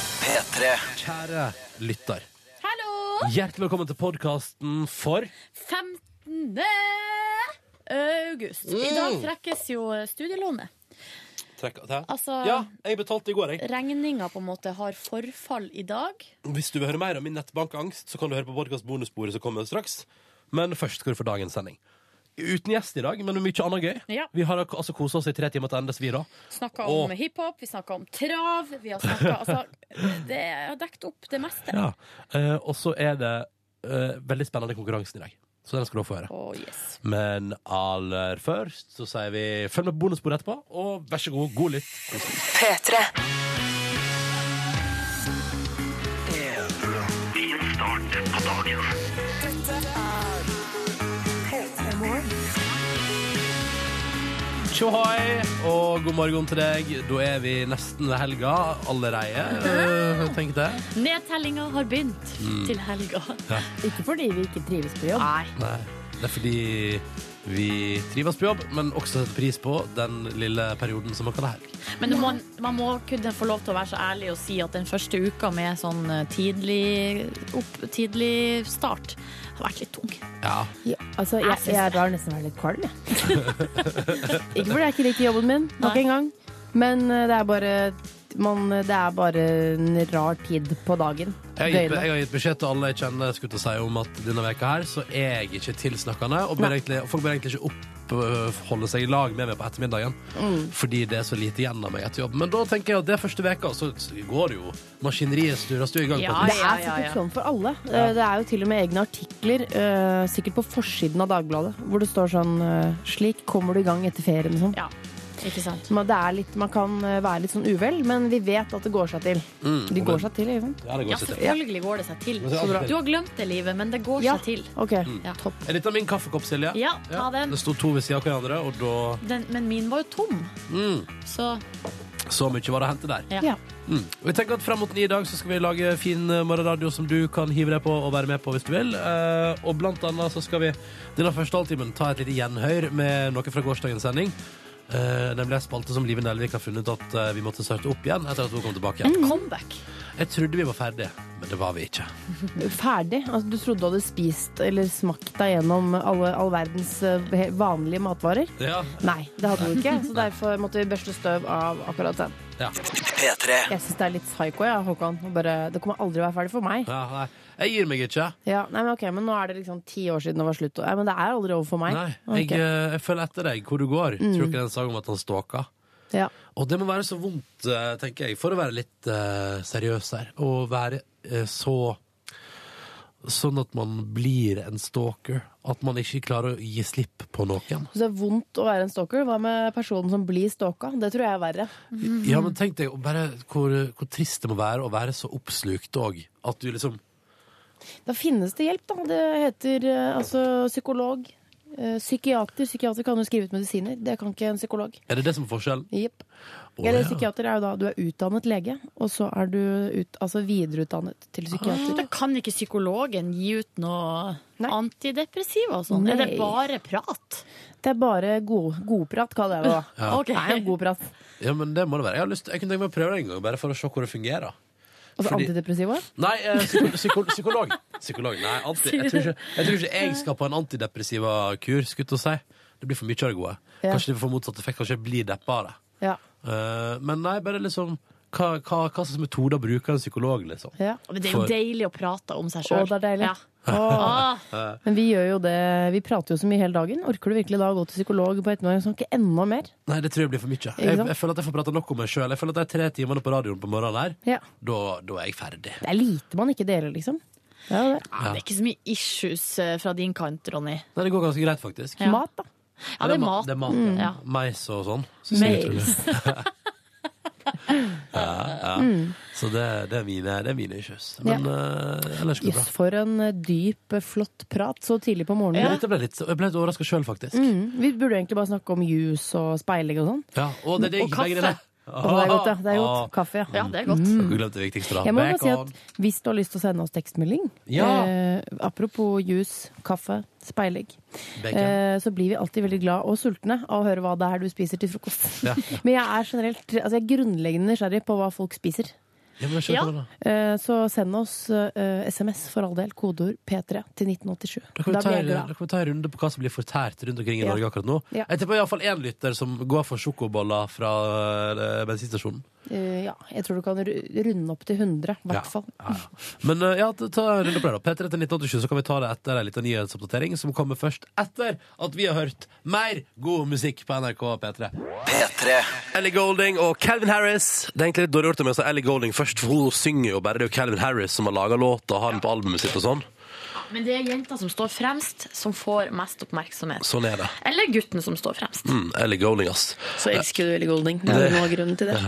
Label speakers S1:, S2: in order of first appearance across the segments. S1: P3
S2: Kjære lytter,
S3: Hallo!
S2: hjertelig velkommen til podkasten for
S3: 15. august. I dag trekkes jo studielånet.
S2: Trekk av det.
S3: Altså,
S2: Ja, jeg betalte i går, jeg.
S3: regninga på en måte har forfall i dag.
S2: Hvis du vil høre mer om min nettbankangst, så kan du høre på podkast bonussporet som kommer straks. Men først skal du få dagens sending. Uten gjest i dag, men med mye annet gøy.
S3: Ja.
S2: Vi har altså kosa oss i tre timer til endes, vi, da.
S3: Snakka om
S2: Åh.
S3: hiphop, vi snakka om trav, vi har snakka Altså, det har dekt opp det meste.
S2: Ja. Eh, og så er det eh, veldig spennende konkurransen i dag, så den skal du få høre.
S3: Å, yes.
S2: Men aller først så sier vi følg med på bonussporet etterpå, og vær så god, god lytt.
S4: P3.
S2: Tjohoi, og god morgen til deg. Da er vi nesten ved helga allerede, eh, tenk det.
S3: Nedtellinga har begynt til helga.
S5: Ikke fordi vi ikke trives på jobb.
S2: Nei, det er fordi vi trives på jobb, men også setter pris på den lille perioden som man kan ha helg.
S3: Men man, man må kunne få lov til å være så ærlig og si at den første uka med sånn tidlig, opp, tidlig start har vært litt tung.
S2: Ja,
S5: Ja, altså,
S3: Jeg
S5: jeg,
S3: synes
S5: jeg, har nesten vært litt kvalm, jeg. ikke fordi jeg ikke liker jobben min, nok
S3: Nei.
S5: en gang. Men eh, det er bare man, det er bare en rar tid på dagen.
S2: jeg har, gitt,
S5: Døgnet.
S2: jeg har gitt beskjed til alle jeg kjenner skulle til å si om at denne veka her, så er jeg ikke tilsnakkende, og bør egentlig, folk bør egentlig ikke oppholde seg i lag med meg på ettermiddagen,
S3: Mm.
S2: fordi det er så lite igjen av meg etter jobb. Men da tenker jeg at det er første veka, så går det jo. Maskineriet styres jo i gang på
S3: Ja,
S2: et
S5: Det
S2: vis.
S5: er
S3: ja, ja,
S5: sikkert
S3: ja.
S5: sånn for alle. Eh, Det er jo til og med egne artikler, eh, sikkert på forsiden av Dagbladet, hvor det står sånn eh, 'Slik kommer du i gang etter ferien' og sånn.
S3: Ja, ikke sant?
S5: Så man- det er litt, man kan eh, være litt sånn uvel, men vi vet at det går seg til.
S2: Mm,
S5: De
S2: og
S5: går
S2: det-
S5: seg til, ikke sant?
S2: Ja, det
S3: Ja,
S2: går seg til.
S3: selvfølgelig går det seg til.
S2: Det går seg alltid
S3: Du har glemt det, livet, men det går
S5: Ja.
S3: seg til.
S5: Ok,
S3: Ja.
S5: topp.
S2: Er dette min kaffekopp, Silje?
S3: Ja, ta den.
S2: Det sto to ved siden av hverandre, og da
S3: Den, men min var jo tom,
S2: mm,
S3: så
S2: Så mye var det å hente der.
S3: Ja.
S5: Ja.
S2: Mm. Og jeg tenker at Fram mot ni i dag så skal vi lage fin eh, morgenradio som du kan hive deg på og være med på hvis du vil. Eh, og blant annet så skal vi denne første halvtimen ta et lite gjenhør med noe fra gårsdagens sending. Eh, nemlig en spalte som Live Nelvik har funnet ut at eh, vi måtte starte opp igjen etter at hun kom tilbake. igjen.
S3: comeback.
S2: Jeg trodde vi var ferdige, men det var vi ikke.
S5: Ferdig? Altså, du trodde du hadde spist eller smakt deg gjennom alle, all verdens eh, he- vanlige matvarer?
S2: Ja.
S5: Nei, det hadde du ikke. Så derfor måtte vi børste støv av akkurat den.
S1: P3
S5: Jeg syns det er litt psycho, ja, Håkon. å Bare, det kommer aldri å være ferdig for meg.
S2: ja nei. Jeg gir meg ikke.
S5: Ja, nei, men ok, men nå er det liksom ti år siden det var slutt. Nei, men det er aldri over for meg.
S2: Nei, jeg,
S5: Ok.
S2: eh, jeg følger etter deg hvor du går. Tror du ikke den sangen om at han stalka?
S5: Ja.
S2: Og det må være så vondt, eh, tenker jeg, for å være litt eh, seriøs her. Å være eh, så Sånn at man blir en stalker. At man ikke klarer å gi slipp på noen.
S5: Så det er vondt å være en stalker. Hva med personen som blir stalka? Det tror jeg er verre.
S2: Ja, men tenk deg bare hvor, hvor trist det må være å være så oppslukt òg. At du liksom
S5: Da finnes det hjelp, da. Det heter eh, altså psykolog. eh, Psykiater. Psykiater kan jo skrive ut medisiner. Det kan ikke en psykolog.
S2: Er det det som er forskjellen?
S5: Jepp.
S2: Å,
S5: Eller
S2: ja.
S5: psykiater er jo da du er utdannet lege, og så er du ut, altså videreutdannet til psykiater.
S3: Da kan ikke psykologen gi ut noe
S5: Nei.
S3: antidepressiva og sånn. Er det
S5: Nei.
S3: bare prat?
S5: Det er bare god, godprat, kaller jeg det da.
S2: Ja.
S3: Ok.
S5: Det er jo godprat.
S2: ja, men det må det være. Jeg, har lyst, jeg kunne tenke meg å prøve det en gang, bare for å se hvor det fungerer.
S5: Altså
S2: Fordi-
S5: antidepressiva.
S2: Nei, eh, psyko psyko psykolog. Psykolog, nei, anti jeg, tror ikke, jeg tror ikke jeg skal på en antidepressiva kur, skulle jeg til å si. Det blir for mye av det gode.
S5: Ja.
S2: Kanskje det får motsatt effekt, kanskje jeg blir deppa av det.
S5: Ja.
S2: Eh, men nei, bare liksom hva, hva, hva slags metoder bruker en psykolog, liksom?
S5: ja.
S3: Men det er jo
S2: For-
S3: deilig å prate om seg
S5: Å,
S3: sjøl.
S5: det er deilig.
S3: Ja.
S5: Å.
S3: Ah,
S5: Men vi gjør jo det, vi prater jo så mye hele dagen. Orker du virkelig da å gå til psykolog på ettermiddagen og snakke enda mer?
S2: Nei, det tror jeg blir for mye. Jeg,
S5: sant?
S2: jeg føler at jeg får prata nok om meg sjøl. Jeg føler at de tre timene på radioen på morgenen her,
S5: Ja.
S2: da, da er jeg ferdig.
S5: Det er lite man ikke deler, liksom. Det er jo det.
S3: Ah, det er ikke så mye issues eh, fra din kant, Ronny.
S2: Nei, det går ganske greit, faktisk.
S3: Ja.
S5: Mat, da.
S3: Ja, det er
S2: ma-
S3: mat. Mm.
S2: Det er mat ja.
S3: Ja.
S2: Mais og sånn. Så sier jeg
S5: Mm. Mais.
S2: til det. ja, ja.
S5: Mm.
S2: Så det, det, er mine, det er mine issues. Men eh, ellers går det
S5: Jøss,
S2: bra.
S5: for en eh, dyp, eh, flott prat så tidlig på
S2: Men
S5: morgenen.
S2: Dette ble litt, jeg ble litt overraska sjøl, faktisk.
S5: Mm. Vi burde egentlig bare snakke om jus og speiling og sånn.
S2: Ja, og det er digg,
S3: Og kaffe.
S2: begge deler.
S5: Å, det er godt, ja. Det er
S2: Ah.
S5: godt. Kaffe, ja.
S3: Ja, det er godt.
S2: Dere glemte det viktigste, da.
S5: Jeg må bare si
S2: Bacon.
S5: at Hvis du har lyst til å sende oss tekstmelding,
S2: Ja.
S5: eh, apropos jus, kaffe, speilegg,
S2: Bacon.
S5: eh, så blir vi alltid veldig glad og sultne av å høre hva det er du spiser til frokost.
S2: Ja, ja.
S5: Men jeg er generelt altså jeg er grunnleggende nysgjerrig på hva folk spiser.
S2: Ja, men jeg skjønner
S3: Ja.
S2: hva da.
S6: Eh, Så send oss eh, SMS for all del, kodeord P3 til 1987.
S2: Da kan, vi
S6: Da
S2: ta,
S6: blir jeg
S2: da
S6: glad.
S2: kan vi ta en runde på hva som blir fortært rundt omkring i
S6: Ja.
S2: Norge akkurat nå.
S6: Ja.
S2: Jeg tipper iallfall én lytter som går for sjokoboller fra eh, bensinstasjonen.
S6: Eh, Ja, jeg tror du kan ru- runde opp til 100, i
S2: Ja.
S6: hvert fall.
S2: Ja, ja. Men eh, ja, ta ta en runde på det, da. P3 til 1987, så kan vi ta det etter en liten nyhetsoppdatering, som kommer først etter at vi har hørt mer god musikk på NRK P3.
S7: P3
S2: Ellie Golding og Calvin Harris. Det er egentlig litt dårlig gjort av meg å si Ellie Golding først, for hun synger jo bare. Det er jo Calvin Harris som har laga låta og har den på albumet sitt og sånn.
S3: Men det er jenta som står fremst, som får mest oppmerksomhet.
S2: Sånn er det.
S3: Eller gutten som står fremst.
S2: Mm, Ellie Golding, ass.
S5: Så elsker du Ellie Golding. Det er jo noe av grunnen til det.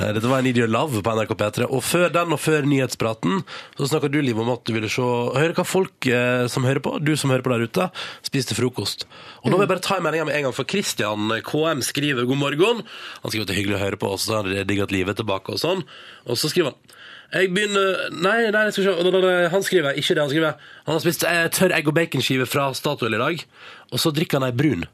S2: Eh, Dette var I Need Your Love på NRK P3. Og før den og før nyhetspraten så snakka du, Liv, om at du ville se Høre hva folk eh, som hører på, du som hører på der ute, spiste frokost. Og nå vil jeg bare ta en melding med en gang, for Christian KM skriver god morgen. Han skriver at det er hyggelig å høre på oss, han har digget livet tilbake og sånn. Og så skriver han jeg begynner Nei, nei, jeg skal se. Da- da- da- Han skriver ikke det han skriver. Han har spist eh, tørr egg- og baconskive fra Statoil i dag, og så drikker han ei brun.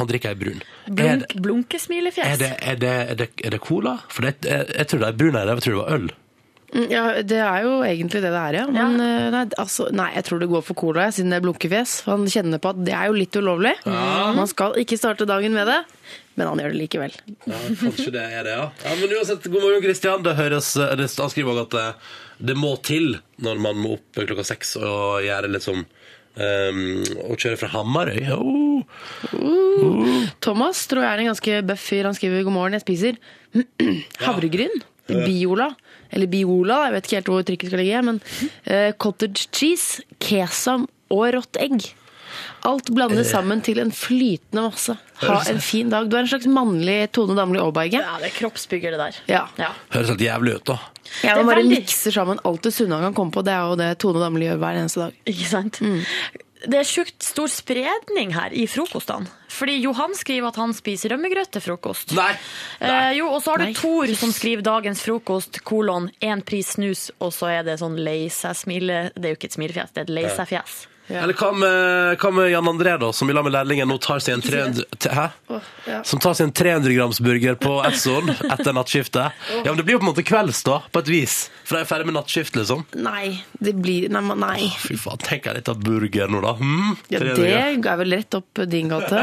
S2: Han drikker ei brun. Er det-
S3: Blunk,
S2: er
S3: Blunkesmilefjes.
S2: det, er, det, er, det, er det cola? For det, jeg, jeg tror det er brun her, jeg tror det var øl.
S5: Mm, Ja, det er jo egentlig det det er, ja. Men eh, Nei, altså, nei, jeg tror det går for cola, jeg, siden det er blunkefjes. Han kjenner på at det er jo litt ulovlig. Man skal ikke starte dagen med det, men han gjør det likevel.
S2: Ja, kanskje det er det, ja. ja men uansett, god morgen, Christian. Det høres, det, han skriver også at eh, det må til når man må opp klokka seks og gjøre litt sånn ehm, og kjøre fra Hamarøy. Oh.
S5: Thomas tror jeg er en ganske bøff fyr. Han skriver 'God morgen, jeg spiser havregryn'. Biola. Eller Biola, jeg vet ikke helt hvor trykket skal ligge. Men eh, cottage cheese, kesam og rått egg. Alt blandes sammen til en flytende masse. Ha en fin dag. Du er en slags mannlig Tone Damli Aaberge.
S3: Ja, det er kroppsbygger, det der.
S5: Ja.
S3: Ja.
S2: Høres helt jævlig ut, da.
S5: Jeg
S3: Det er
S5: bare
S3: veldig-
S5: mikser sammen alt det sunne han kan komme på. Det er jo det Tone Damli gjør hver eneste dag.
S3: Ikke sant?
S5: Mm.
S3: Det er sjukt stor spredning her i frokostene. Fordi Johan skriver at han spiser rømmegrøt til frokost.
S2: Nei!
S3: Eh, jo, og så har
S5: Nei.
S3: du Thor som skriver dagens frokost, kolon, én pris snus, og så er det sånn lei seg-smile. Det er jo ikke et smilefjes, det er et lei seg-fjes.
S5: Eh.
S2: Eller hva med, hva med Jan André, da, som i lag med lærlingen nå tar seg en 300 t- Hæ? Som tar seg en 300 grams burger på Essoen etter nattskiftet. Ja, men det blir jo på en måte kvelds, da, på et vis. For jeg er ferdig med nattskift, liksom.
S5: Nei, det blir Nei. men- nei.
S2: Fy faen, tenk jeg litt av burger nå, da. Hmm?
S5: Ja,
S2: Tre
S5: det
S2: dager.
S5: er vel rett opp din gate.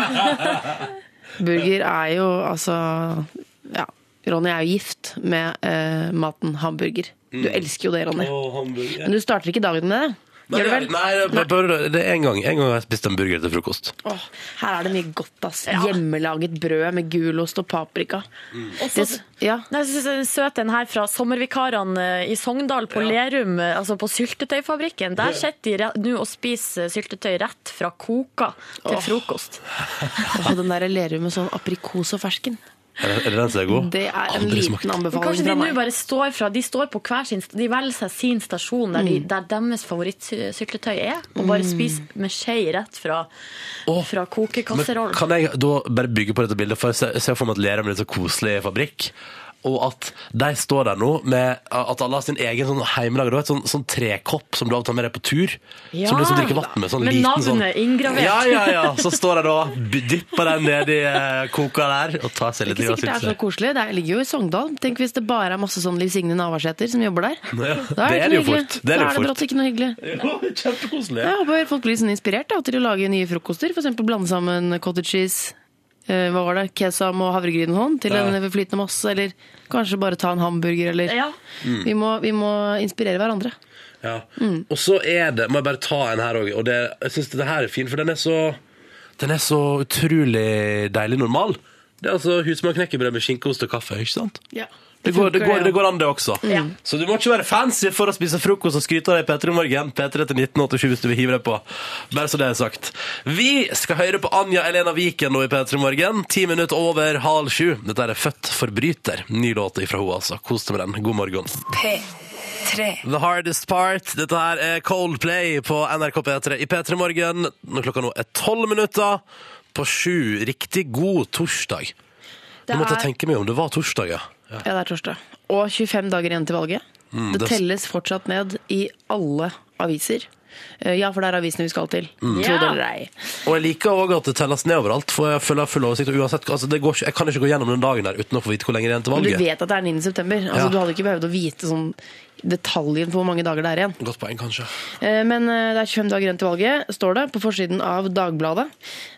S5: Burger er jo altså Ja. Ronny er jo gift med eh, maten hamburger. Du
S2: Mm.
S5: elsker jo det, Ronny.
S2: Å, hamburger.
S5: Men du starter ikke dagen med det.
S2: Nei,
S5: Gjør du vel?
S2: nei, det er bare- det er en gang En gang har jeg spist en burger til frokost.
S5: Åh, her er det mye godt, ass. Hjemmelaget brød med gulost og paprika. Det, s- ja.
S3: Nei, jeg synes det er søt den her fra sommervikarene eh, i Sogndal på Lerum, eh, altså på syltetøyfabrikken. Der sitter de re- nå og spiser syltetøy rett fra koka til frokost.
S5: Og den der Lerum med sånn aprikos og fersken.
S2: Er det, er det den som er god?
S5: Det er en
S2: Aldri
S5: liten
S2: smakt.
S5: anbefaling
S3: Kanskje de
S5: fra
S3: nå
S5: meg.
S3: bare står fra De står på hver sin De velger seg sin stasjon der, de,
S5: Mm.
S3: der deres favorittsyltetøy er, og bare spiser med skje rett fra,
S2: Åh,
S3: fra
S2: Men
S3: kokekasserollen.
S2: kan jeg da bare bygge på dette bildet, for jeg ser- ser for meg at Lerum er en så koselig fabrikk. Og at de står der nå med at alle har sin egen sånn hjemmelaga du vet, sånn, sånn trekopp som du alltid tar med deg på tur. som du liksom drikker vann med. Sånn
S3: Med
S2: liten sånn
S3: navnet inngravert.
S2: Ja, ja, ja. Så står de da, dypper den nedi eh, koka der og tar seg litt
S5: Ikke sikkert det er så koselig. Det ligger jo i Sogndal. Tenk hvis det bare er masse sånn Liv Signe Navarsete som jobber der.
S2: Ja, det
S5: Da er
S2: er
S5: det
S2: det
S5: ikke
S2: jo
S5: noe
S2: fort.
S5: hyggelig.
S2: Det er
S5: Da
S2: det jo
S5: er det
S2: fort.
S5: brått ikke noe hyggelig.
S2: Kjempekoselig.
S5: Jeg håper folk blir sånn inspirert da, til å lage nye frokoster. For eksempel blande sammen cottage cheese, eh, hva var det, kesam og havregryn og sånn, til
S2: Ja.
S5: en flytende masse. Eller kanskje bare ta en hamburger, eller
S3: Ja.
S5: vi, må, vi må inspirere hverandre.
S2: Ja. Og så er det Må jeg bare ta en her òg. Og det, jeg syns dette her er fin, for den er så Den er så utrolig deilig normal. Det er altså husmann knekkebrød med skinkeost og kaffe, ikke sant? Det går, det, går, det går an, det også. Så du må ikke være fancy for å spise frokost og skryte av deg P3 Morgen. P3 til 1987 hvis du vil hive deg på. Bare så det er sagt. Vi skal høre på Anja Elena Viken nå i P3 Morgen. Ti minutter over halv sju. Dette er Født forbryter. Ny låt ifra henne, altså. Kos deg med den. God morgen. The Hardest Part. Dette her er Coldplay på NRK P3 i P3 Morgen. Når klokka nå er tolv minutter på sju. Riktig god torsdag. Nå måtte jeg tenke meg om. Det var torsdag, ja.
S5: Ja, det er torsdag. Og 25 dager igjen til valget. det,
S2: det-
S5: telles fortsatt ned i alle aviser. Eh, Ja, for det er avisene vi skal til. Tro det eller ei.
S2: Og jeg liker òg at det telles ned overalt, for jeg føler jeg har full oversikt. Og uansett, altså, det går ikke, jeg kan ikke gå gjennom den dagen der uten å få vite hvor lenge det er igjen til
S5: Men du
S2: valget.
S5: vet at det er 9. september. Altså,
S2: Ja.
S5: Du hadde ikke behøvd å vite sånn detaljen på hvor mange dager det er igjen.
S2: Godt poeng, kanskje.
S5: Eh, Men eh, det er 25 dager igjen til valget, står det på forsiden av Dagbladet.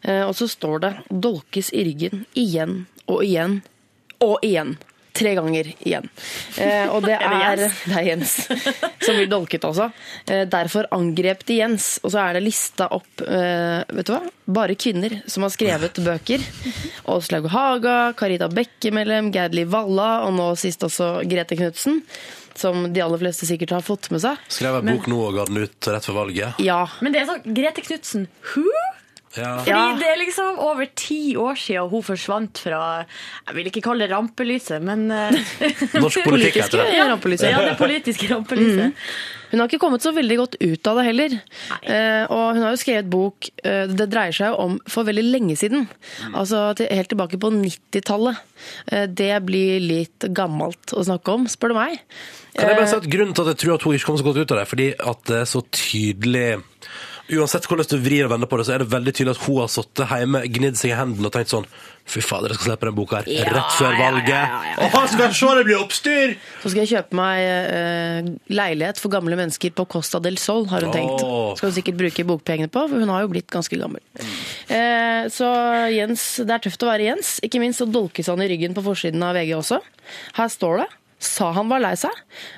S5: Eh, Og så står det 'dolkes i ryggen igjen og igjen og igjen'. Tre ganger igjen. Eh, og det
S3: Er
S5: er,
S3: det
S5: det er Jens som blir dolket, altså. Eh, derfor angrep de Jens. Og så er det lista opp eh, vet du hva? bare kvinner som har skrevet bøker. Åslaug Haga, Carita Bekkemellem, Geirli Valla og nå sist også Grete Knutsen. Som de aller fleste sikkert har fått med seg.
S2: Skrev jeg bok nå og ga den ut rett før valget?
S5: Ja,
S3: Men det er sånn Grete Knutsen Who?
S2: Ja.
S3: Fordi
S5: Ja.
S3: det er liksom over ti år siden hun forsvant fra Jeg vil ikke kalle det rampelyset, men eh,
S2: Norsk politikk heter det.
S5: Politiske rampelyset.
S3: Ja, det politiske rampelyset.
S5: Hun har ikke kommet så veldig godt ut av det heller.
S3: Nei.
S5: Eh, og hun har jo skrevet bok eh, Det dreier seg jo om for veldig lenge siden. Altså til, helt tilbake på 90-tallet. Eh, det blir litt gammelt å snakke om, spør du meg.
S2: Kan jeg bare si at Grunnen til at jeg tror at hun ikke kom så godt ut av det, er fordi at det er så tydelig Uansett hvordan du vrir og vender på det, så er det veldig tydelig at hun har sittet hjemme, gnidd seg i hendene og tenkt sånn Fy fader, jeg skal slippe den boka her rett før valget. Åh, skal jeg se det blir oppstyr!
S5: Så skal jeg kjøpe meg eh, leilighet for gamle mennesker på Costa del Sol, har hun tenkt.
S2: Åh.
S5: Skal hun sikkert bruke bokpengene på, for hun har jo blitt ganske gammel. Eh, så Jens, det er tøft å være Jens. Ikke minst så dolkes han i ryggen på forsiden av VG også. Her står det. Sa han var lei seg.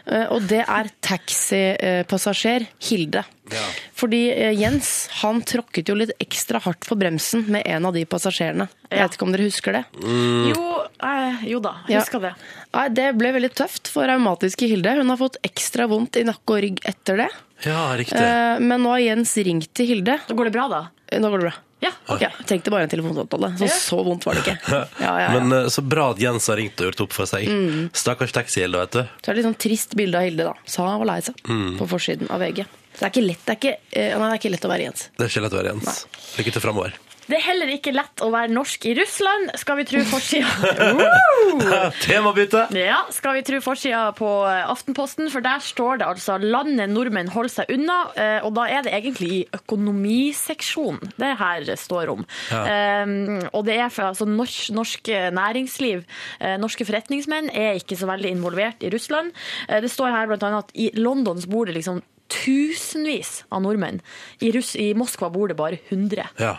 S5: eh, Og det er taxipassasjer Hilde.
S2: Ja.
S5: Fordi eh, Jens han tråkket jo litt ekstra hardt på bremsen med en av de passasjerene. Jeg vet ikke om dere husker det.
S2: Mm.
S3: Jo, eh, jo da, jeg
S5: Ja.
S3: husker det.
S5: Nei, Det ble veldig tøft for raumatiske Hilde. Hun har fått ekstra vondt i nakke og rygg etter det.
S2: Ja, riktig.
S5: Eh, Men nå har Jens ringt til Hilde.
S3: Da går det bra, da?
S5: Eh, Nå går det bra.
S3: Ja.
S2: Ah.
S3: ok.
S5: Ja, tenkte bare en telefonsamtale. Så
S3: Ja.
S5: så vondt var det ikke. Ja, ja, ja.
S2: Men eh, så bra at Jens har ringt og gjort opp for seg.
S3: Mm.
S2: Stakkars taxihjelda, vet du.
S5: Så er det litt sånn trist bilde av Hilde, da. Sa han var lei seg.
S2: Mm.
S5: På forsiden av VG. Så det er ikke lett, det er ikke, eh, nei, det er ikke lett å være Jens.
S2: Det er ikke lett å være Jens. Lykke til framover.
S3: Det er heller ikke lett å være norsk i Russland, skal vi tro forsida. Woo!
S2: Temabytte!
S3: Ja, skal vi tro forsida på eh, Aftenposten, for der står det altså 'Landet nordmenn holder seg unna', eh, og da er det egentlig i økonomiseksjonen det her står om. Eh, Og det er for altså norsk, norsk næringsliv, eh, norske forretningsmenn er ikke så veldig involvert i Russland. Eh, Det står her blant annet at i London så bor det liksom tusenvis av nordmenn. I, Russ I Moskva bor det bare 100.
S2: Ja.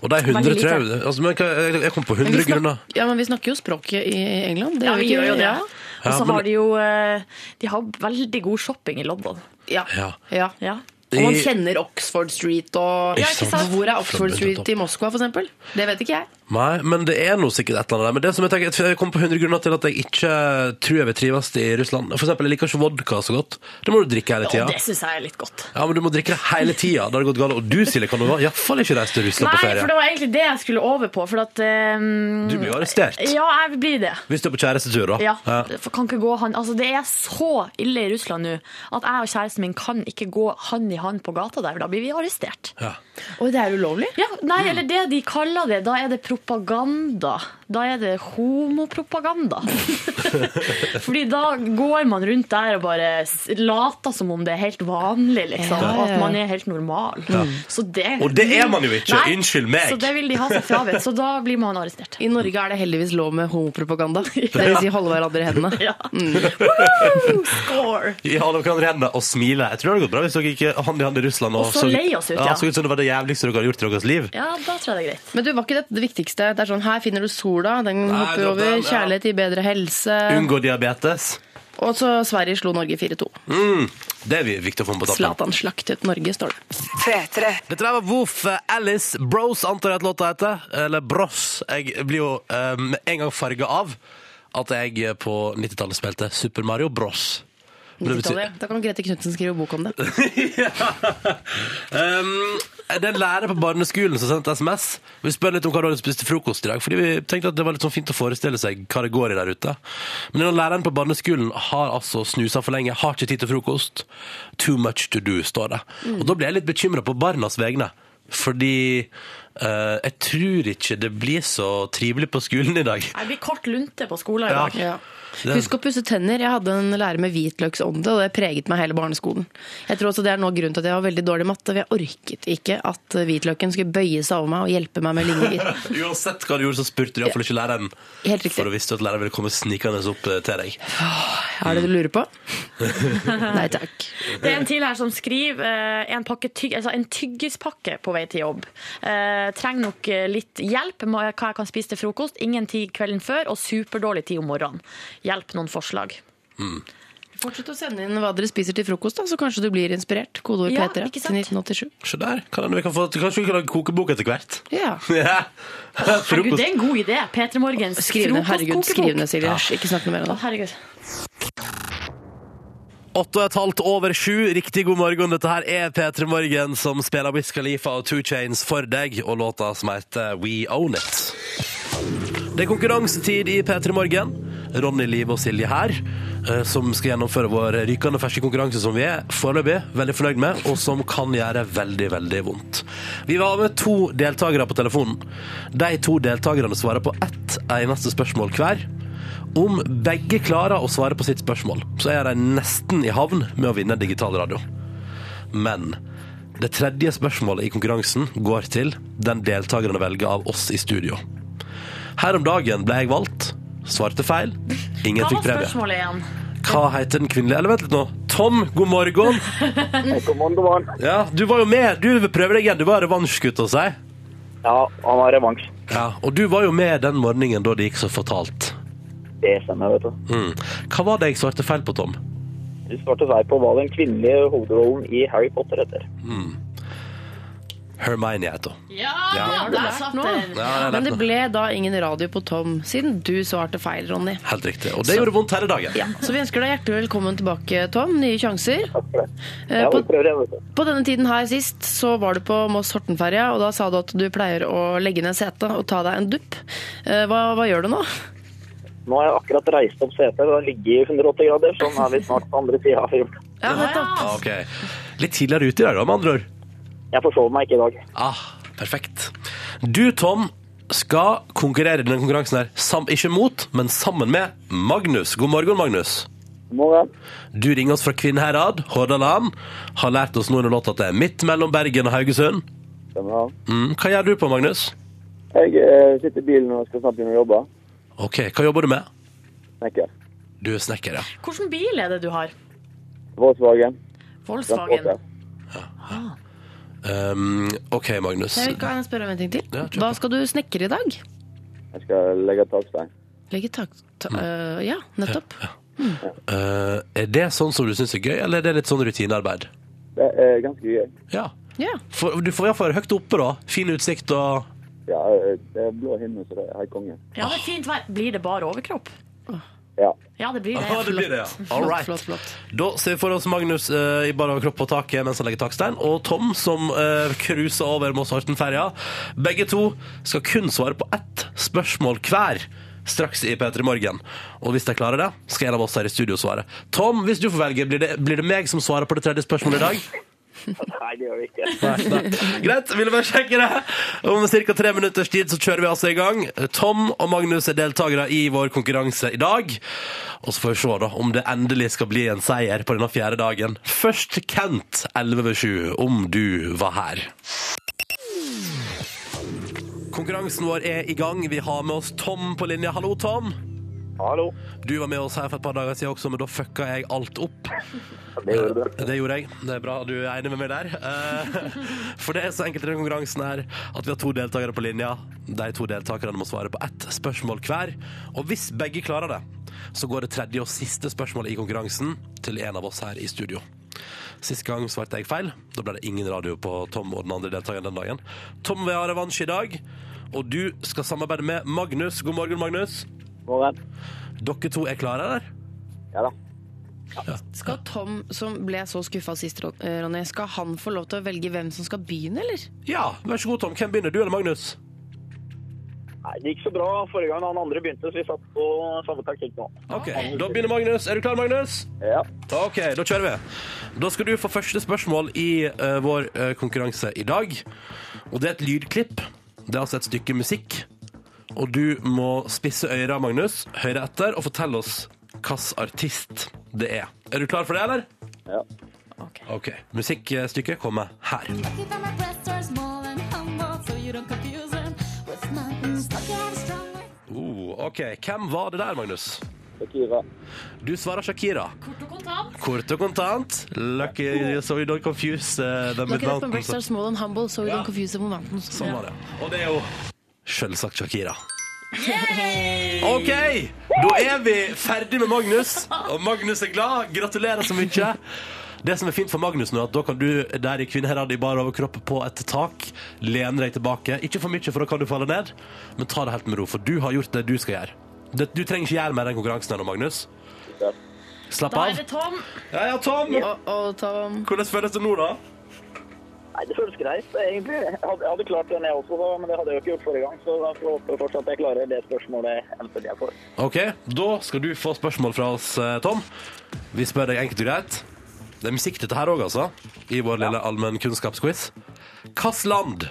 S2: Og de 100,
S3: Mm. Veldig
S2: tror jeg altså, men, jeg- Jeg kom på 100
S5: snak-
S2: grunner.
S5: ja, men vi snakker jo språket i England. Det
S3: Ja,
S5: gjør
S3: vi
S5: ikke-
S3: gjør jo det.
S5: Ja.
S3: Og så
S2: men-
S3: har de jo eh, De har veldig god shopping i London.
S5: Ja.
S2: Ja.
S5: Ja.
S3: Ja.
S5: Og man
S2: I-
S5: kjenner Oxford Street og
S2: Ja, ikke sant?
S5: Hvor er Oxford
S2: Flambøy,
S5: Street
S2: topp.
S5: i Moskva, for eksempel? Det vet ikke jeg.
S2: Nei, men det er noe sikkert et eller annet der. Men det som jeg tenker, jeg kom på 100 grunner til at jeg ikke tror jeg vil trives i Russland. For eksempel, jeg liker ikke vodka så godt. Det må du drikke hele
S3: Og
S2: tida.
S3: det syns jeg er litt godt.
S2: Ja, men du må drikke det hele tida. Da har det gått galt. Og du, Silje, kan du i hvert fall ikke reise til Russland på
S3: Nei, for det
S2: ferie.
S3: var egentlig det jeg skulle over på. For at eh,
S2: Du blir jo arrestert.
S3: Ja, jeg blir det.
S2: Hvis du er på kjærestetur, da.
S3: Ja, for kan ikke gå han Altså, Det er så ille i Russland nå at jeg og kjæresten min kan ikke gå hand i hand på gata der, for da blir vi arrestert.
S2: Ja.
S5: Oi, det er ulovlig.
S3: Ja, Nei,
S2: Mm.
S3: eller det de kaller det. Da er det propaganda. Da er det homopropaganda. Fordi da går man rundt der og bare s- later som om det er helt vanlig, liksom.
S5: Ja, ja, ja.
S3: At man er helt normal. Så det,
S2: Og det er man jo ikke,
S3: Nei,
S2: unnskyld meg.
S3: Så det vil de ha seg frabedt. Så da blir man arrestert.
S5: I Norge er det heldigvis lov med homopropaganda. Det vil si holde hverandre i hendene.
S3: Ja.
S2: Mm.
S3: Woo! Score!
S2: Ja, dere kan renne og smile. Jeg tror det hadde gått bra hvis dere gikk hand i hand i Russland.
S3: Og så lei oss ut,
S2: ja.
S3: ja.
S2: Så ut som det var det jævligste dere hadde gjort i deres liv.
S3: Ja, da tror jeg det er greit.
S5: Men du, var ikke dette det viktigste? Det er sånn, Her finner du sola, den hopper
S2: dropp
S5: over.
S2: den, ja.
S5: Kjærlighet gir bedre helse.
S2: Unngå diabetes.
S5: Og så Sverige slo Norge 4-2.
S2: Det er viktig å få med på tappen.
S5: Zlatan slaktet Norge, står det.
S2: Dette der var Woof eh, Alice Bros, antar jeg at låta heter. Eller Bros. Jeg blir jo eh, med en gang farga av at jeg på 90-tallet spilte Super Mario Bros. Men det betyr-
S5: 90-tallet. Da kan Grete Knutsen skrive bok om det.
S2: Um, det er en lærer på barneskolen som sendte SMS. Vi spør litt om hva du hadde spist til frokost i dag, fordi vi tenkte at det var litt sånn fint å forestille seg hva det går i der ute. Men denne læreren på barneskolen har altså snusa for lenge,
S5: Mm.
S2: har ikke tid til frokost. Too much to do, står det. Og da ble jeg litt bekymra på barnas vegne. Fordi eh, jeg tror ikke det blir så trivelig på skolen i dag.
S3: Jeg blir kort lunte på skolen i dag.
S2: Ja. Det-
S5: Husk å pusse tenner. Jeg hadde en lærer med hvitløksånde, og det preget meg hele barneskolen. Jeg tror også Det er noe av grunnen til at jeg var veldig dårlig i matte. for Jeg orket ikke at hvitløken skulle bøye seg over meg og hjelpe meg med linjer.
S2: Uansett hva du gjorde, så spurte du iallfall ikke læreren.
S5: Helt riktig.
S2: For du visste at læreren ville komme snikende opp eh, til deg.
S5: Er det det du lurer på? Nei takk.
S3: Det er en til her som skriver eh, en, pakke tyg, altså en tyggispakke på vei til jobb. Eh, trenger nok eh, litt hjelp med hva jeg kan spise til frokost. Ingen tid kvelden før, og superdårlig tid om morgenen. Hjelp noen forslag.
S5: Fortsett å sende inn hva dere spiser til frokost, da, så kanskje du blir inspirert. Kodeord
S3: Ja,
S5: P3
S3: ikke
S5: til
S3: sant?
S5: 1987.
S2: Se der. Kan hende vi kan få, kanskje vi kan lage kokebok etter hvert?
S5: Ja.
S2: Ja.
S3: Herregud,
S2: Frokost.
S3: det er en god idé. P3 Morgens
S5: Skriv ned, herregud, skriv ned,
S3: frokostkokebok.
S5: Silje. Ikke snakk noe mer om
S3: Å,
S5: det.
S3: herregud.
S2: Åtte og et halvt over sju. Riktig god morgen. Dette her er P3 Morgen som spiller Wiz Khalifa og Two Chains for deg, og låta som heter We Own It. Det er konkurransetid i P3 Morgen. Ronny, Liv og Silje her, eh, som skal gjennomføre vår rykende ferske konkurranse som vi er foreløpig veldig fornøyd med, og som kan gjøre veldig, veldig vondt. Vi var med to deltakere på telefonen. De to deltakerne svarer på ett eneste spørsmål hver. Om begge klarer å svare på sitt spørsmål, så er de nesten i havn med å vinne digital radio. Men det tredje spørsmålet i konkurransen går til den deltakerne velger av oss i studio. Her om dagen ble jeg valgt, svarte feil, ingen
S3: Hva
S2: fikk
S3: var
S2: premie.
S3: spørsmålet igjen?
S2: Hva heter den kvinnelige Eller vent litt nå. Tom, god morgen.
S7: God morgen, god morgen.
S2: Ja, du var jo med. Du prøver deg igjen. Du var revansjgutt hos deg.
S7: Ja, han har revansj.
S2: Ja, og du var jo med den morgenen da det gikk så fatalt.
S7: Det stemmer, vet du.
S2: Mm. Hva var det jeg svarte feil på, Tom?
S7: Du svarte feil på hva den kvinnelige hovedrollen i Harry Potter heter.
S2: Hermione het hun.
S3: Ja,
S2: Ja.
S3: der satt den.
S2: Ja, det er
S5: Men
S2: lett
S5: det
S2: nå.
S5: ble da ingen radio på Tom, siden du svarte feil, Ronny.
S2: Helt riktig. Og det gjorde vondt hele dagen.
S5: Ja, så vi ønsker deg hjertelig velkommen tilbake, Tom. Nye sjanser.
S7: Takk for det.
S5: Eh,
S7: Ja,
S5: på,
S7: vi prøver igjen, vet du.
S5: på denne tiden her sist så var du på Moss-Horten-ferja, og da sa du at du pleier å legge ned setet og ta deg en dupp. Eh, Hva, hva gjør du nå?
S7: Nå har jeg akkurat reist opp setet, det har ligget i 180 grader, så nå er vi snart på andre siden av fjorden.
S5: Ja, nettopp.
S2: Ah, ok. Litt tidligere ute i dag, da, med andre ord.
S7: Jeg forsov meg ikke i dag.
S2: Ah, perfekt. Du, Tom, skal konkurrere i denne konkurransen her. Sam ikke mot, men sammen med Magnus. God morgen, Magnus.
S7: Må det.
S2: Du ringer oss fra Kvinnherad, Hordaland. Har lært oss nå under låta at det er midt mellom Bergen og Haugesund.
S7: Stemmer det.
S2: Mm, hva gjør du på, Magnus?
S7: Jeg eh, sitter i bilen og skal snart begynne å jobbe.
S2: Ok, hva jobber du med?
S7: Snekker.
S2: Du er snekker, ja.
S3: Hvilken bil er det du har?
S7: Volkswagen.
S3: Volkswagen.
S2: Um, ok, Magnus.
S5: Jeg kan spørre om en ting til.
S2: Ja, kjør på.
S5: Hva skal du snekre i dag?
S7: Jeg skal legge takstein.
S5: Legge tak... Ta,
S2: Mm.
S5: eh, ja, nettopp.
S2: Eh, er det sånn som du syns er gøy, eller er det litt sånn rutinearbeid?
S7: Det er ganske gøy.
S2: Ja.
S5: Ja.
S2: For, du får i hvert fall være høyt oppe, da. Fin utsikt og
S7: Ja, eh, det er blå himmel, så det er helt konge.
S3: Ja, det er fint vær. Blir det bare overkropp?
S7: Ja.
S3: Ja, det blir
S2: Ja,
S3: det.
S2: det blir det, ja. All
S5: Flott,
S2: right.
S5: flott, flott.
S2: Da ser vi for oss Magnus eh, i bar overkropp på taket mens han legger takstein, og Tom som eh, cruiser over Moss-Horten-ferja. Begge to skal kun svare på ett spørsmål hver straks i P3 Morgen. Og hvis de klarer det, skal en av oss her i studio svare. Tom, hvis du får velge, blir det, blir det meg som svarer på det tredje spørsmålet i dag?
S7: Nei, det gjør vi ikke.
S2: Nei, nei. Greit, ville bare sjekke det. Om ca. tre minutters tid så kjører vi altså i gang. Tom og Magnus er deltakere i vår konkurranse i dag. Og så får vi se da om det endelig skal bli en seier på denne fjerde dagen. Først Kent 11 ved 7, om du var her. Konkurransen vår er i gang. Vi har med oss Tom på linje. Hallo, Tom.
S7: Hallo.
S2: Du var med oss her for et par dager siden også, men da fucka jeg alt opp.
S7: Det gjorde du.
S2: Det gjorde jeg. Det er bra du er enig med meg der. Eh, For det er så enkelt i denne konkurransen her at vi har to deltakere på linja. De to deltakerne må svare på ett spørsmål hver. Og hvis begge klarer det, så går det tredje og siste spørsmålet i konkurransen til en av oss her i studio. Sist gang svarte jeg feil. Da ble det ingen radio på Tom og den andre deltakeren den dagen. Tom vil ha revansj i dag, og du skal samarbeide med Magnus. God morgen, Magnus.
S7: Morgen.
S2: Dere to er klare, eller?
S7: Ja da.
S5: Skal Tom, som ble så skuffa sist, Ron- eh, Ronny, skal han få lov til å velge hvem som skal begynne, eller?
S2: Ja, vær så god, Tom. Hvem begynner, du eller Magnus?
S7: Nei, det gikk så bra forrige gang han andre begynte, så vi satt på samme taktikk nå.
S2: Ok, Da begynner Magnus. Er du klar, Magnus?
S7: Ja.
S2: OK, da kjører vi. Da skal du få første spørsmål i eh, vår eh, konkurranse i dag. Og det er et lydklipp. Det er altså et stykke musikk. Og du må spisse øyra, Magnus, høre etter og fortelle oss hvilken artist det er. Er du klar for det, eller?
S7: Ja.
S3: Ok.
S2: OK. Musikkstykket kommer her. Oh, OK. Hvem var det der, Magnus?
S7: Shakira.
S2: Du svarer Shakira. Kort og kontant. Lucky so you don't confuse eh, them
S5: Look
S2: with
S5: it up and breast
S2: mountains.
S5: are small and humble, so we don't confuse them with mountains.
S2: Sånn var det. Og det er jo selvsagt Shakira. OK, da er vi ferdig med Magnus. Og Magnus er glad. Gratulerer så mye. Det som er fint for Magnus nå, er at da kan du der i kvinneherad i bar overkropp på et tak lene deg tilbake. Ikke for mye, for da kan du falle ned, men ta det helt med ro, for du har gjort det du skal gjøre. Det- Du trenger ikke gjøre mer den konkurransen ennå, Magnus. Slapp
S3: Da
S2: av.
S3: er det Tom.
S2: Ja, ja, Tom.
S5: Og Tom
S2: Hvordan føles det nå, da?
S7: Nei, det føles greit, egentlig. Jeg hadde, jeg hadde klart den, jeg også, da, men det hadde jeg jo ikke gjort forrige gang. Så da får jeg håpe fortsatt at jeg klarer det spørsmålet eventuelt jeg får.
S2: Ok, Da skal du få spørsmål fra oss, eh, Tom. Vi spør deg enkelt og greit. Det er musikk dette her òg, altså. I vår lille allmennkunnskapsquiz. Hvilket land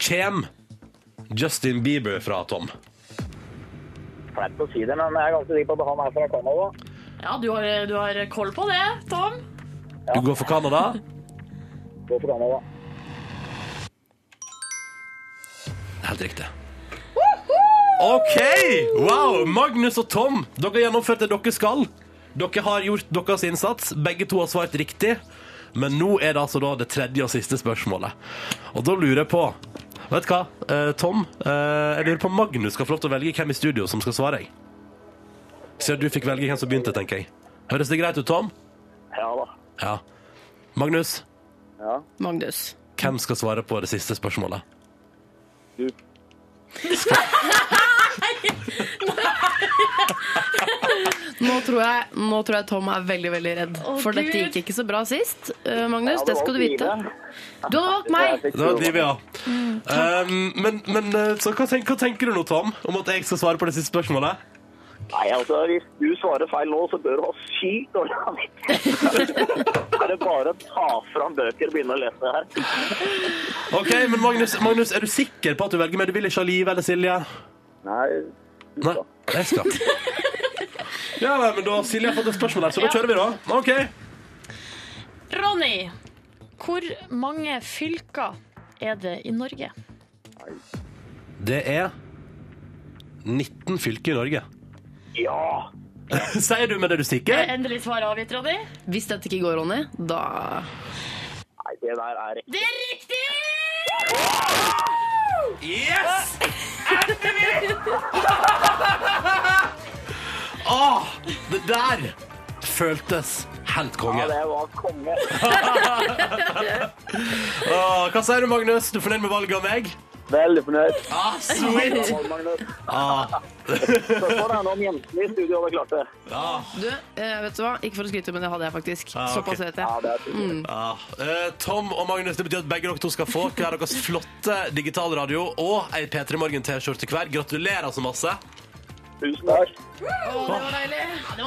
S2: kommer Justin Bieber fra, Tom?
S7: Flaut å si det, men jeg er ganske sikker på at han er fra Canada.
S3: Ja, du har, du har koll på det, Tom.
S2: Du går for Canada.
S7: Gå for Canada.
S2: Helt riktig. OK! Wow! Magnus og Tom, dere har gjennomført det dere skal. Dere har gjort deres innsats. Begge to har svart riktig. Men nå er det altså da det tredje og siste spørsmålet. Og da lurer jeg på Vet du hva, eh, Tom? eh, jeg lurer på om Magnus skal få lov til å velge hvem i studio som skal svare. jeg. Siden du fikk velge hvem som begynte, tenker jeg. Høres det greit ut, Tom?
S7: Ja da.
S2: Ja. Magnus,
S7: Ja.
S5: Magnus.
S2: hvem skal svare på det siste spørsmålet?
S7: Du.
S5: Nå tror, jeg, nå tror jeg Tom er veldig veldig redd,
S3: Å,
S5: for
S3: Gud.
S5: dette gikk ikke så bra sist. eh, Magnus,
S7: Ja,
S5: det skal du vite.
S7: var
S5: Du hadde valgt
S7: fine.
S5: meg!
S7: Jeg fikk
S2: Det var
S7: prøve.
S2: Liv, ja. Um, men men eh, så hva, tenk, hva tenker du nå, Tom, om at jeg skal svare på det siste spørsmålet?
S7: Nei, altså, hvis du svarer feil nå, så bør du ha sykt dårlig samvittighet. Er det bare å ta fram bøker og begynne å lese her?
S2: Ok, men Magnus, Magnus, er du sikker på at du velger meg? Du vil ikke ha Liv eller Silje?
S7: Nei,
S2: Nei, jeg skal. Ja, nei, men da Silje har fått et spørsmål her, så da kjører vi, da. Ok.
S3: Ronny, hvor mange fylker er det i Norge?
S2: Det er 19 fylker i Norge.
S7: ja.
S2: Sier du med det du stikker?
S3: Endelig svar avgitt, Ronny.
S5: Hvis dette ikke går, Ronny, da
S7: Nei, det der er ikke
S3: Det er riktig!
S2: Yes! Endelig! Åh, Ah, det der føltes helt konge.
S7: Ja, det var konge.
S2: Åh, Ah, hva sier du, Magnus? Du er fornøyd med valget av meg?
S7: Veldig fornøyd.
S2: Ah, sweet!
S7: Bra valg, Magnus.
S2: Ah,
S7: Spørsmålet er nå om jentene i studio hadde klart det.
S5: Du, eh, vet du hva? Ikke for å skryte, men det hadde jeg faktisk.
S2: Ah, ok.
S5: Såpass vet
S7: Ja,
S5: jeg.
S7: det er sikkert.
S2: ah. Eh, Tom og Magnus, det betyr at begge dere to skal få hver deres flotte digitalradio og ei P3 Morgen T-skjorte hver. Gratulerer så masse.
S7: Tusen takk.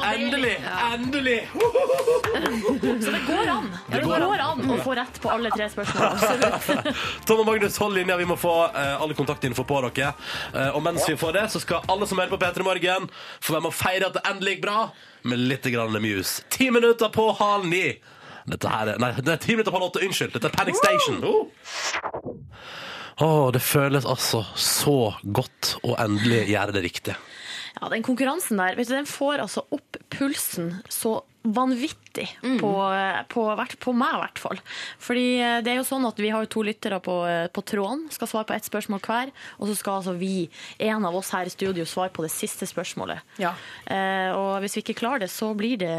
S2: Endelig! Endelig!
S3: Går an. Ja, det
S2: går
S3: går an å få rett på alle tre spørsmålene.
S2: Tom og Magnus, hold linja. Vi må få eh, alle kontaktinfo på dere. Eh, og mens vi får det, så skal alle som hører på P3 Morgen, få være med å feire at det endelig gikk bra med litt grann muse. Ti minutter på halv ni. Dette her er Nei, det er ti minutter på halv åtte. Unnskyld. Dette er Panic Station. Å, det føles altså så godt å endelig gjøre det riktig.
S3: Ja, den konkurransen der, vet du, den får altså opp pulsen så vanvittig på, på, hvert- på meg i hvert fall. Fordi eh, det er jo sånn at vi har jo to lyttere på, eh, på tråden, skal svare på ett spørsmål hver, og så skal altså vi, en av oss her i studio, svare på det siste spørsmålet.
S5: Ja.
S3: Eh, og hvis vi ikke klarer det, så blir det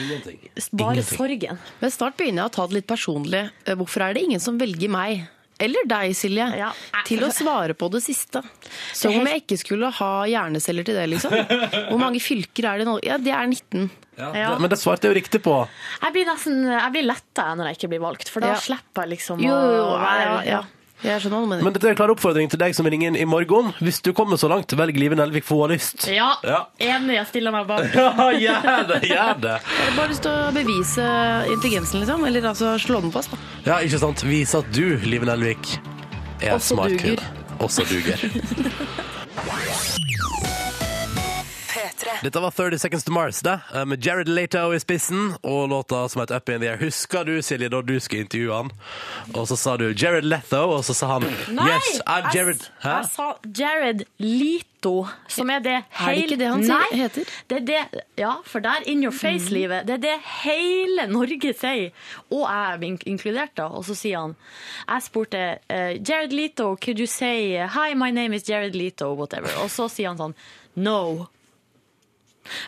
S2: Ingenting.
S3: bare
S2: Ingenting.
S3: sorgen.
S5: Men snart begynner jeg å ta det litt personlig. Eh, Hvorfor er det ingen som velger meg? Eller deg, Silje,
S3: Ja.
S5: til å svare på det siste. Som om jeg ikke skulle ha hjerneceller til det, liksom. Hvor mange fylker er det nå? Ja, det er 19.
S2: Ja,
S3: Ja.
S2: det- Men det svarte jeg jo riktig på.
S3: Jeg blir nesten jeg blir letta jeg, når jeg ikke blir valgt, for da
S5: Ja.
S3: slipper jeg liksom
S5: Jo, jo,
S3: å
S5: jo, ja, ja. Jeg skjønner hva du mener.
S2: Men dette er en klar oppfordring til deg som ringer inn i morgen. Hvis du kommer så langt, velg Live Nelvik, for hun har lyst.
S3: Ja,
S2: Ja.
S3: enig. Jeg stiller meg bak.
S2: Ja, gjør det! Gjør det!
S5: Jeg har bare lyst til å bevise intelligensen, liksom. Eller altså slå den fast, da.
S2: Ja, ikke sant? Vis at du, Live Nelvik, er en
S5: Også
S2: smart
S5: duger.
S2: kvinne. Også duger. Dette var 30 Seconds to Mars, det, Eh, med Jared Leto i spissen, og låta som heter Up in the Air. Husker du, Silje, da du skulle intervjue han? Og så sa du Jared Leto, og så sa han Yes, I'm Jared.
S3: Jeg,
S2: Hæ?
S3: jeg sa Jared Lito, som er det
S5: Er det ikke det han
S3: Nei,
S5: sier- heter? Mm.
S3: Det er det, ja, for der in your face-livet, det er det hele Norge sier. Og jeg er ink- inkludert, da. Og så sier han Jeg spurte eh, Jared Lito, could you say Hi, my name is Jared Lito, whatever. Og så sier han sånn No.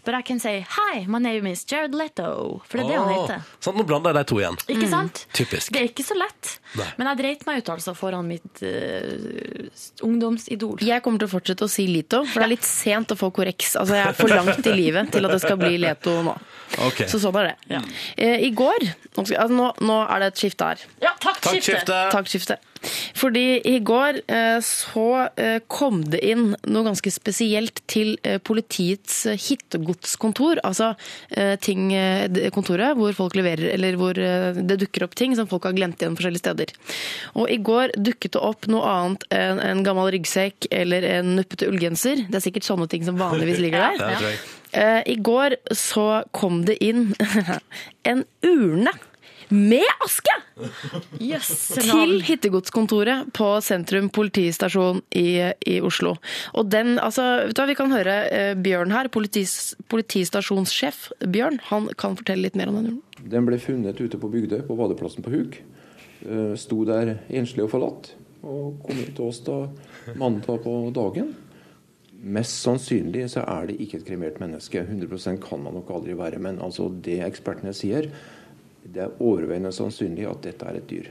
S3: But I can say Hi, my name is Jared Leto. For det er det han
S2: Åh,
S3: heter.
S2: sant, Ah. nå blander jeg de to igjen.
S5: Mm.
S3: Ikke sant?
S2: Typisk.
S3: Det er ikke så lett.
S2: Nei.
S3: Men jeg dreit meg ut altså foran mitt eh, ungdomsidol.
S5: Jeg kommer til å fortsette å si Lito, for det er litt sent å få korreks. Altså, jeg er for langt i livet til at det skal bli Leto nå.
S2: Ok.
S5: Så sånn er det. Eh, I går nå, skal- altså, nå, nå er det et skifte her.
S3: Ja, takk,
S2: Takk, skifte.
S5: Taktskifte. Fordi i går eh, så eh, kom det inn noe ganske spesielt til eh, politiets eh, hittegodskontor. Altså eh, ting, eh, det kontoret hvor folk leverer, eller hvor eh, det dukker opp ting som folk har glemt igjen forskjellige steder. Og i går dukket det opp noe annet enn en gammel ryggsekk eller en nuppete ullgenser. Det er sikkert sånne ting som vanligvis ligger der.
S2: Ja, det tror jeg.
S5: Eh, I går så kom det inn en urne med aske! til hittegodskontoret på Sentrum politistasjon i, i Oslo. Og den, altså, vet du hva, Vi kan høre eh, Bjørn her, politis, politistasjonssjef Bjørn. Han kan fortelle litt mer om den urnen.
S8: Den ble funnet ute på Bygdøy, på badeplassen på Hug. Eh, Sto der enslig og forlatt, og kom ut til oss da mandag på dagen. Mest sannsynlig så er det ikke et kremert menneske. 100 kan man nok aldri være. Men altså det ekspertene sier, det er overveiende sannsynlig at dette er et dyr.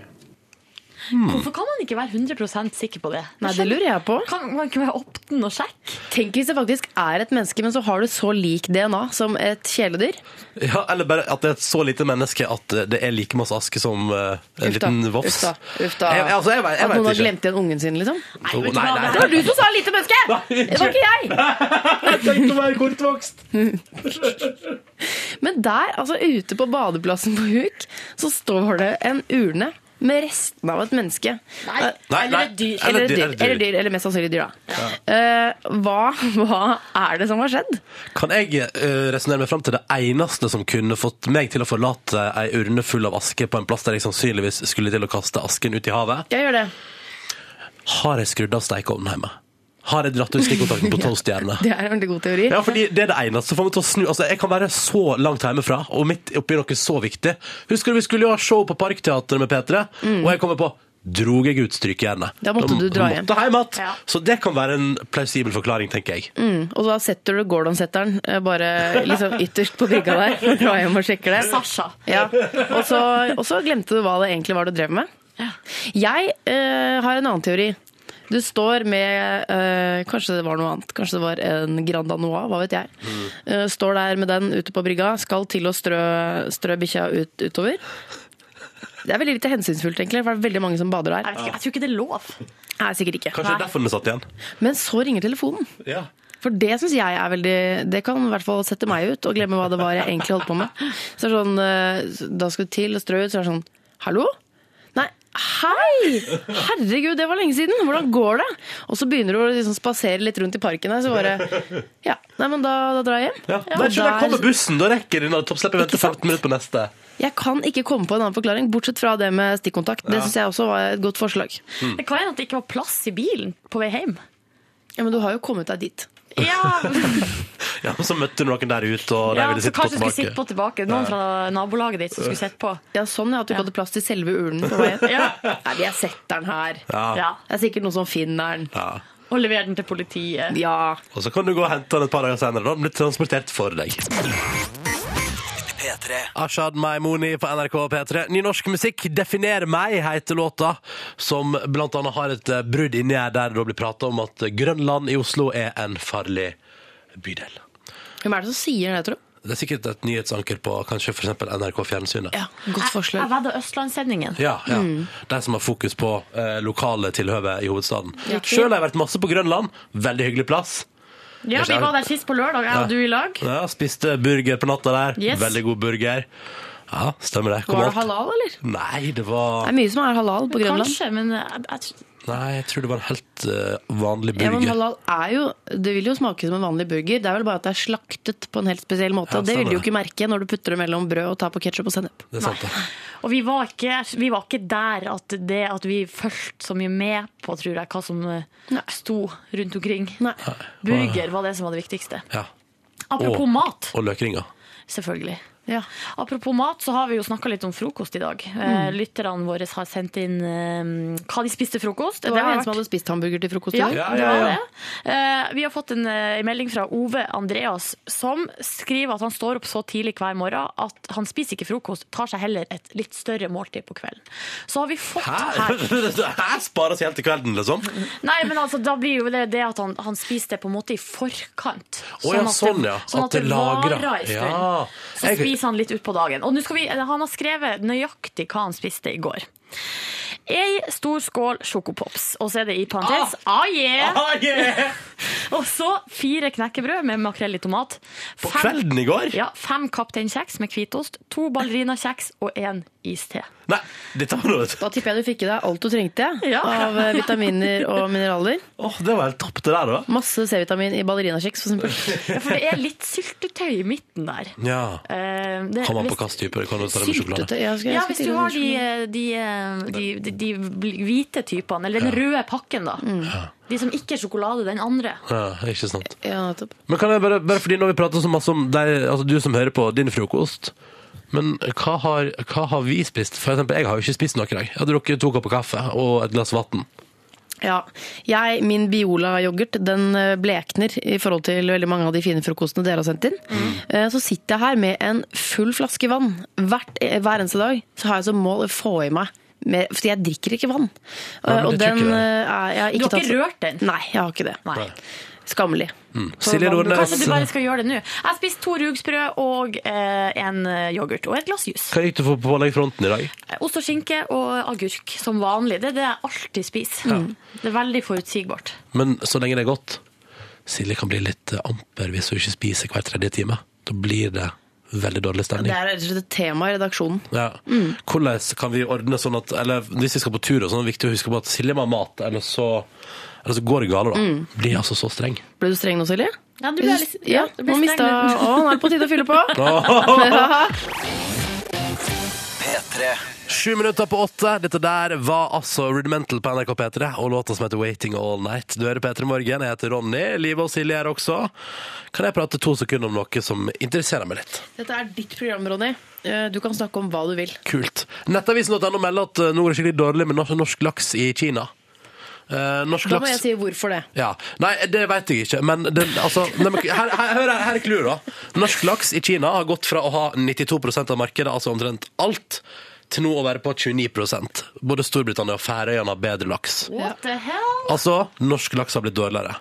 S2: Mm.
S3: Hvorfor kan man ikke være 100 sikker på det?
S5: Nei, det lurer jeg på.
S3: Kan man ikke være opp den og sjekke?
S5: Tenk hvis det faktisk er et menneske, men så har du så lik DNA som et kjæledyr.
S2: Ja, eller bare at det er et så lite menneske at eh, det er like masse aske som eh, en
S5: Uff da,
S2: liten vofs.
S5: uff da, uff da.
S2: Jeg, altså, jeg, vet- jeg
S5: At noen
S2: vet
S5: har
S2: ikke.
S5: glemt igjen ungen sin, liksom.
S2: Oh,
S3: vet du
S2: nei,
S3: hva,
S2: nei,
S3: det
S2: nei.
S3: her-
S5: Det var du som sa lite menneske! Det var ikke jeg!
S2: Jeg tenkte å være kortvokst.
S5: Men der, altså ute på badeplassen på Huk, så står det en urne med restene av et menneske.
S3: Nei.
S5: Eh,
S2: Nei,
S3: Eller
S2: nei.
S3: et dyr.
S5: Eller et dyr.
S2: eller et dyr.
S5: Eller, dyr, eller mest sannsynlig dyr, da. Eh, hva, hva er det som har skjedd?
S2: Kan jeg uh, resonnere meg fram til det eneste som kunne fått meg til å forlate ei urne full av aske på en plass der jeg sannsynligvis skulle til å kaste asken ut i havet?
S5: Jeg gjør det.
S2: Har jeg skrudd av stekeovnen hjemme? Har jeg dratt ut stikkontakten på toastjernene?
S5: Det er en veldig god teori.
S2: Ja, fordi det er det eneste som får meg til å snu. Altså, jeg kan være så langt hjemmefra, og midt oppi noe så viktig. Husker du vi skulle jo ha show på Parkteatret med P3, og jeg kommer på Drog jeg ut strykejernet?
S5: Mm. Da måtte du dra hjem.
S2: Måtte hjem att.
S3: Ja.
S2: Så det kan være en plausibel forklaring, tenker jeg.
S5: Mm, og da setter du Gordon-setteren eh, bare liksom ytterst på brygga der. og Drar hjem og sjekker det.
S3: eh, Sasha.
S5: Ja. Og, så, og så glemte du hva det egentlig var du drev med. Jeg eh, har en annen teori. Du står med eh, Kanskje det var noe annet. Kanskje det var en Grand Anoa, hva vet jeg. Eh, står der med den ute på brygga, skal til å strø, strø bikkja ut, utover. Det er veldig lite hensynsfullt, egentlig, for det er veldig mange som bader
S3: Jeg,
S5: der.
S3: vet ikke, jeg tror ikke det er lov.
S5: Nei, sikkert ikke.
S2: Kanskje det er derfor den er satt igjen?
S5: Men så ringer telefonen.
S2: Ja.
S5: For det syns jeg er veldig Det kan i hvert fall sette meg ut og glemme hva det var jeg egentlig holdt på med. Så er det sånn, eh, Da skal du til og strø ut, så er det sånn Hallo? Nei, hei! Herregud, det var lenge siden! Hvordan går det? Og så begynner du å liksom spasere litt rundt i parken her, så bare Ja, nei, men da, da drar jeg hjem.
S2: Ja.
S5: Og
S2: Nei, ikke, der
S5: der-
S2: kommer bussen, da rekker den. Toppslippet venter 15 minutter på neste.
S5: jeg kan ikke komme på en annen forklaring, bortsett fra det med stikkontakt. Det syns jeg også var et godt forslag.
S2: Mm.
S3: Det kan hende at det ikke var plass i bilen på vei hjem.
S5: Ja, Men du har jo kommet deg dit.
S3: Ja,
S2: Ja, og så møtte du noen der ute, og de
S3: ja
S2: ville
S3: så
S2: sitte på
S3: kanskje du skulle
S2: tilbake.
S3: sitte på tilbake. Noen fra nabolaget ditt som skulle sitte på.
S5: Ja, Sånn ja, at du ikke hadde plass til selve urnen på veien.
S3: Ja.
S5: Nei, vi har sett den her.
S3: ja.
S5: Det er sikkert noen som finner den.
S2: Ja.
S3: Og levere den til politiet.
S5: Ja.
S2: Og så kan du gå og hente den et par dager senere. Da blir den transportert for deg. Ashad Maimoni på NRK P3. Ny norsk musikk, 'Definer meg', heter låta. Som blant annet har et eh, brudd inni her der det da blir prata om at Grønland i Oslo er en farlig bydel.
S5: Hvem er det som sier det, tror du?
S2: Det er sikkert et nyhetsanker på kanskje for eksempel NRK Fjernsynet.
S5: Ja, godt
S3: Jeg, jeg
S5: forslag.
S3: vedder Østlandssendingen.
S2: Ja, ja. De som har fokus på eh, lokale tilhøve i hovedstaden. Sjøl har jeg vært masse på Grønland. Veldig hyggelig plass.
S3: Ja, vi var der sist på lørdag, jeg og du i lag.
S2: Ja, spiste burger på natta der.
S3: Yes.
S2: Veldig god burger. Ja, stemmer det. Kom
S5: Var
S2: alt.
S5: det halal, eller?
S2: Nei, det
S5: Det
S2: var
S5: er mye som er halal på Grønland.
S3: Kanskje, men eh, jeg, jeg,
S2: Nei, jeg tror det var en helt eh, vanlig
S5: Ja, men
S2: burger.
S5: halal er jo, Det vil jo smake som en vanlig burger. Det er vel bare at det er slaktet på en helt spesiell måte.
S2: Ja,
S5: og Det vil
S2: stemmer
S5: du jo
S2: det.
S5: ikke merke når du putter det mellom brød og tar på ketsjup og sennep.
S2: det er sant, det.
S3: Og vi var, ikke, vi var ikke der at det at vi fulgte så mye med på, tror jeg, hva som eh, sto rundt omkring. Burger var det som var det viktigste.
S2: Ja.
S3: Apropos
S2: Og-
S3: mat,
S2: Og løkringer.
S3: selvfølgelig.
S5: Ja.
S3: Apropos mat, så har vi jo snakka litt om frokost i dag.
S5: Mm.
S3: Eh, Lytterne våre har sendt inn eh, hva de spiste frokost.
S5: Det var
S3: har
S5: jo en som
S3: vært-
S5: hadde spist hamburger til frokost i
S3: ja,
S5: dag.
S2: Ja,
S3: det
S2: ja,
S3: var
S2: ja.
S3: det. Eh, vi har fått en eh, melding fra Ove Andreas som skriver at han står opp så tidlig hver morgen at han spiser ikke frokost, tar seg heller et litt større måltid på kvelden. Så har vi fått
S2: Hæ?
S3: her
S2: Hæ? Spares helt til kvelden, liksom?
S3: Nei, men altså, da blir jo det, det at han, han spiser det på en måte i forkant.
S2: Å ja,
S3: at
S2: sånn,
S3: det,
S2: ja.
S3: sånn at det
S2: lagrer.
S3: varer en stund.
S2: Ja.
S3: Så
S2: Jeg-
S3: spiser han litt utpå dagen. Og nå skal vi, han har skrevet nøyaktig hva han spiste i går. Ei stor skål sjokopops, og så er det i parentes ah, yeah!
S2: Ah, yeah!
S3: Og så fire knekkebrød med makrell i tomat.
S2: På kvelden i går?
S3: Ja, Fem Kaptein Kjeks med hvitost, to ballerinakjeks og én iste.
S2: Nei, dette var noe vet du.
S5: Da tipper jeg du fikk i deg alt du trengte jeg,
S3: Ja.
S5: av eh, vitaminer og mineraler.
S2: Åh, det var helt topp, det der, da.
S5: Masse C-vitamin i ballerinakjeks, for eksempel.
S3: Ja, for det er litt syltetøy i midten der.
S2: Ja.
S3: Eh, det-
S2: Kommer an på
S3: hvis-
S2: hvilken type. Det kan jo ta det med sjokolade.
S5: Syltetøy. jeg skal- jeg
S3: Ja,
S5: skal
S3: hvis
S5: til
S3: du
S5: å
S3: har
S5: si det.
S3: de, de, de, de, de hvite typene, eller den røde pakken, da. De som ikke er sjokolade, den andre.
S2: Ja, ikke sant.
S5: Ja, nettopp.
S2: Men kan jeg bare, bare fordi når vi prater så masse om deg, altså du som hører på din frokost Men hva har, hva har vi spist? For eksempel, jeg har jo ikke spist noe i dag. Jeg har drukket to kopper kaffe og et glass vann.
S5: Ja. Jeg, min Biola-yoghurt den eh, blekner i forhold til veldig mange av de fine frokostene dere har sendt inn.
S2: Mm.
S5: Eh, Så sitter jeg her med en full flaske vann. Hvert, eh, hver eneste dag så har jeg som mål å få i meg mer, For jeg drikker ikke vann.
S2: Nei,
S5: Eh,
S2: men
S5: og
S2: det tror
S5: den
S2: ikke jeg.
S5: eh, er jeg har
S3: Du har
S5: ikke
S3: ikke
S5: tatt-
S3: rørt den?
S5: Nei, jeg har ikke det.
S3: Nei.
S5: Skammelig.
S2: Silje Nordnes,
S3: Kanskje du bare skal gjøre det nå. Jeg har spist to rugsprø og eh, en yoghurt. Og et glass jus.
S2: hva gikk du for på påleggfronten i dag?
S3: Eh, Ost og skinke og agurk som vanlig. Det er det jeg alltid spiser. Det er veldig forutsigbart.
S2: Men så lenge det er godt Silje kan bli litt eh, amper hvis hun ikke spiser hver tredje time. Da blir det veldig dårlig
S5: Det
S2: stemning.
S5: er rett og slett et tema i redaksjonen.
S2: Ja. Hvordan kan vi ordne sånn at Eller hvis vi skal på tur, og sånn, er det viktig å huske på at Silje må ha mat, eller så, eller så går det galt. da. Blir altså så streng.
S5: Ble du streng nå, Silje?
S3: Ja, du
S5: Jeg
S3: ble
S5: synes-
S3: litt,
S5: Ja,
S3: du ble
S5: nå mista
S3: streng
S5: Å, nå er det på tide å fylle på!
S2: Sju minutter på åtte. Dette der var altså Rudimental på NRK P3 og låta som heter Waiting All Night. Du hører P3 Morgen. Jeg heter Ronny. Live og Silje er også. Kan jeg prate to sekunder om noe som interesserer meg litt?
S5: Dette er ditt program, Ronny. Eh, Du kan snakke om hva du vil.
S2: Kult. Nettavisen.no melder at eh, nå går det skikkelig dårlig med norsk, norsk laks i Kina. Eh, norsk
S5: Da må
S2: laks
S5: jeg si hvorfor det.
S2: Ja. Nei, det vet jeg ikke, men den, altså nei, men, her, her, her, her er clouet, da. Norsk laks i Kina har gått fra å ha 92 av markedet, altså omtrent alt, til nå å være på 29 Både Storbritannia og Færøyene har bedre laks.
S3: nå. What the hell?
S2: Altså, norsk laks har blitt dårligere.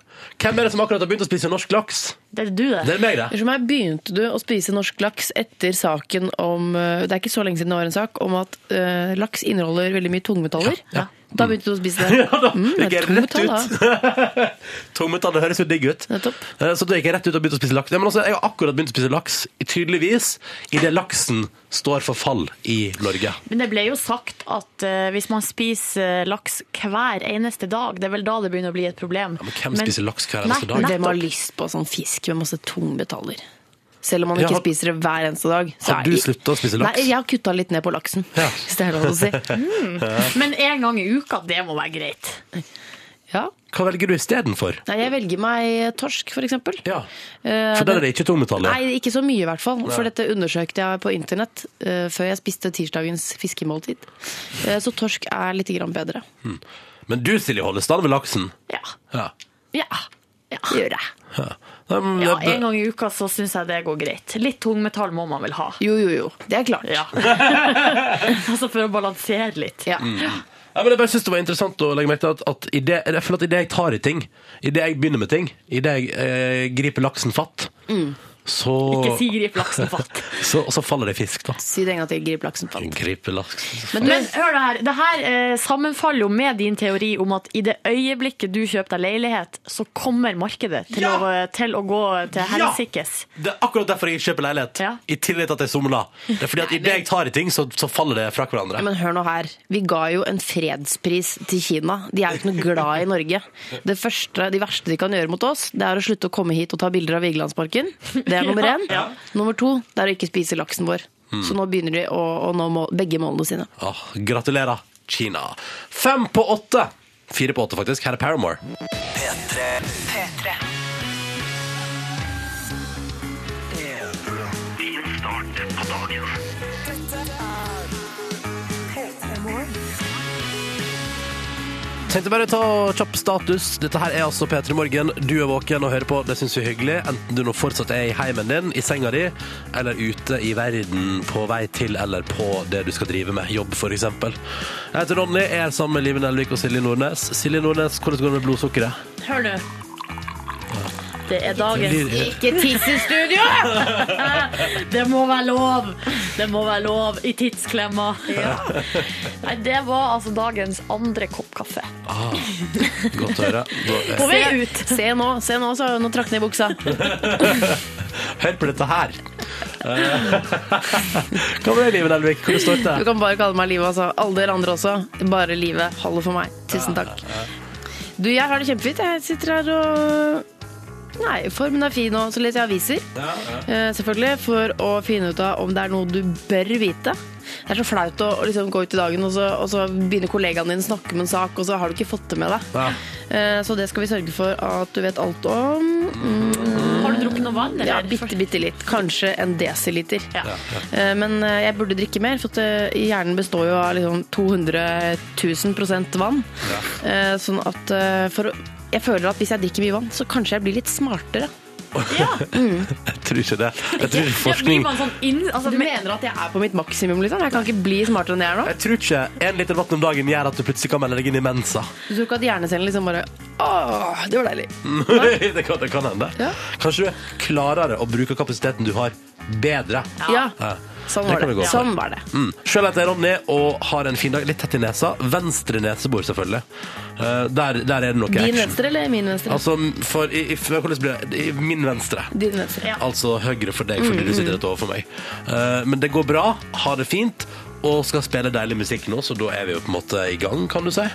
S2: Hvem er det som akkurat har begynt å spise norsk laks?
S3: Det er du, det.
S2: Det er meg, det.
S5: Unnskyld meg, Begynte du å spise norsk laks etter saken om eh, Det er ikke så lenge siden det var en sak om at eh, laks inneholder veldig mye tungmetaller.
S2: Ja, ja.
S5: Da begynte du å spise det.
S2: Ja da,
S5: Mm, det
S2: gikk jeg
S5: er
S2: rett
S5: tungmetall,
S2: ut. Tungmetall, det høres jo digg ut.
S5: Nettopp.
S2: Eh, Så da gikk jeg rett ut og begynte å spise laks. Ja, men altså, jeg har akkurat begynt å spise laks, tydeligvis, idet laksen står for fall i Norge.
S3: Men det ble jo sagt at eh, hvis man spiser eh, laks hver eneste dag, det er vel da det begynner å bli et problem.
S2: men hvem spiser laks hver eneste dag?
S5: Hvem har lyst på sånn fisk med masse tungmetaller? Selv om man
S2: Ja,
S5: ikke
S2: har-
S5: spiser det hver eneste dag. så
S2: Har
S5: er-
S2: du sluttet å spise laks?
S5: Nei, jeg har kutta litt ned på laksen,
S2: Ja.
S5: hvis det er lov å si.
S3: Men en gang i uka, det må være greit.
S5: Ja.
S2: Hva velger du istedenfor?
S5: Nei, jeg velger meg torsk, for eksempel.
S2: Ja.
S5: Eh,
S2: For der er det ikke tungmetall, ja.
S5: Nei, ikke så mye i hvert fall. For dette undersøkte jeg på internett eh, før jeg spiste tirsdagens fiskemåltid. Eh, så torsk er litt grann bedre.
S2: Men du, Silje, holder stand ved laksen.
S3: Ja.
S2: Ja.
S3: ja.
S5: Det gjør jeg.
S2: ja. Nei, men
S3: Ja,
S2: det-
S3: en gang i uka så syns jeg det går greit. Litt tungmetall må man vel ha.
S5: Jo, jo, jo. Det er klart.
S3: Ja. altså for å balansere litt.
S5: Ja.
S2: Ja, men jeg bare synes det var interessant å legge merke til at, at i det, jeg føler at i det jeg tar i ting, i det jeg begynner med ting, i det jeg eh, griper laksen fatt, så,
S3: Mm. Ikke si grip laksen fatt.
S2: så, og så faller det fisk, da.
S5: Si det en gang til. Grip laksen fant.
S2: Gripe laks.
S3: Men, men hør det her. Det her eh, sammenfaller jo med din teori om at i det øyeblikket du kjøper deg leilighet, så kommer markedet til,
S2: Ja!
S3: å, til å gå
S2: Ja!
S3: til helsikes.
S2: Det er akkurat derfor jeg kjøper leilighet.
S3: Ja.
S2: I tillegg til at jeg somler. Det er fordi at idet jeg tar i ting, så, så faller det fra hverandre.
S5: Men hør nå her. Vi ga jo en fredspris til Kina. De er jo ikke noe glad i Norge. Det første, de verste de kan gjøre mot oss, det er å slutte å komme hit og ta bilder av Vigelandsparken. Det er nummer én. Nummer to, det er å ikke spise laksen vår. Så nå begynner de å, å nå mål, begge målene sine.
S2: Åh, gratulerer, Kina. Fem på åtte. Fire på åtte, faktisk. Her er Paramore. Tenkte bare ta kjapp status. Dette her er altså P3 Morgen. Du er våken og hører på. Det syns vi er hyggelig. Enten du nå fortsatt er i heimen din, i senga di, eller ute i verden på vei til eller på det du skal drive med. Jobb, f.eks. Jeg heter Ronny, er her sammen med Live Nelvik og Silje Nordnes. Silje Nordnes, hvordan går det med blodsukkeret?
S3: Hør nå. Det er dagens
S2: Lir-
S3: Ikke tiss i studio! det må være lov. Det må være lov i tidsklemma. Nei, det var altså dagens andre kopp kaffe.
S2: Ah, godt å høre.
S3: På vei ut.
S5: Se nå, se nå, så nå trakk ned buksa.
S2: Hør på dette her. Eh, Hva med deg, Live Nelvik? Hvor står det?
S5: Du kan bare kalle meg Livet, altså. Alle dere andre også. Bare livet holder for meg. Tusen takk. Du, jeg har det kjempefint. Jeg sitter her og Nei, formen er fin, og så leser jeg aviser. Eh, Selvfølgelig. For å finne ut av om det er noe du bør vite. Det er så flaut å å liksom gå ut i dagen, og så, og så begynner kollegaene dine å snakke om en sak, og så har du ikke fått det med deg.
S2: Ja.
S5: Eh, Så det skal vi sørge for at du vet alt om. Mm,
S3: Har du drukket noe vann?
S5: Ja,
S3: Eller?
S5: bitte, bitte litt. Kanskje en desiliter.
S3: Ja.
S5: Eh, Men eh, jeg burde drikke mer, for at eh, hjernen består jo av liksom 200 000 prosent vann. Eh, Sånn at eh, for, å- jeg føler at hvis jeg drikker mye vann, så kanskje jeg blir litt smartere.
S2: Jeg tror ikke det. Jeg tror ikke
S3: Ja, blir
S2: forskning
S3: man sånn inn, altså,
S5: Du
S3: med-
S5: mener at jeg er på mitt maksimum, liksom? Jeg kan ikke bli smartere enn jeg er nå?
S2: Jeg tror ikke en liter vann om dagen gjør at du plutselig kan melde deg inn i Mensa.
S5: Du tror ikke at hjernecellen liksom bare Åh, det var deilig.
S2: Mm. det, kan, det kan hende.
S5: Ja.
S2: Kanskje du er klarere å bruke kapasiteten du har, bedre.
S5: Ja.
S2: Ja.
S5: Sånn
S2: Det
S5: var
S2: kan vi
S5: det.
S2: gå for.
S5: Sånn var det.
S2: Mm. Sjøl heter jeg Ronny og har en fin dag. Litt tett i nesa. Venstre nesebor, selvfølgelig. Eh, der, der er det noe
S5: Din
S2: action.
S5: venstre eller min venstre?
S2: Altså, for, i, i, hvordan blir det? I min venstre.
S5: Din venstre.
S2: Altså høyre for deg, fordi du sitter rett overfor meg. Eh, men det går bra, har det fint, og skal spille deilig musikk nå, så da er vi jo på en måte i gang, kan du si.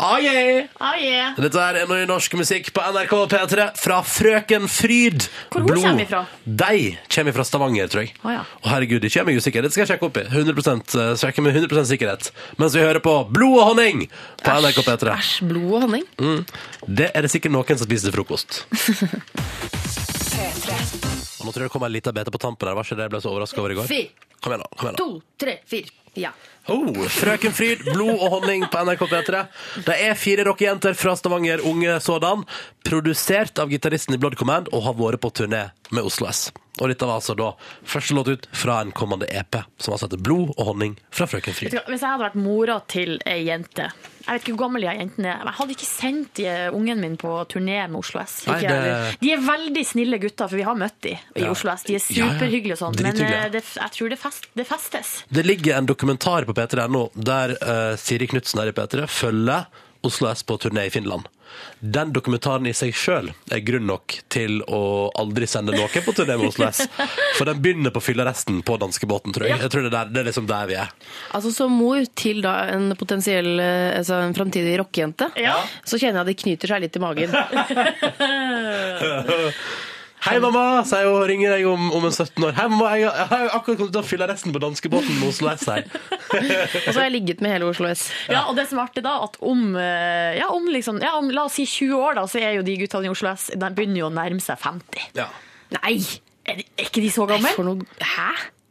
S2: Ah, yeah.
S3: Ah, yeah.
S2: Dette er noe norsk musikk på NRK P3 fra Frøken Fryd.
S3: Hvor hun kommer ifra?
S2: De kommer fra Stavanger, tror jeg.
S3: Å, ja.
S2: Å, herregud, det kommer jeg usikker. Det skal jeg sjekke opp i. 100%, eh, sjekke med 100 sikkerhet. Mens vi hører på Blod og honning på NRK P3.
S5: Æsj, blod og honning.
S2: Mm. Det er det sikkert noen som spiser til frokost. Og nå tror jeg det kom en liten bete på tampen her. Var ikke det jeg ble så overraska over i går?
S5: Fire,
S2: Kom igjen, nå. kom igjen nå.
S5: to, tre, fire. Ja.
S2: Oh, Frøken Fryd, blod og honning på NRK P3. Det er fire rockejenter fra Stavanger, unge sådan, produsert av gitaristen i Blood Command og har vært på turné med Oslo S. Og dette var altså da første låt ut fra en kommende EP, som altså heter Blod og honning fra Frøken Fryd.
S3: Vet du hva, Hvis jeg hadde vært mora til ei jente Jeg vet ikke hvor gammel de jentene er. men Jeg hadde ikke sendt de- ungen min på turné med Oslo S.
S2: Nei,
S3: Ikke
S2: det-
S3: jeg heller. De er veldig snille gutter, for vi har møtt de i
S2: Ja.
S3: Oslo S. De
S2: Ja,
S3: er
S2: ja.
S3: superhyggelige og sånn, men
S2: Drithyggelige.
S3: eh, det, jeg tror det, fest, det festes.
S2: Det ligger en dokumentar på P3.no der eh, Siri Knutsen her i P3 følger Oslo S på turné i Finland. Den dokumentaren i seg sjøl er grunn nok til å aldri sende noen på turné med Oslo S. For den begynner på fylleresten på danskebåten, tror jeg. Jeg tror det, er der, det er liksom der vi er.
S5: Altså Som mor til da en potensiell eh, altså, en framtidig rockejente,
S3: Ja.
S5: så kjenner jeg at det knyter seg litt i magen.
S2: Hei, mamma! sier hun og ringer deg om, om en 17 år. Hei, mamma, jeg, jeg har jo akkurat kommet til å fylle resten på danskebåten med Oslo S her.
S5: Og så har jeg ligget med hele Oslo S.
S3: Ja, og det som er artig da, at om, eh, ja, om, liksom, ja, om la oss si 20 år, da, så er jo de guttene i Oslo S De begynner jo å nærme seg 50.
S2: Ja.
S3: Nei! Er, de- er ikke de så gamle?
S5: For noe, hæ?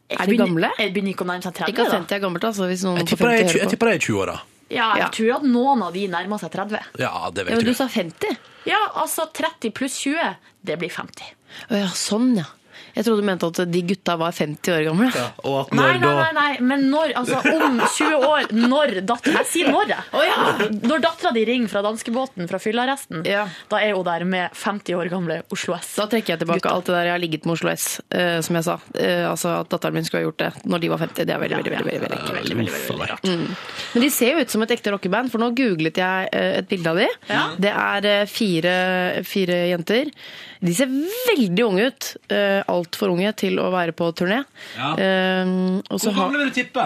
S3: Jeg
S5: Er de
S3: begynner-
S5: gamle?
S3: Jeg begynner ikke å nærme seg 30.
S5: Ikke at
S3: da.
S5: 50 er gammelt, altså. Hvis noen
S2: Jeg
S5: på
S2: tipper
S5: 50
S2: jeg
S5: hører på.
S2: er i 20-åra.
S3: Ja, jeg
S5: Ja.
S3: tror at noen av de nærmer seg 30.
S2: Ja, det
S5: Ja,
S2: vet
S5: men du
S2: du.
S5: sa 50?
S3: Ja, altså 30 pluss 20, det blir 50.
S5: Å ja, sånn ja. Jeg trodde du mente at de gutta var 50 år gamle. Å
S9: Og at
S3: Nei,
S9: når
S3: nei,
S9: da
S3: nei, nei, men når, altså om 20 år, når dattera Jeg sier når, jeg. Når dattera di ringer fra danskebåten fra fyllearresten,
S5: Ja.
S3: da er hun der med 50 år gamle Oslo S.
S5: Da trekker jeg tilbake
S3: Gutta.
S5: alt det der jeg har ligget med Oslo S, eh, som jeg sa. Eh, altså At datteren min skulle ha gjort det når de var 50. Det er veldig, veldig, veldig, veldig, veldig, veldig, veldig, veldig, veldig rart. Mm. Men de ser jo ut som et ekte rockeband, for nå googlet jeg eh, et bilde av de. Det er eh, fire, fire jenter. De ser veldig unge ut. Eh, Altfor unge til å være på turné.
S2: Ja.
S5: Eh, og
S2: Hvor
S5: så har
S2: gamle vil du tippe?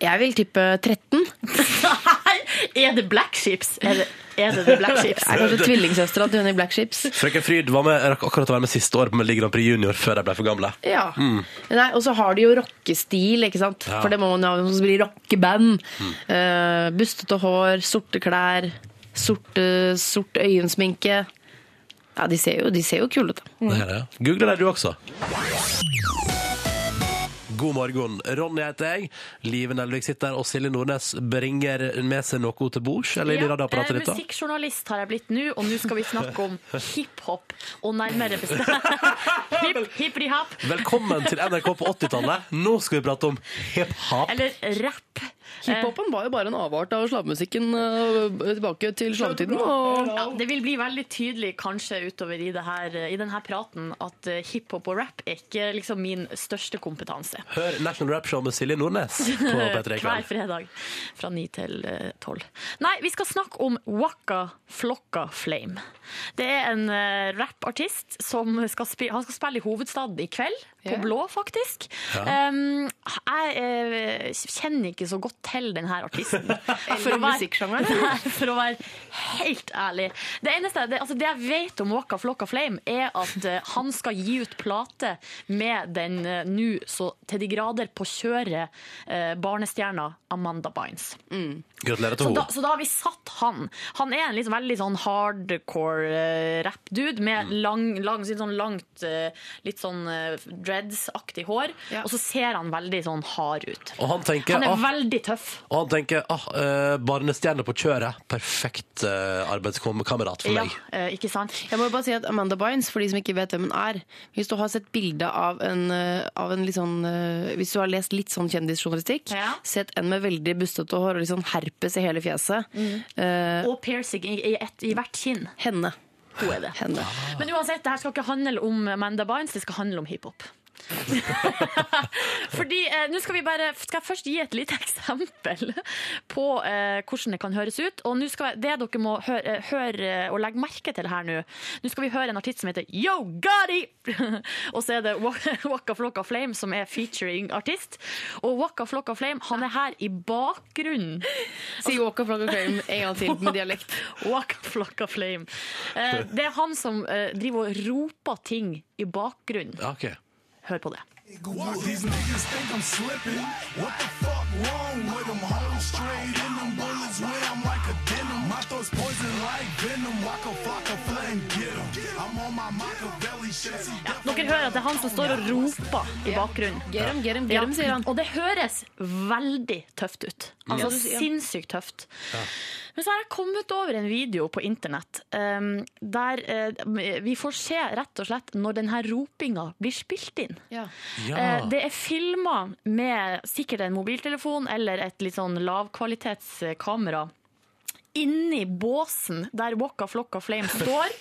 S5: Jeg vil tippe 13.
S3: Nei, er det Black Ships? Er det er det, det Black Ships?
S5: Er kanskje tvillingsøstera til hun i Black Ships.
S9: Frøken Fryd var med, rakk akkurat å være med siste år på Melodi Grand Prix Junior før de ble for gamle.
S5: Ja. Nei, og så har de jo rockestil, ikke sant? For det må man jo ha som blir rockeband. Eh, bustete hår, sorte klær, sorte, sort øyensminke. Ja, de ser jo, de ser jo kule ut. da.
S2: Mm.
S9: Det er det. Google det, du også. God morgen. Ronny heter jeg. Live Nelvik sitter her, og Silje Nordnes bringer med seg noe til bords. Eller inn i
S3: eh,
S9: radioapparatet ditt, da.
S3: musikkjournalist har jeg blitt nå, og nå skal vi snakke om hiphop. Og nærmere bestemt Hipp, hippity-hop.
S9: Velkommen til NRK på 80-tallet. Nå skal vi prate om hip-hop.
S3: Eller rap.
S5: Hiphopen var jo bare en avart av slavemusikken tilbake til slavetiden.
S3: Ja, det vil bli veldig tydelig kanskje utover i, det her, i denne praten at eh, hiphop og rap er ikke liksom min største kompetanse.
S9: Hør National Rap Show med Silje Nordnes på P3 i
S3: Hver
S9: kveld.
S3: fredag fra 9 til eh, 12. Nei, vi skal snakke om Waka Flocka Flame. Det er en eh, rappartist som skal, spi han skal spille i hovedstaden i kveld, på Blå faktisk. Um, jeg eh, kjenner ikke så godt til denne artisten. For å være-
S5: musikksjangeren.
S3: Nei, for å være helt ærlig. Det eneste, det, altså det jeg vet om Waka Flocka Flame, er at eh, han skal gi ut plate med den eh, nå så til de grader på kjøret eh, barnestjerna Amanda Bynes.
S9: Gratulerer til
S3: Så da,
S9: henne.
S3: så da har vi satt han. Han er en liksom veldig sånn hardcore eh, rap-dude med lang, lang, litt sånn langt, eh, litt sånn eh, dreads-aktig hår. Og så ser han veldig sånn hard ut.
S9: Og han tenker
S3: Han er
S9: ah,
S3: veldig tøff.
S9: og han tenker, ah eh, barnestjerne på kjøret. Perfekt eh, arbeidskamerat for
S3: Ja,
S9: meg.
S3: eh, ikke sant?
S5: Jeg må jo bare si at Amanda Bynes, for de som ikke vet hvem hun er Hvis du har sett bilde av en, eh, av en litt sånn eh, Hvis du har lest litt sånn kjendisjournalistikk,
S3: Ja.
S5: sett en med veldig bustete hår og litt sånn herpes i hele fjeset eh,
S3: Og piercing i, i, ett- i hvert kinn.
S5: Henne.
S3: Hun er det.
S5: Henne.
S3: Men uansett, det her skal ikke handle om Amanda Bynes, det skal handle om hiphop. Fordi eh, nå skal vi bare Skal jeg først gi et lite eksempel på eh, hvordan det kan høres ut. Og nå skal jeg, det dere må høre, eh, høre og legge merke til her nå Nå skal vi høre en artist som heter Yo Gotti! og så er det Wa- Waka Flocka Flame som er featuring-artist. Og Waka Flocka Flame han er her i bakgrunnen.
S5: Si Walk of Flog of Fame en gang til med dialekt.
S3: Waka Flocka Flame. Eh, det er han som eh, driver og roper ting i bakgrunnen.
S9: Ja, ok.
S3: Hør på det.
S10: Walk, these niggas think I'm slipping. What the fuck wrong with them? Hoes straight in them bullets where I'm like a denim. My thoughts poison like venom. Walk a flock of flame, get 'em. I'm on my Machiavelli shit. See,
S3: Dere hører at det er han som står og roper i bakgrunnen.
S5: Get him, get him, get
S3: Ja.
S5: him, sier han.
S3: Og det høres veldig tøft ut. Altså
S5: Ja.
S3: sinnssykt tøft. Men så har jeg kommet over en video på internett um, der eh, vi får se rett og slett når denne ropinga blir spilt inn.
S5: Ja.
S3: Eh, Det er filmer med sikkert en mobiltelefon eller et litt sånn lavkvalitetskamera inni båsen der Waka Flocka Flame står,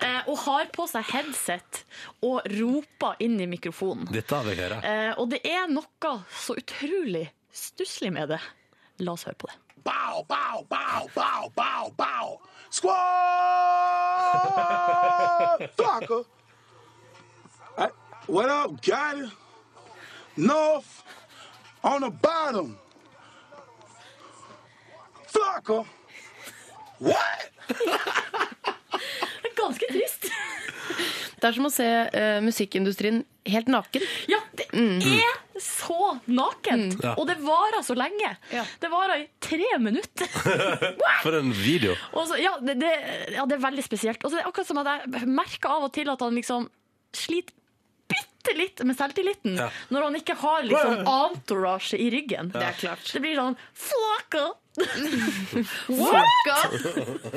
S3: eh, og har på seg headset og roper inn i mikrofonen.
S9: Dette vil jeg høre.
S3: Eh, Og det er noe så utrolig stusslig med det. La oss høre på det.
S10: bow, bow, bow, bow, bow, bow. Squad! Fucker. I- What up, got it? North on the bottom. Flocker. What?
S3: Det er ganske trist.
S5: Det er som å se eh, musikkindustrien helt naken.
S3: Ja, det er så nakent!
S9: Ja.
S3: Og det varer så lenge.
S5: Ja.
S3: Det varer i tre minutter.
S2: Eh.
S9: For en video.
S3: Og så, ja, det, det, ja, det er veldig spesielt. Og så er det akkurat som at jeg merker av og til at han liksom sliter bitte litt med selvtilliten
S9: Ja.
S3: når han ikke har liksom entourage i ryggen. Det er klart. Det blir sånn flaka!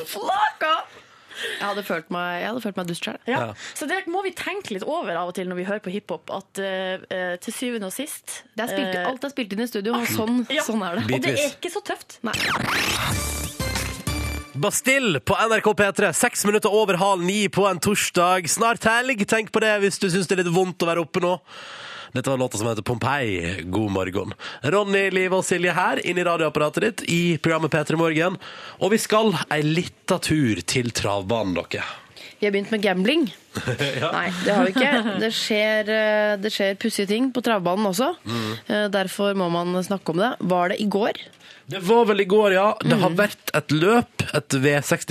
S3: Flaka!
S5: Jeg hadde følt meg, jeg hadde følt meg dust sjøl.
S3: Ja. Så det må vi tenke litt over av og til når vi hører på hiphop, at eh, eh, til syvende og sist
S5: Det er spilt,
S3: eh,
S5: alt er spilt inn i studio, og sånn,
S3: ja.
S5: sånn er det.
S3: Og det er
S2: Bitvis.
S3: ikke så tøft.
S2: Bastille på NRK P3, seks minutter over halv ni på en torsdag. Snart helg, tenk på det hvis du syns det er litt vondt å være oppe nå. Dette var låta som heter Pompeii. God morgen. Ronny, Live og Silje her, inn i radioapparatet ditt i programmet P3 Morgen. Og vi skal ei lita tur til travbanen, dere.
S5: Vi har begynt med gambling. Nei, det har vi ikke. Det skjer, eh, det skjer pussige ting på travbanen også.
S2: Mm.
S5: Eh, Derfor må man snakke om det. Var det i går?
S2: Det var vel i går, ja. Det
S3: Mm.
S2: har vært et løp, et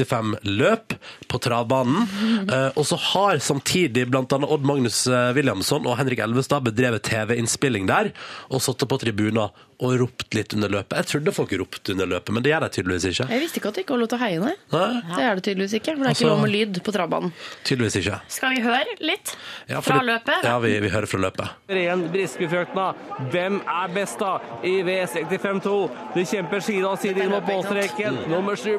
S2: V65-løp på travbanen.
S3: Mm.
S2: Eh, og så har samtidig blant annet Odd Magnus eh, Williamson og Henrik Elvestad bedrevet TV-innspilling der, og satt på tribuner og ropt litt under løpet. Jeg trodde folk ropte under løpet, men det gjør de tydeligvis ikke.
S5: Jeg visste ikke at det ikke var lov til å heie, nei.
S2: Nei,
S5: Det er det tydeligvis ikke, for det er
S2: Altså-
S5: ikke lov med lyd på travbanen.
S2: tydeligvis ikke.
S3: Skal vi høre litt
S2: Ja,
S3: fra
S2: fordi-
S3: løpet?
S2: Ja, vi, vi hører fra løpet.
S11: Ren Briskefjøkna. Hvem er best, da? I V65-2. De kjemper side om side inn mot målstreken. Nummer sju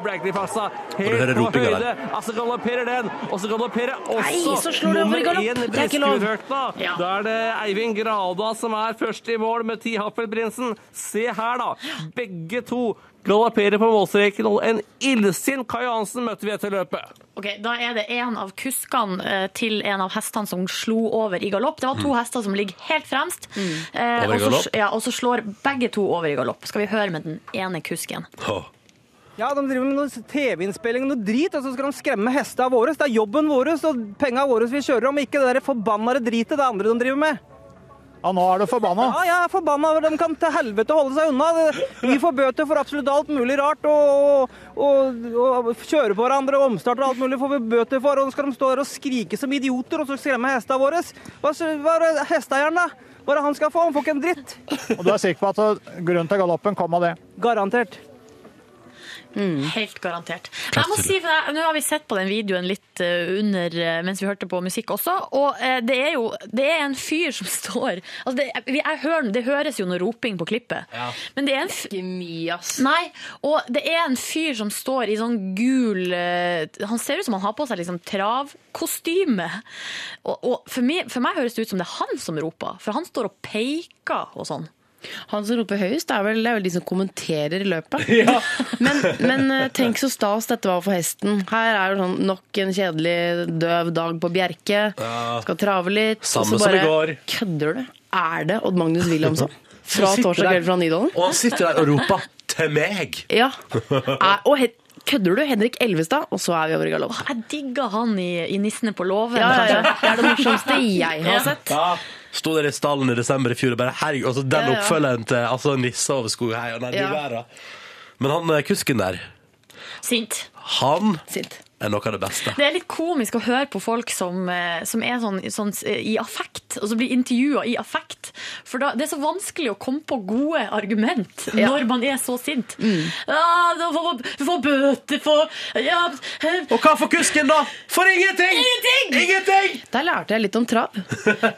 S2: Og
S11: Blackley-passa.
S2: du hører
S11: Helt på
S2: ropinga
S11: høyde. Altså galopperer den, og så galopperer
S5: Nei, så
S11: også
S5: slår det over i
S11: nummer
S5: galopp.
S11: én
S5: Det er ikke lov.
S11: Briskefjøkna.
S3: Ja.
S11: Da er det Eivind Grada som er først i mål med Ti Haffelprinsen. Se her, da. Begge to galopperer på målstreken, og en illsint Kai Johansen møtte vi etter løpet.
S3: Ok, Da er det en av kuskene eh, til en av hestene som slo over i galopp. Det var to hester som ligger helt fremst.
S5: Mm.
S3: Eh,
S2: Mm. Over i
S3: og så-
S2: galopp?
S3: Ja, og så slår begge to over i galopp. Skal vi høre med den ene kusken.
S2: Åh.
S11: Ja, de driver med noe TV-innspilling og noe drit, og så skal de skremme hestene våre. Det er jobben vår og penga våre vi kjører om, ikke det der forbanna dritet det andre de driver med.
S7: Ja, nå er du forbanna.
S11: Ja, jeg er forbanna over dem. Kan til helvete holde seg unna. Det- Vi får bøter for absolutt alt mulig rart. Og, og, og, og kjøre på hverandre og omstarter og alt mulig får vi bøter for. Og så skal de stå der og skrike som idioter og så skremme hestene våre. Hva, hva er det hesteeieren, da? Hva er det han skal få? Han får ikke en dritt.
S7: Og du er sikker på at grunnen til galoppen kom av det?
S11: Garantert.
S3: Helt garantert. Jeg må si, for jeg, Nå har vi sett på den videoen litt eh, under eh, mens vi hørte på musikk også, og eh, det er jo det er en fyr som står altså det, jeg, jeg hører, det høres jo noe roping på klippet, men det er en f-
S5: Ikke mye, ass.
S3: Nei, og det er en fyr som står i sånn gul eh, Han ser ut som han har på seg liksom travkostyme. Og, og for, meg, for meg høres det ut som det er han som roper, for han står og peker og sånn.
S5: Han som roper høyest, det er vel, det er vel de som kommenterer løpet. men, men eh, tenk så stas dette var for hesten. Her er jo sånn nok en kjedelig døv dag på Bjerke. Skal trave litt.
S2: Samme
S5: og så
S2: som i
S5: bare
S2: går.
S5: Kødder du? Er det Odd Magnus Williamson? Fra
S2: sitter
S5: torsdag
S2: der.
S5: kveld fra Nydalen?
S2: Og han sitter der og roper 'til meg'!
S5: Ja. Er, og he, kødder du? Henrik Elvestad, og så er vi over i galopp.
S3: Jeg digger han i, i 'Nissene på låven'.
S5: Ja, ja, ja.
S3: kanskje.
S5: Det er det morsomste jeg har sett.
S2: Sto der i stallen i desember i fjor og bare herregud, altså den
S5: Ja, ja.
S2: oppfølgeren til altså, Nissa over skogheia, nei, du
S5: Ja.
S2: verden. Men han eh, kusken der,
S3: Sint.
S2: han
S5: Sint.
S2: er noe av det beste.
S3: Det er litt komisk å høre på folk som, eh, som er sånn, sånn eh, i affekt, og som blir intervjua i affekt. For da, det er så vanskelig å komme på gode argument
S5: Ja. Mm.
S3: når man er så sint. Ja, da får, får bøter for ja, eh,
S2: Og hva for kusken, da? For ingenting!
S3: Ingenting!
S2: Ingenting!
S5: Der lærte jeg litt om trav.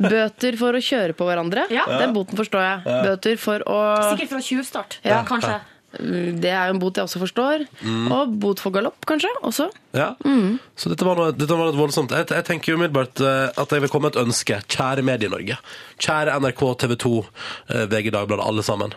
S5: Bøter for å kjøre på hverandre.
S3: Ja.
S5: Den boten forstår jeg. Bøter for å
S3: Sikkert fra tjuvstart,
S5: Ja.
S3: kanskje.
S5: Det er jo en bot jeg også forstår.
S2: Mm.
S5: Og bot for galopp, kanskje. også.
S2: Ja.
S5: Mm.
S2: Så dette var, noe, dette var noe voldsomt. Jeg, jeg tenker jo umiddelbart eh, at jeg vil komme med et ønske. Kjære Medie-Norge. Kjære NRK, TV 2, VG Dagbladet, alle sammen.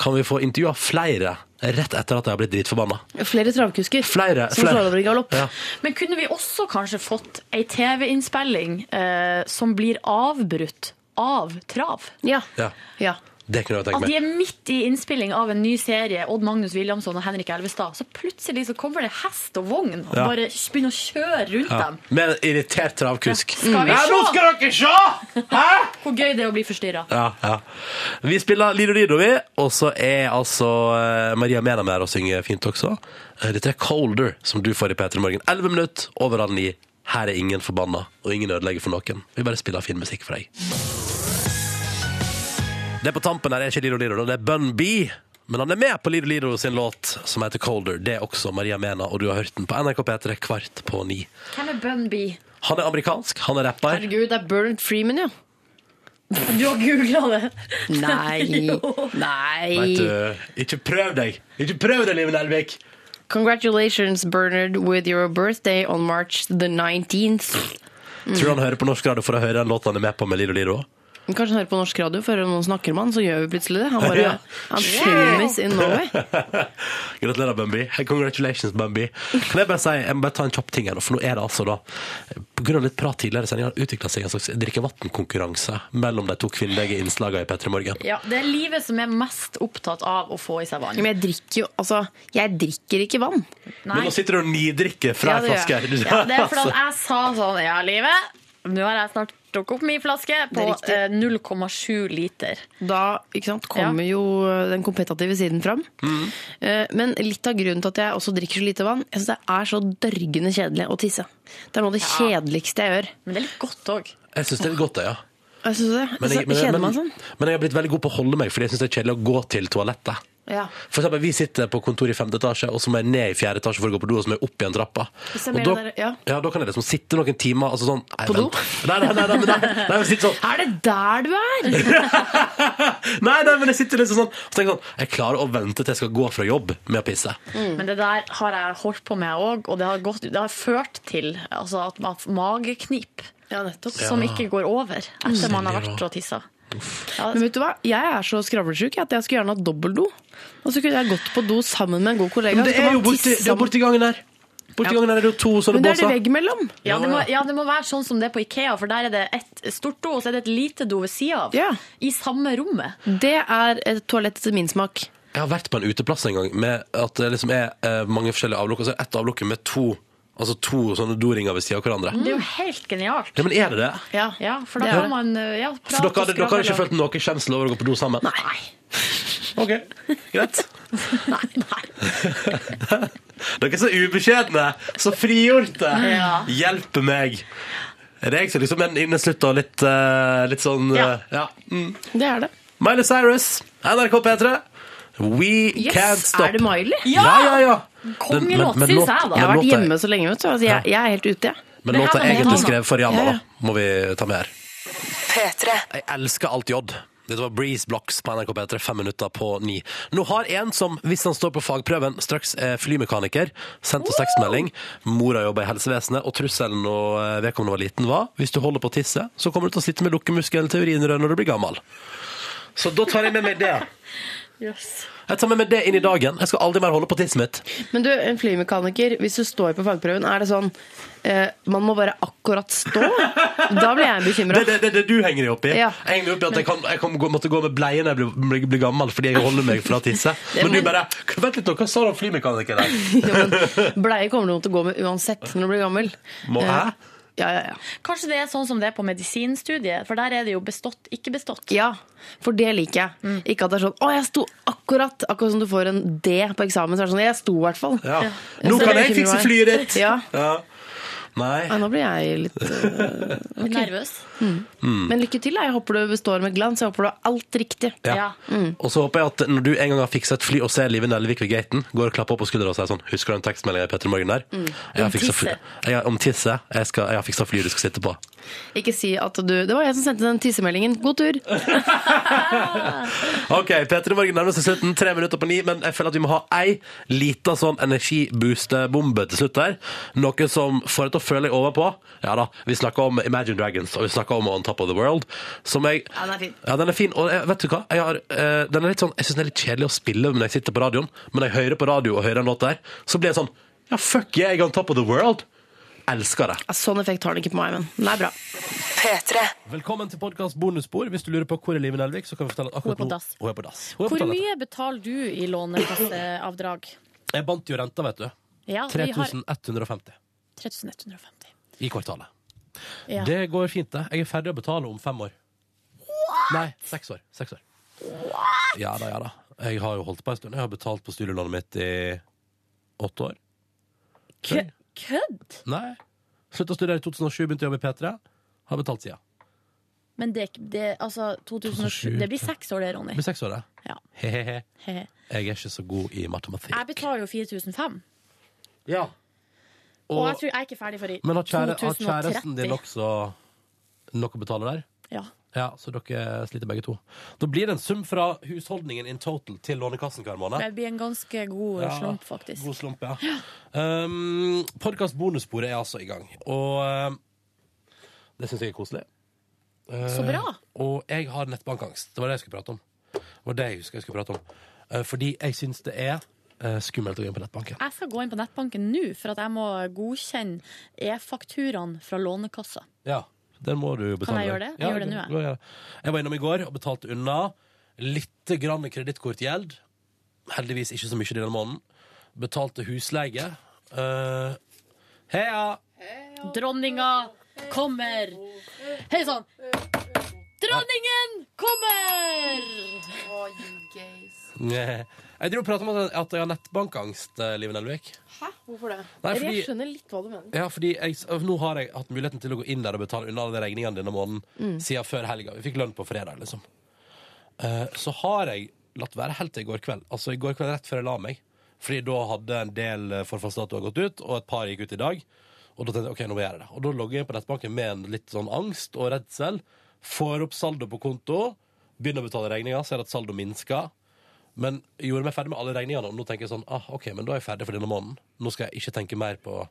S2: Kan vi få intervjua flere rett etter at jeg har blitt dritforbanna?
S5: Flere travkusker
S2: Flere,
S5: som
S2: flere.
S5: slår over i galopp.
S2: Ja.
S3: Men kunne vi også kanskje fått ei TV-innspilling eh, som blir avbrutt av trav?
S5: Ja.
S2: Ja.
S5: Ja.
S2: Det kunne jeg tenkt
S3: At
S2: meg.
S3: Altså, de er midt i innspilling av en ny serie, Odd Magnus Williamson og Henrik Elvestad, så plutselig så kommer det hest og vogn og
S2: Ja.
S3: bare begynner å kjøre rundt
S2: Ja.
S3: dem.
S2: Med en irritert travkusk.
S5: Mm.
S3: Skal vi se
S2: dere se! Hæ?
S3: hvor gøy det er å bli forstyrra?
S2: Ja, ja. Vi spiller Lido Lido, vi. Og så er altså eh, Maria Mena med her og synger fint også. Eh, Dette er Colder, som du får i P3 Morgen. 11 minutter over halv ni. Her er ingen forbanna, og ingen ødelegger for noen. Vi bare spiller fin musikk for deg. Det på tampen her er ikke Lido Lido, da. det er Bun B. Men han er med på Lido Lido sin låt som heter Colder. Det er også Maria Mena, og du har hørt den på NRK P3 kvart på ni.
S3: Hvem er Bun B?
S2: Han er amerikansk, han er rapper.
S5: Herregud, det er Bernt Freeman, jo.
S3: Du har googla det!
S5: Nei.
S3: Jo.
S5: Nei.
S2: Vet du, ikke prøv deg! Ikke prøv deg, Liven Elvik!
S5: Congratulations, Bernard, with your birthday on March the 19th.
S2: Tror du han hører på norsk radio for å høre den låten han er med på med Lido Lido?
S5: Men Kanskje han hører på norsk radio, for hører noen snakker med han, så gjør vi plutselig det. Han bare,
S2: Ja.
S5: han famous in Norway.
S2: Gratulerer, Bambi. Hey, Congratulations, Bambi. Kan jeg bare si, jeg må bare ta en kjapp ting her, nå, for nå er det altså da På grunn av litt prat tidligere i sendinga har utvikla seg en slags drikkevann-konkurranse mellom de to kvinnelige innslagene i P3 Morgen.
S3: Ja, det er livet som er mest opptatt av å få i seg vann.
S5: Men jeg drikker jo, altså, jeg drikker ikke vann.
S3: Nei.
S2: Men nå sitter du og nidrikker fra ei
S5: Ja, det gjør
S2: flaske her. Du-
S3: Ja, det er fordi at jeg sa sånn Ja, livet, nå har jeg snart drukket opp min flaske på
S5: Det
S3: eh, 0,7 liter.
S5: Da ikke sant, kommer jo eh, den kompetative siden fram.
S2: Mm.
S5: Eh, Men litt av grunnen til at jeg også drikker så lite vann, jeg synes det er så dørgende kjedelig å tisse. Det er noe av det kjedeligste jeg gjør.
S3: Men det er litt godt òg.
S2: Jeg syns det er godt, det, ja.
S5: Jeg synes det,
S2: Men jeg,
S5: så
S2: men,
S5: kjeder
S2: men,
S5: man sånn.
S2: men jeg har blitt veldig god på å holde meg, fordi jeg syns det er kjedelig å gå til toalettet.
S5: Ja.
S2: For eksempel, vi sitter på kontor i femte etasje, og så må jeg ned i fjerde etasje for å gå på do, og så må jeg opp igjen trappa.
S5: ser
S2: Og
S5: mer
S2: da,
S5: det der, ja.
S2: da kan jeg liksom sitte noen timer altså sånn, nei,
S5: På do?
S2: vent. Nei, nei, nei, nei, nei, nei, nei, jeg sitter sånn,
S5: Er det der du er?
S2: nei, nei, men jeg sitter liksom sånn og tenker sånn Jeg klarer å vente til jeg skal gå fra jobb med å pisse.
S3: Men det der har jeg holdt på med òg, og det har, gått, det har ført til altså, at man har mageknip
S5: Ja, nettopp.
S3: som ikke går over etter man har vært og tissa. Ja,
S5: Men vet du hva? Jeg er så skravlesjuk at jeg skulle gjerne hatt dobbeltdo. Og så kunne jeg gått på do sammen med en god kollega.
S2: Det
S5: så kan
S2: er
S5: man
S2: jo borti,
S5: tisse
S2: det er borti gangen der. Borti gangen der er det jo to sånne
S5: Men det er det
S2: båser.
S5: veggimellom.
S3: ja, det må,
S2: ja.
S3: ja, det må være sånn som det er på Ikea, for der er det et stort do, og så er det et lite do ved sida av.
S5: Ja. Mm.
S3: I samme rommet.
S5: Det er et toalett til min smak.
S2: Jeg har vært på en uteplass en gang med at det liksom er eh, mange forskjellige avlukk, og så er det ett avlukk med to, altså to sånne doringer ved siden av hverandre.
S5: Mm.
S3: Det er jo helt genialt.
S2: Ja, men er det det?
S5: Ja.
S3: Ja, for da
S5: Det er
S3: kan man eh, ja,
S2: For
S3: prate
S2: dere, hadde, dere har ikke
S3: skravle.
S2: følt noe skjemsel over å gå på do sammen? Nei. Ok, greit.
S3: Nei, nei.
S2: Dere er så ubeskjedne, så frigjorte.
S3: Ja.
S2: Hjelpe meg. Er det jeg som liksom er den inneslutt og litt, eh, litt sånn
S3: Ja.
S2: eh, ja. Mm.
S5: Det er det.
S2: Miley Cyrus, NRK P3. We can't
S5: Yes,
S2: stop.
S5: er det Miley?
S2: Ja, ja, ja.
S3: Kongelåt,
S2: Den- men- men
S3: synes
S2: låt-
S3: jeg, da.
S5: Jeg har
S2: men
S5: vært
S2: låta-
S5: hjemme så lenge, vet du. Altså, jeg, jeg er helt ute, jeg.
S2: Men
S3: Det her
S2: låta
S3: var noe
S2: egentlig
S3: annet.
S2: skrev for Rihanna,
S5: Ja,
S2: da.
S5: ja.
S2: Må vi ta med her. Jeg elsker alt J. Dette var Breeze Blocks på NRK P3, fem minutter på ni. Nå har en som, hvis han står på fagprøven, straks er flymekaniker, sendt oss tekstmelding. Mora jobber i helsevesenet, og trusselen når vedkommende var liten, var hvis du holder på å tisse, så kommer du til å sitte med lukkemuskelen til urinrøret når du blir gammel. Så da tar jeg med meg det. Jeg tar med meg det inn i dagen. Jeg skal aldri mer holde på tisset mitt.
S5: Men du, en flymekaniker, hvis du står på fagprøven, er det sånn eh, Man må bare akkurat stå? Da blir jeg
S2: Det
S5: bekymra.
S2: er det, det, er det du henger deg opp i.
S5: Ja.
S2: Jeg henger meg opp i at jeg, kan, jeg kan gå, måtte gå med bleie når jeg blir, blir, blir gammel fordi jeg holder meg fra å tisse. Men du bare Vent litt nå, hva sa du om flymekanikere?
S5: Bleie kommer du til å gå med uansett når du blir gammel. Eh,
S2: Må jeg?
S5: Ja, ja, ja.
S3: Kanskje det er sånn som det er på medisinstudiet, for der er det jo bestått, ikke bestått.
S5: Ja, for det liker jeg. Ikke at det er sånn 'Å, jeg sto akkurat'. Akkurat som du får en D på eksamen, så er det sånn 'Jeg sto i hvert fall'.
S2: Ja.
S5: Ja.
S2: Nå
S5: Så
S2: kan
S5: det
S2: jeg fikse
S5: bekymrer meg.
S2: flyet ditt!
S5: Ja.
S2: Nei.
S5: Nei, nå blir jeg litt eh,
S3: Litt Nervøs.
S2: Mm.
S5: Men lykke til. da. Jeg håper du består med glans. Jeg håper du har alt riktig.
S2: Ja.
S3: Ja.
S5: mm.
S2: Og så håper jeg at når du en gang har fiksa et fly og ser Live Nelvik ved gaten, går og klapper opp på skuldra og sier sånn Husker du den tekstmeldinga i Petter Morgen der?
S5: Mm.
S2: Jeg har fiksa fly.
S3: tisset.
S2: Jeg, har- om tisset. Jeg, skal- jeg har fiksa flyet du skal sitte på.
S5: Ikke si at du Det var jeg som sendte den tissemeldingen. God tur.
S2: Ok, Petter i Morgen nærmer seg slutten, tre minutter på ni, men jeg føler at vi må ha ei lita sånn energiboostebombe til slutt her. Noe som får deg til å føle deg overpå. Ja da, vi snakka om Imagine Dragons, og vi snakka om On Top of the World, som jeg
S5: Ja, den er fin.
S2: Ja, den er fin. Og jeg, vet du hva? Jeg, har, eh, den er litt sånn, jeg syns den er litt kjedelig å spille når jeg sitter på radioen, men når jeg hører på radio og hører en låt der, så blir jeg sånn Ja, fuck yeah, jeg er On Top of the World. Elsker det.
S5: Ja, sånn effekt har den ikke på meg, men den er bra.
S12: Velkommen til podkast bonusspor. Hvis du lurer på hvor er Live Nelvik, så kan vi fortelle at akkurat
S3: Hun er på
S12: nå
S3: dass.
S12: Hun er på dass. Hun er på
S3: Hvor
S12: toalettet.
S3: mye betaler du i lånekasseavdrag?
S12: Jeg bandt jo renta, vet du.
S3: Ja, vi har
S12: 3150
S3: 3150.
S12: i kvartalet.
S3: Ja.
S12: Det går fint, det. Jeg er ferdig å betale om fem år. Nei, seks år. Seks år. Ja da, ja da. Jeg har jo holdt på en stund. Jeg har betalt på studielånet mitt i åtte år.
S3: Kø- Kødd!
S12: Nei. Slutta å studere i 2007, begynte å jobbe i P3. Har betalt sida.
S3: Men det, er ikke- det, altså, 2007, det blir seks år det, Ronny.
S12: Blir seks år, det.
S3: Ja.
S12: He-he-he.
S3: Hehe.
S12: Jeg er ikke så god i matematikk.
S3: Jeg betaler jo 4005,
S12: Ja.
S3: og jeg
S12: Og,
S3: tror jeg er ikke ferdig for i
S12: men har, kjære, har
S3: 2030.
S12: kjæresten din også noe å betale der?
S3: Ja.
S2: Ja, så dere sliter begge to. Da blir det en sum fra husholdningen in total til Lånekassen hver måned.
S3: Det blir en ganske god
S2: Ja,
S3: slump, faktisk.
S2: God slump, ja. Um, Podkast bonussporet er altså i gang, og um, det syns jeg er koselig. Um,
S3: Så bra.
S2: Og jeg har nettbankangst. Det var det jeg skulle prate om. Det var det jeg husker jeg skulle prate om. Eh, fordi jeg syns det er eh, skummelt å gå inn på nettbanken.
S3: Jeg skal gå inn på nettbanken nå, for at jeg må godkjenne e-fakturaene fra Lånekassa.
S2: Ja, Den må du betale.
S3: jeg gjøre det? Jeg
S2: Ja,
S3: gjør det nå, jeg.
S2: du må gjøre det. Jeg var innom i går og betalte unna litt grann kredittkortgjeld. Heldigvis ikke så mye denne måneden. Betalte husleie. Eh, heia!
S3: Dronninga kommer! Hei sann! Dronningen kommer!
S2: Nei. Jeg tror prater om at at jeg har nettbankangst, eh, Liven Elvik.
S5: Hæ? Hvorfor det?
S2: Nei,
S5: Eller
S2: fordi-
S5: Jeg skjønner litt hva du mener.
S2: Ja, fordi jeg, s- Nå har jeg hatt muligheten til å gå inn der og betale unna alle regningene denne måneden
S3: Mm.
S2: siden før helga. Vi fikk lønn på fredag, liksom. Eh, så har jeg latt være helt til i går kveld. Altså i går kveld rett før jeg la meg. Fordi da hadde en del eh, forfallsdatoer gått ut, og et par gikk ut i dag. Og da tenkte jeg ok, nå må jeg gjøre det. Og da logger jeg inn på nettbanken med en litt sånn angst og redsel. Får opp saldo på konto, begynner å betale regninga, ser at saldo minsker. Men jeg gjorde meg ferdig med alle regningene, og nå tenker jeg sånn ah, OK, men da er jeg ferdig for denne måneden. Nå skal jeg ikke tenke mer på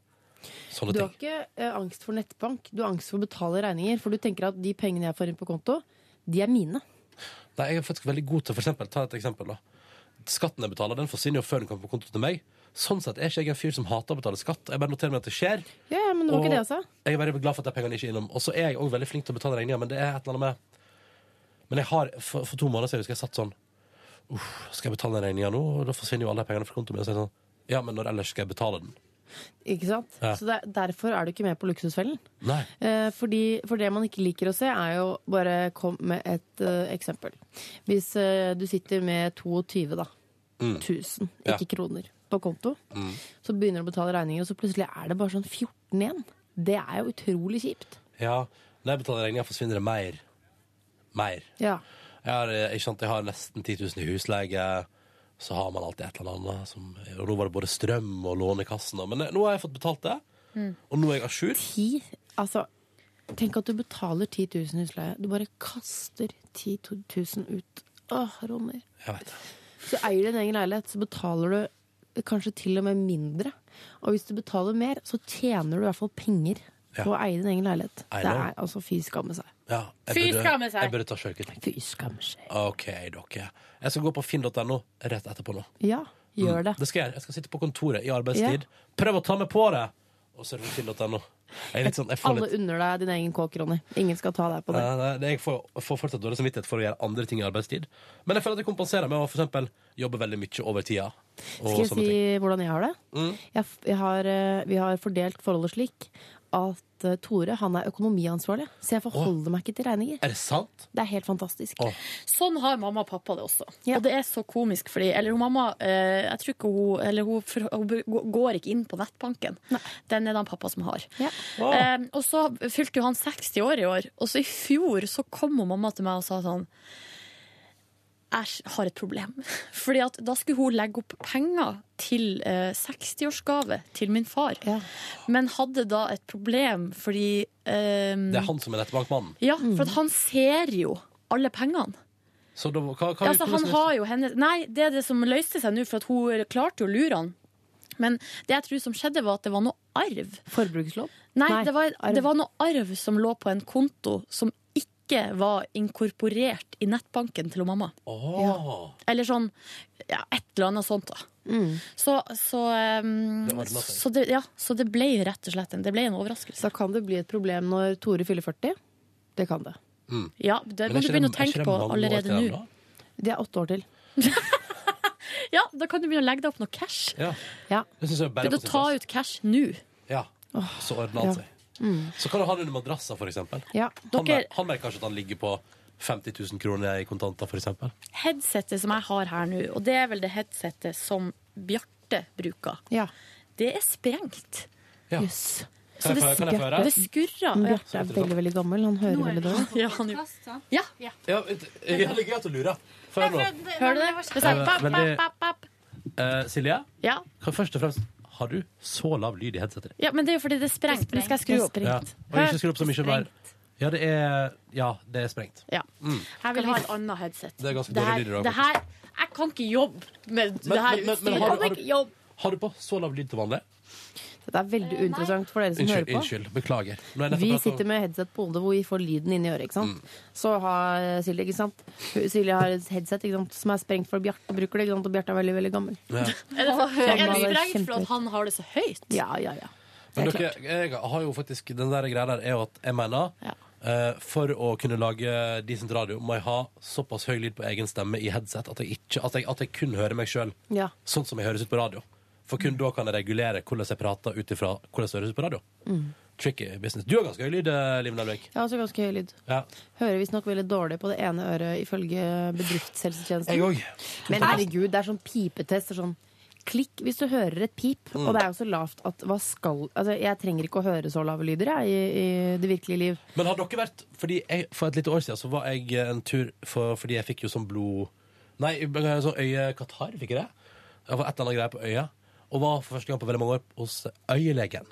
S2: sånne
S5: Du
S2: ting.
S5: har ikke eh, angst for nettbank, du har angst for å betale regninger. For du tenker at de pengene jeg får inn på konto, de er mine.
S2: Nei, jeg er faktisk veldig god til for eksempel, Ta et eksempel, da. Skatten jeg betaler, den forsvinner jo før den kommer på konto til meg. Sånn sett er ikke jeg en fyr som hater å betale skatt. Jeg bare noterer meg at det skjer.
S5: Ja, ja, men det var
S2: og
S5: ikke det jeg sa.
S2: Jeg er veldig glad for at de pengene ikke er innom. Og så er jeg òg veldig flink til å betale regninger, men det er et eller annet med Men jeg har, for, for to måneder siden husker jeg satt sånn Uff, skal jeg betale den regninga nå? Og da forsvinner jo alle de pengene fra kontoen min. Og så er jeg sånn Ja, men når ellers skal jeg betale den?
S5: Ikke sant?
S2: Ja.
S5: Så det, er- derfor er du ikke med på Luksusfellen.
S2: Nei.
S5: Eh, fordi, for det man ikke liker å se, er jo bare kom med et eh, eksempel. Hvis eh, du sitter med 22 da, 1000,
S2: Mm. Ja. Mm.
S5: ikke kroner, på konto, så begynner du å betale regninger, og så plutselig er det bare sånn 14 igjen. Det er jo utrolig kjipt.
S2: Ja, når jeg betaler regninga, forsvinner det mer. Mer.
S5: Ja.
S2: Jeg har, eh, ikke sant, jeg har nesten 10 000 i husleie. Så har man alltid et eller annet. Som, og nå var det både strøm og Lånekassen. og- Men eh, nå har jeg fått betalt det.
S5: Mm.
S2: Og nå er jeg à jour.
S5: Ti, altså, tenk at du betaler 10 000 i husleie. Du bare kaster 10 000 ut. Åh, Ronny.
S2: Jeg vet det.
S5: Så eier du din egen leilighet, så betaler du kanskje til og med mindre. Og hvis du betaler mer, så tjener du i hvert fall penger
S2: Ja.
S5: på å eie din egen leilighet.
S2: I
S5: Det
S2: know.
S5: er altså fy skamme seg.
S2: Ja, jeg
S3: Fy
S2: burde-
S3: skamme seg.
S2: Jeg burde ta sjølkritikk.
S5: Fy skamme seg.
S2: OK, dere. Jeg skal gå på finn.no rett etterpå nå.
S5: Ja, gjør Mm. det.
S2: Det skal jeg gjøre. Jeg skal sitte på kontoret i arbeidstid. Prøv å ta meg på det! Og surfe finn.no. Jeg er litt sånn, jeg får
S5: Alle
S2: litt
S5: unner deg din egen kåk, Ronny. Ingen skal ta deg på det.
S2: Nei, nei, det- jeg får, får fortsatt dårlig samvittighet for å gjøre andre ting i arbeidstid. Men jeg føler at jeg kompenserer med å for eksempel jobbe veldig mye over tida. Og
S5: Skal jeg
S2: sånne
S5: si
S2: ting. Mm.
S5: hvordan jeg har det? Jeg, f- jeg har, eh, vi har fordelt forholdet slik at eh, Tore han er økonomiansvarlig, så jeg forholder meg ikke til regninger.
S2: Er det sant?
S5: Det er helt fantastisk.
S2: Åh.
S3: Sånn har mamma og pappa det også.
S5: Ja.
S3: Og det er så komisk, fordi Eller hun mamma eh, Jeg tror ikke hun Eller hun, for, hun b- går ikke inn på nettbanken. Den er det han pappa som har.
S5: Ja.
S3: Eh, og så fylte jo han 60 år i år, og så i fjor så kom hun mamma til meg og sa sånn Jeg har et problem. Fordi at da skulle hun legge opp penger til eh, 60-årsgave til min far,
S5: Ja.
S3: men hadde da et problem fordi eh,
S2: Det er han som er nettbankmannen.
S3: Ja, for at han ser jo alle pengene.
S2: Så da, hva, hva,
S3: Ja, altså, han
S2: hvordan-
S3: har jo henne Nei, det er det som løste seg nå, for at hun klarte jo å lure han. Men det jeg tror som skjedde, var at det var noe arv.
S5: Forbrukslån?
S3: Nei,
S5: Nei,
S3: det, var,
S5: arv.
S3: det var noe arv som lå på en konto som ikke var inkorporert i nettbanken til hun mamma.
S2: Åh,
S3: Eller sånn ja, et eller annet sånt, da. Så, så, um,
S2: Mm. Det ordnet seg.
S3: så, det, ja, så det ble rett og slett en, det ble en overraskelse.
S5: Da kan det bli et problem når Tore fyller 40. Det kan det.
S3: Ja, det
S2: men
S3: må
S2: er
S3: du
S2: ikke
S3: begynne
S2: det- er ikke
S3: å
S2: det
S3: tenke på
S2: mange år
S3: allerede
S2: til
S3: nå.
S2: dem
S5: Det er åtte år til.
S3: Ja, da kan du begynne å legge deg opp noe cash.
S2: da? Ja.
S5: Ja.
S2: Det synes jeg er bare på
S3: Begynne å
S2: sin
S3: ta
S2: plass.
S3: ut cash nå.
S2: Ja. Så ordner han
S5: ja.
S2: seg. Så kan du ha det under madrassa, for eksempel.
S5: Ja.
S2: Han,
S3: Dere-
S2: mer- han merker kanskje at han ligger på 50 000 kroner i kontanter, for eksempel.
S3: headsetet som jeg har her nå, og det er vel det headsetet som Bjarte bruker,
S5: ja.
S3: det er sprengt.
S2: Ja.
S5: Jøss.
S3: Så
S2: jeg
S3: det,
S2: få- kan jeg få høre?
S3: det skurrer. Ja.
S5: Mm, Bjarte er veldig, veldig gammel. Han hører veldig dårlig.
S3: Ja, han gjør- ja,
S2: Ja, det er greit å lure. Få høre nå.
S3: hører du det?
S2: Ja,
S3: Det sier pap,
S2: veldig-
S3: pap, pap, pap.
S2: Eh, Silje,
S3: Ja.
S2: kan først og fremst har du så lav lyd i headsetet ditt?
S3: ja, men det er jo fordi det er sprengt. Nå skal jeg skru opp.
S2: Ja. Og ikke skru opp så mye mer. Ja, det er, ja, det er sprengt.
S3: Ja.
S2: Mm.
S3: Jeg vil ha et annet headset.
S2: Det er ganske
S3: her-
S2: dårlig lyd i dag,
S3: det her, Jeg kan ikke jobbe med det her
S2: men- men- men
S3: utstyret.
S2: har du- har
S3: Jeg kan
S2: du-
S3: ikke jobbe.
S2: Har du på så lav lyd til vanlig?
S5: Dette er veldig uinteressant for dere som
S2: Unnskyld,
S5: hører på.
S2: unnskyld, beklager. Nå har jeg nettopp pratet
S5: Vi
S2: om- Mm.
S5: sitter med headset på hodet hvor vi får lyden inn i øret. ikke sant? Så har eh, Silje ikke sant? Hun- Silje har et headset ikke sant? som er sprengt for Bjarte bruker det, ikke sant? og Bjarte er veldig veldig gammel.
S3: Er det for høyt?
S5: Han
S3: Er det
S5: har det
S3: strengt for
S5: kjempehøyt.
S3: at han har det så høyt?
S5: Ja, ja, ja.
S2: Men dere, jeg har jo faktisk Den der greia der er jo at jeg mener eh, For å kunne lage decent radio Må jeg ha såpass høy lyd på egen stemme i headset At jeg, ikke, at jeg, at jeg kun hører meg selv
S5: Ja.
S2: Sånn som jeg høres ut på radio For kun da kan jeg regulere hvordan jeg prater Utifra hvordan jeg høres ut på radio
S5: Mm.
S2: Tricky business Du har ganske høy lyd, eh, Liv Nelvik
S5: Jeg har også ganske høy lyd.
S2: ja.
S5: Hører visstnok veldig dårlig på det ene øret ifølge bedriftshelsetjenesten.
S2: Jeg òg.
S5: Men herregud, det er sånn pipetest. det er Sånn klikk hvis du hører et pip.
S3: Mm.
S5: Og det er jo så lavt at hva skal Altså, jeg trenger ikke å høre så lave lyder, jeg, i, i det virkelige liv.
S2: Men har dere vært Fordi jeg, for et lite år siden så var jeg eh, en tur for, Fordi jeg fikk jo sånn blod Nei, sånn øyekatarr fikk jeg det Jeg var et eller annet greier på øya Og var for første gang på veldig mange år hos øyelegen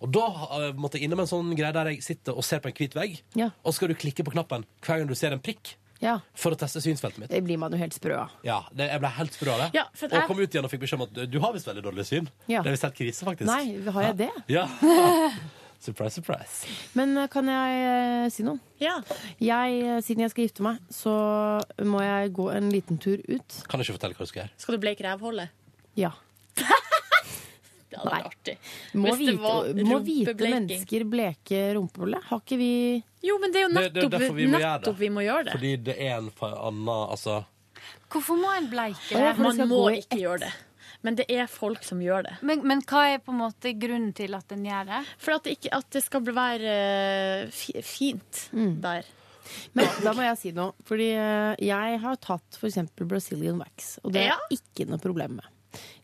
S2: Og da eh, måtte jeg innom en sånn greie Der jeg sitter og ser på en hvit vegg
S5: Ja.
S2: Og skal du klikke på knappen hver gang du ser en prikk
S5: Ja.
S2: For å teste synsfeltet mitt
S5: Det blir man jo helt sprø av.
S2: ja, det, jeg ble helt sprø av det
S5: Ja, for at jeg-
S2: Og kom ut igjen og fikk beskjed om at Du har visst veldig dårlig syn
S5: Ja.
S2: Det er visst helt krise faktisk
S5: Nei, har jeg det?
S2: Ja, surprise, surprise
S5: Men eh, kan jeg eh, si noe? Jeg, eh, siden jeg skal gifte meg, så må jeg gå en liten tur ut.
S2: Kan du ikke fortelle hva du skal gjøre?
S3: Skal du bleike revhullet?
S5: Ja.
S3: Det hadde vært artig.
S5: Må
S3: Hvis det
S5: vite,
S3: var
S5: må vite
S3: rumpebleking.
S5: mennesker bleke rumpehullet. Har ikke vi
S3: Jo, men det er jo
S2: Det- det er
S3: nettopp,
S2: derfor vi må gjøre det.
S3: nettopp vi må gjøre det.
S2: Fordi det er en fa- annen altså,
S13: Hvorfor må en bleike?
S3: Ja, for det skal Eh, Man må gå i ikke ett. gjøre det. Men det er folk som gjør det.
S13: Men, men hva er på en måte grunnen til at en gjør det?
S3: For at det, ikke, at det skal bli- være eh, fi- fint der.
S5: Men da må jeg si noe. Fordi eh, jeg har tatt for eksempel Brazilian wax, og det er
S3: Ja.
S5: ikke noe problem med.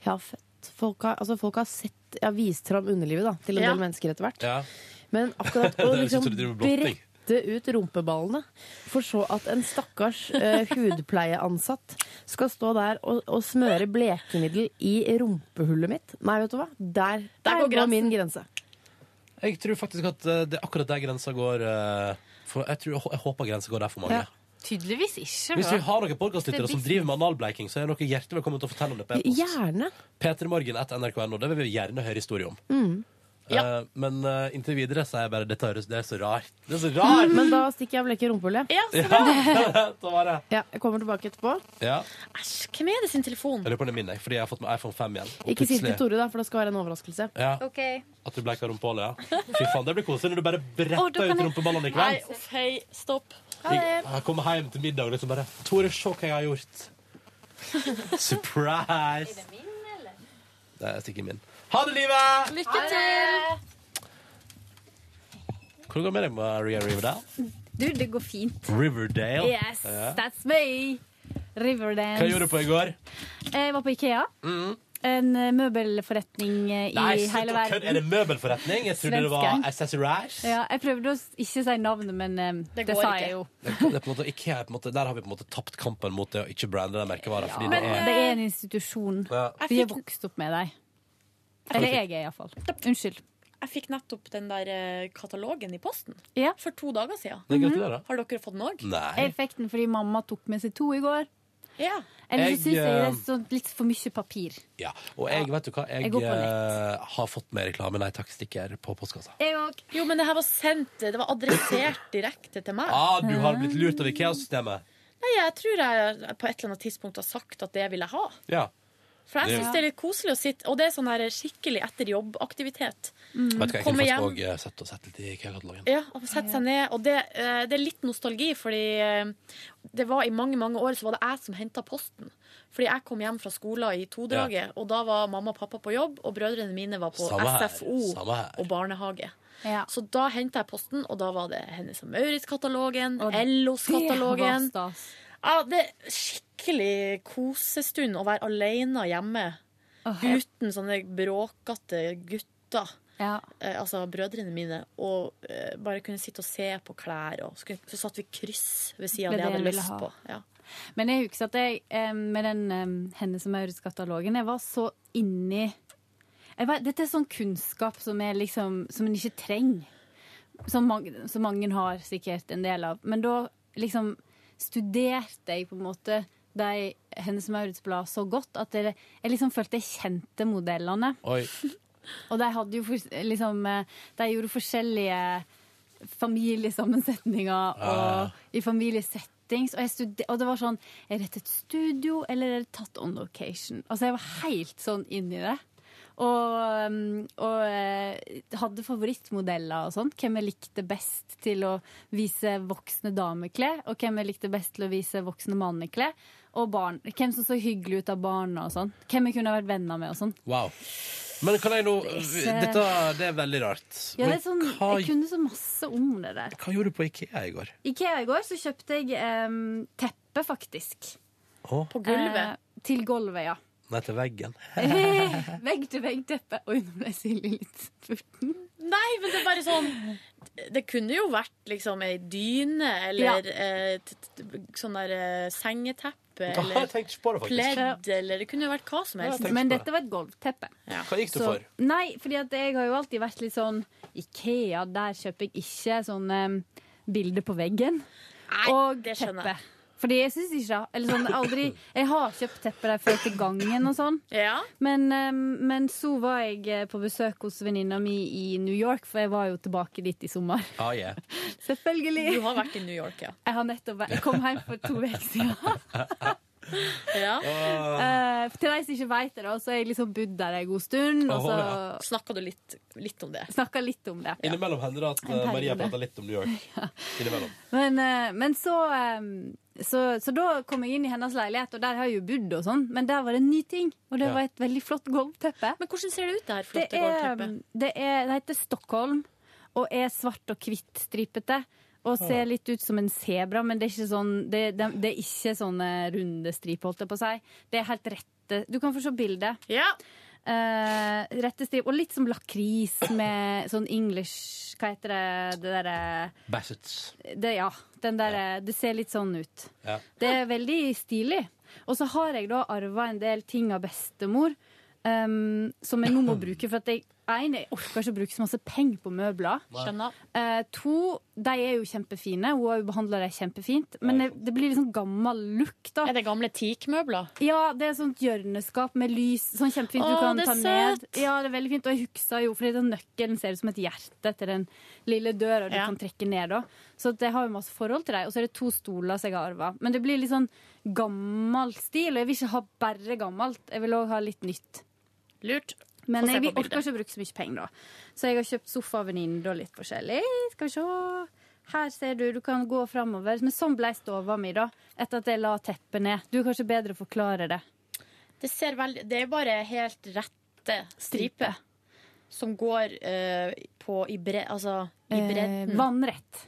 S5: Jeg har født Folk har, altså folk har sett Jeg har vist fram underlivet da, til en
S3: Ja.
S5: del mennesker etter hvert.
S2: Ja.
S5: Men akkurat å
S2: Det høres ut
S5: liksom
S2: som du driver med blotting.
S5: brette ut rumpeballene for så at en stakkars eh, hudpleieansatt skal stå der og, og smøre blekemiddel i rumpehullet mitt Nei, vet du hva? Der, der
S3: går
S5: går min grense.
S2: Jeg tror faktisk at eh, det er akkurat der grensa går eh, for jeg, tror, jeg håper grensa går der for mange.
S5: Ja.
S13: Tydeligvis ikke.
S2: Hvis vi har noen podkastlyttere
S13: Det er
S2: som driver med analbleiking, så er dere hjertelig velkommen til å fortelle om det på e-post.
S5: Gjerne.
S2: p3morgen.nrk.no. Det vil vi gjerne høre historie om.
S5: Mm.
S2: Eh, men eh, inntil videre så er jeg bare Dette høres Det er så rart. Det er så rart!
S5: Men da stikker jeg og bleker rumpehullet.
S2: Ja, da var det.
S5: Ja, jeg kommer tilbake etterpå.
S2: Ja.
S3: Æsj, hvem er det sin telefon?
S2: Jeg lurer på om det er min, jeg, fordi jeg har fått med iPhone 5 igjen. Og
S5: Ikke si det
S2: plutselig-
S5: til Tore, da, for det skal være en overraskelse.
S2: Ja. At du bleika rumpehullet, ja. Fy faen, det blir koselig når du bare bretter ut rumpeballene i kveld.
S3: Nei, uff, hei, stopp.
S2: Jeg, jeg kommer hjem til middag og liksom bare Tore, se hva jeg har gjort. Surprise! Er det min, eller? Det er sikkert min. Ha det, livet!
S13: Lykke til!
S2: Hvordan går det med deg, Maria Riverdale?
S13: Du, det går fint.
S2: Riverdale?
S13: Yes,
S2: Ja.
S13: that's me! Riverdance.
S2: Hva gjorde du på i går? Mm.
S13: Jeg var på Ikea. En eh, møbelforretning eh, i
S2: Nei, slutt
S13: hele
S2: å kødde! Er det
S13: verden.
S2: møbelforretning? Jeg trodde det var
S13: Svenske.
S2: accessories.
S13: Ja, jeg prøvde å s- ikke si navnet, men eh, det,
S3: går
S13: sa
S3: ikke.
S13: jeg jo.
S2: Det er på en måte, IKEA, er på en måte, der har vi på en måte tapt kampen mot det å ikke brande den merkevaren. Fordi
S13: Men
S2: det er
S13: det er en institusjon.
S2: Ja.
S13: Vi har vokst opp med dem. Eller jeg er iallfall. Unnskyld.
S3: Jeg fikk nettopp den der eh, katalogen i posten for to dager siden.
S2: Nei, gratulerer.
S3: Har dere fått den òg?
S13: Jeg fikk den fordi mamma tok med seg to i går.
S3: Ja.
S13: Eller
S2: Jeg,
S13: så syns jeg det
S2: eh,
S13: er sånn litt for mye papir.
S2: Ja, og jeg, vet du hva, jeg,
S13: Jeg går på
S2: eh, har fått med reklame Nei takk-stikker på postkassa.
S3: Jo, men det her var sendt Det var adressert direkte til meg.
S2: Ah, du har blitt lurt av IKEA-systemet.
S3: Nei, jeg tror jeg på et eller annet tidspunkt har sagt at det vil jeg ha.
S2: Ja.
S3: For jeg
S2: Det-
S3: syns det er litt koselig å sitte Og det er sånn her skikkelig etter jobb-aktivitet.
S2: Vet du hva, jeg
S3: Komme
S2: kunne
S3: hjem.
S2: faktisk òg sett og sett litt i IKEA-katalogen.
S3: Ja, og sette seg ned. Og det, eh, det er litt nostalgi, fordi eh, det var i mange mange år så var det jeg som henta posten. Fordi jeg kom hjem fra skolen i todraget, og da var mamma og pappa på jobb, og brødrene mine var på
S2: Samme her,
S3: SFO
S2: samme her.
S3: og barnehage. Så da henta jeg posten, og da var det Hennes og Maurits-katalogen, Ellos-katalogen.
S13: Det var stas.
S3: Ja, det er skikkelig kosestund å være alene hjemme uten sånne bråkete gutter. Eh, altså brødrene mine, og eh, bare kunne sitte og se på klær. Og så, kunne, så satt vi kryss ved sida av
S13: Det
S3: det jeg
S13: er det
S3: hadde
S13: jeg
S3: lyst
S13: ville ha.
S3: på. Ja.
S13: Men jeg husker at jeg eh, med den eh, Hennes og Maurits-katalogen Jeg var så inni jeg vet, Dette er sånn kunnskap som, er liksom, som en ikke trenger.
S11: som, mange, som mange har sikkert en del av. Men da liksom studerte jeg på en måte de Hennes Maurits-blad så godt at jeg, jeg liksom følte jeg kjente modellene.
S2: Oi.
S11: Og de hadde jo fors- liksom eh, De gjorde forskjellige familiesammensetninger
S2: Ah.
S11: og i familiesettings. Og, jeg stude- og det var sånn Er dette et studio, eller er det tatt on location? Altså, jeg var helt sånn inn i det. Og, um, og eh, hadde favorittmodeller og sånn. Hvem jeg likte best til å vise voksne dameklær, og hvem jeg likte best til å vise voksne manneklær. Og barn. Hvem som så hyggelig ut av barna og sånn. Hvem jeg kunne vært venner med og sånn.
S2: Wow. Men kan jeg nå eh, Dette det er veldig rart.
S11: Ja, det
S2: Men
S11: er sånn,
S2: hva,
S11: jeg kunne så masse om det der.
S2: hva gjorde du på Ikea i går?
S11: Ikea i går så kjøpte jeg em, teppe, faktisk.
S2: Å,
S11: Eh, til gulvet, ja.
S2: Nei, til veggen.
S13: Eh,
S11: Vegg til vegg-teppe. Oi, nå ble Silje litt furten.
S3: Nei, men det er bare sånn Det kunne jo vært liksom ei dyne
S11: Ja.
S3: eller eh, t- t- sånn der eh, sengeteppe
S2: Jeg
S3: eller
S2: tenkte ikke på det, faktisk.
S3: pledd eller Det kunne jo vært hva som helst.
S11: Men dette var et gulvteppe.
S2: Hva gikk du
S11: Så-
S2: for?
S11: Nei, fordi at jeg har jo alltid vært litt sånn Ikea, der kjøper jeg ikke sånn em, bilde på veggen.
S3: Nei,
S11: og
S3: det skjønner jeg.
S11: Fordi jeg syns ikke det. Eller sånn aldri Jeg har kjøpt tepper der før til gangen og sånn. Men, em, men så var jeg eh, på besøk hos venninna mi i New York, for jeg var jo tilbake dit i sommer.
S2: Ah, yeah.
S11: Selvfølgelig.
S3: Du har vært i New York, ja.
S11: Jeg har nettopp vært Jeg kom hjem for to uker siden.
S3: Ja.
S11: Eh, til de som ikke veit det, da, så har jeg liksom bodd der en god stund. Og så
S2: Åhå,
S3: Snakka du litt, om det?
S11: Snakka litt om det.
S2: Innimellom hender det at
S11: En
S2: eh, Maria
S11: periode.
S2: prater litt om New York. Innimellom.
S11: Men, eh, men så, eh, så Så da kom jeg inn i hennes leilighet, og der har jeg jo bodd og sånn, men der var det en ny ting. Og det
S3: Ja.
S11: var et veldig flott gulvteppe.
S3: Men hvordan ser det ut, det her flotte gulvteppet?
S11: Det, er, mm, det heter Stockholm, og er svart og hvitt stripete. Og
S3: Ja.
S11: ser litt ut som en sebra, men det er ikke sånn Det, det, det er ikke sånne runde striper, holdt jeg på å si. Det er helt rette Du kan få se bildet. Eh, rette striper. Og litt som lakris med sånn English Hva heter det? Det derre
S2: Bassets.
S11: det, ja, den der, det ser litt sånn ut.
S2: Ja.
S11: Det er veldig stilig. Og så har jeg da arva en del ting av bestemor ehm, som jeg nå må bruke. For at jeg, en, jeg orker ikke å bruke så masse penger på møbler.
S3: Nei. Skjønner.
S11: Eh, to, de er jo kjempefine. Hun har jo behandla dem kjempefint. Men det, det blir litt sånn gammel look, da.
S3: Er det gamle teakmøbler?
S11: Ja, det er et sånt hjørneskap med lys. Sånn kjempefint
S3: Å,
S11: du kan
S3: det er
S11: ta ned.
S3: søtt!
S11: Ja, det er veldig fint. Og jeg husker jo, fordi den nøkkelen ser ut som et hjerte til den lille døra du
S3: Ja.
S11: kan trekke ned. Da. Så det har jo masse forhold til deg. Og så er det to stoler som jeg har arva. Men det blir litt sånn gammel stil, og jeg vil ikke ha bare gammelt. Jeg vil òg ha litt nytt.
S3: Lurt.
S11: Men
S3: Få se
S11: jeg
S3: på
S11: vil-
S3: bildet.
S11: orker ikke å bruke så mye penger, da. Så jeg har kjøpt sofa av venninne og litt forskjellig. Skal vi se. Her ser du, du kan gå framover. Men sånn ble stova mi, da. Etter at jeg la teppet ned. Du kan kanskje bedre forklare det.
S3: Det ser veldig Det er bare helt rette striper som går eh, på i bre... Altså i
S11: Eh,
S3: bredden.
S11: vannrett.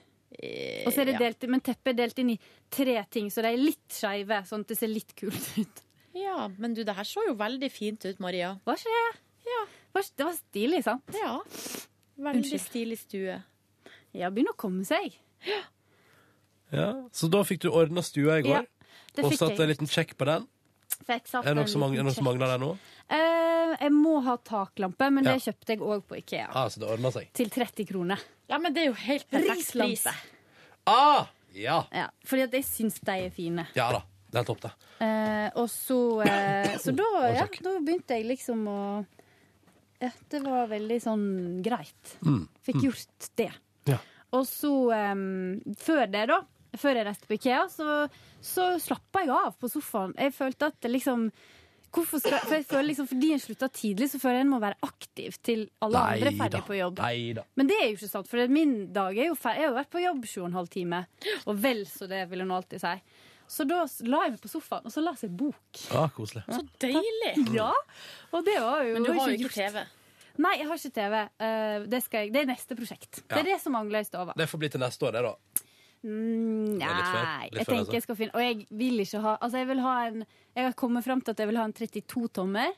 S11: Og så er det
S3: ja.
S11: delt, men teppet er delt inn i tre ting, så de er litt skeive, sånn at det ser litt kult ut.
S3: Ja, men du, det her så jo veldig fint ut, Maria.
S11: Hva skjer? Hva skjer? Det var stilig, sant?
S3: Ja. Veldig
S11: Unnskyld.
S3: stilig stue.
S11: Ja, begynner å komme seg.
S2: Ja. Så da fikk du ordna stua i
S11: Ja,
S2: går,
S11: det
S2: og
S11: fikk
S2: satt
S11: jeg
S2: en liten sjekk på den.
S11: Fikk satt
S2: Er det
S11: en
S2: noe som mang- er
S11: liten
S2: det noe som
S11: sjekk.
S2: mangler der nå?
S11: Eh, jeg må ha taklampe, men det
S2: Ja.
S11: kjøpte jeg òg på Ikea.
S2: Ah, så det ordna seg.
S11: Til 30 kroner.
S3: Ja, men det er jo helt perfekt pris.
S11: Rislampe.
S2: Ah, ja.
S11: Ja, fordi at jeg syns de er fine.
S2: ja da. Det er topp, det.
S11: Eh, og så eh, Så da, ja, da begynte jeg liksom å ja, Det var veldig sånn greit.
S2: Mm.
S11: Fikk gjort det. Og så, em, før det da, før jeg reiste på Ikea, så, så slappa jeg av på sofaen. Jeg følte at det liksom Hvorfor skal, for jeg føler liksom, Fordi en slutta tidlig, så føler jeg en må være aktiv til alle andre er ferdig på jobb.
S2: Nei da.
S11: Men det er jo ikke sant, for min dag er jo ferdig. Jeg har jo vært på jobb sju og en halv time. Og vel så det, vil hun alltid si. Så da s- la jeg meg på sofaen, og så leste jeg bok.
S2: Ah, koselig.
S3: Så deilig!
S11: Ja, og det var jo
S3: Men du har jo
S11: ikke
S3: ikke TV.
S11: Nei, jeg har ikke TV. Eh, det, skal jeg, det er neste prosjekt. Det
S2: Ja.
S11: er det som mangler i stova.
S2: Det får bli til neste år, det, da.
S11: Mm,
S2: Det er litt før.
S11: Nei,
S2: Litt
S11: jeg
S2: før, altså.
S11: tenker jeg skal finne Og jeg vil ikke ha Altså, jeg vil ha en Jeg har kommet fram til at jeg vil ha en 32-tommer.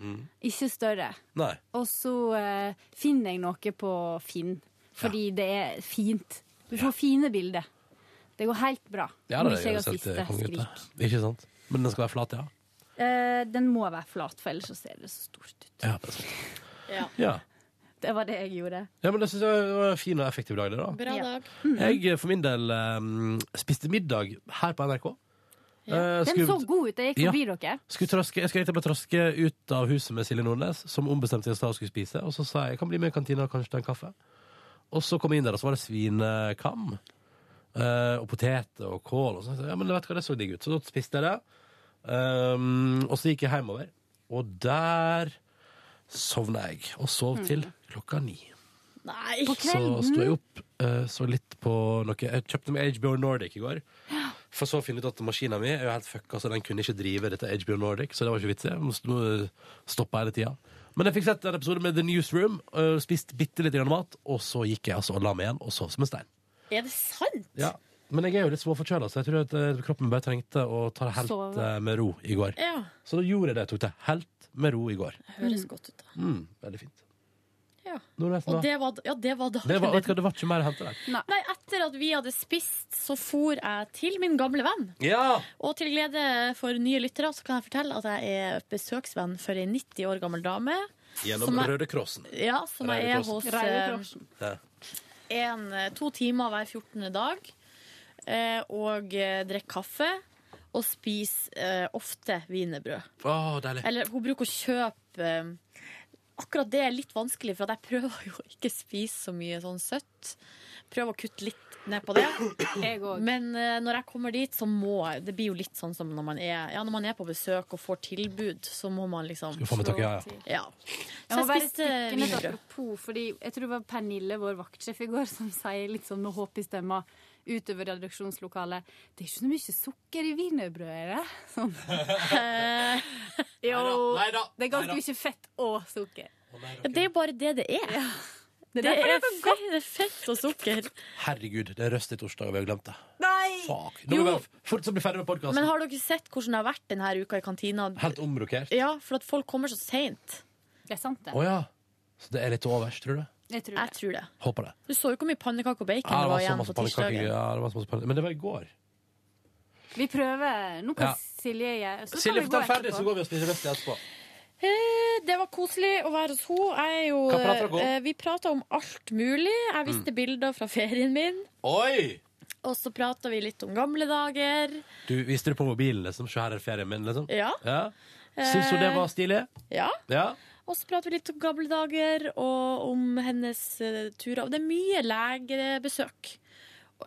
S2: Mm.
S11: Ikke større.
S2: Nei.
S11: Og så eh, finner jeg noe på Finn, fordi det er fint. Du får fine bilder. Det går helt bra.
S2: Ja,
S11: Om
S2: da,
S11: ikke jeg
S2: det
S11: har
S2: ser helt
S11: spist det,
S2: konge ut, det.
S11: skrik.
S2: Ikke sant? Men den skal være flat, ja.
S11: Eh, den må være flat, for ellers så ser det så stort ut.
S2: Ja. det er sant. Ja.
S13: Det var det jeg gjorde.
S2: Ja, men det synes jeg var en fin og effektiv dag, det da.
S13: Bra dag.
S11: Mm.
S2: Jeg eh, for min del eh, spiste middag her på NRK. Eh,
S13: Den
S2: skulle-
S13: så god ut. Jeg gikk forbi
S2: Ja.
S13: dere.
S2: Skulle traske, jeg skulle egentlig bare traske ut av huset med Silje Nordnes, som ombestemte seg for å skulle spise. Og så sa jeg jeg kan bli med i kantina og kanskje ta en kaffe. Og så kom jeg inn der, og så var det svinekam. eh, og poteter og kål. Og så sa jeg, ja, men vet du hva, det så digg ut. Så da spiste jeg det. Um, og så gikk jeg hjemover. Og der sovna jeg. Og sov til klokka ni.
S3: Nei.
S13: På
S2: Så sto jeg
S13: kvelden.
S2: opp, eh, så litt på noe Jeg kjøpte meg HBO Nordic i går. For så å finne ut at maskina mi er jo helt fucka, så den kunne ikke drive dette HBO Nordic. Så det var ikke vits i. Jeg måtte nå stoppe hele tida. Men jeg fikk sett en episode med The Newsroom, eh, spist bitte litt grann mat, og så gikk jeg altså og la meg igjen og sov som en stein.
S3: Er det sant?
S2: Ja. Men jeg er jo litt småforkjøla, så jeg tror at eh, kroppen bare trengte å ta det helt
S3: Sove.
S2: eh, med ro i går.
S3: Ja.
S2: Så da gjorde jeg det. Jeg tok det helt med ro i går.
S3: Høres godt ut, da.
S2: Mm, veldig fint.
S3: Ja.
S2: Nordnes,
S3: Og
S2: da.
S3: det var, ja, det var dagen
S2: Det var, vet du hva,
S3: din.
S2: det var ikke mer å hente der.
S3: Nei. etter at vi hadde spist, så for jeg til min gamle venn.
S2: Ja!
S3: Og til glede for nye lyttere så kan jeg fortelle at jeg er besøksvenn for ei 90 år gammel dame.
S2: Gjennom
S3: som jeg-
S2: Røde Krossen.
S3: Ja, som jeg
S2: Røde
S3: er
S2: Krossen.
S3: hos eh,
S2: Ja.
S3: en, eh, to timer hver 14. dag. eh, Og eh, drikker kaffe. Og spiser eh, ofte wienerbrød.
S2: Å, deilig.
S3: Eller hun bruker å kjøpe eh, Akkurat det er litt vanskelig, for at jeg prøver jo å ikke spise så mye sånn søtt. Prøver å kutte litt ned på det. Men eh, når jeg kommer dit, så må jeg Det blir jo litt sånn som når man er, ja, når man er på besøk og får tilbud, så må man liksom
S2: Skal få med tak i, ja, ja.
S3: ja.
S13: Jeg
S3: Så
S13: må
S3: jeg
S13: bare
S3: spiste
S13: stikke ned et
S3: wienerbrød.
S13: apropos, fordi jeg tror det var Pernille, vår vaktsjef i går, som sier litt sånn med håp i stemma utover redaksjonslokalet Det er ikke så mye sukker i wienerbrødet, er det? Sånn. jo,
S3: Neida,
S13: det er ganske
S3: neida.
S13: mye fett og sukker.
S3: Ja, det er jo bare det det er.
S13: Det
S3: Det
S13: er derfor
S3: er
S13: det er så
S3: fett, det er fett og sukker.
S2: Altså- Herregud, det er røst i torsdag, og vi har glemt det.
S3: Nei!
S2: Fuck. Nå må vi
S3: Jo.
S2: bare fort så bli ferdig med podkasten.
S3: Men har dere sett hvordan det har vært denne uka i kantina?
S2: Helt omrokert. Å
S3: Ja, for at folk kommer så seint.
S13: Det er sant, det.
S2: ja. Så det er litt til overs, tror du?
S13: Jeg tror,
S3: det.
S2: Håper det.
S3: Du så jo ikke hvor mye pannekaker og bacon
S2: Ja,
S3: det var
S2: så
S3: igjen
S2: masse
S3: på tirsdagen.
S2: pannekaker. Ja, det var så masse pannekaker. Men det var i går.
S13: Vi prøver. Nå kan
S2: Ja.
S13: Silje gjøre så kan
S2: Silje,
S13: vi gå
S2: fortell ferdig,
S13: etterpå.
S2: så går vi og spiser røst i etterpå.
S3: Eh, Det var koselig å være hos henne. Jeg er jo,
S2: Hva prater dere om? Mm.
S3: eh, vi prata om alt mulig. Jeg viste bilder fra ferien min.
S2: Oi!
S3: Og så prata vi litt om gamle dager.
S2: Du viste det på mobilen, liksom. Se her er ferien min, liksom.
S3: Ja.
S2: Syns du det var stilig?
S3: Ja.
S2: Ja.
S3: Og så prater vi litt om gamle dager og om hennes eh, turer. Og det er mye legebesøk.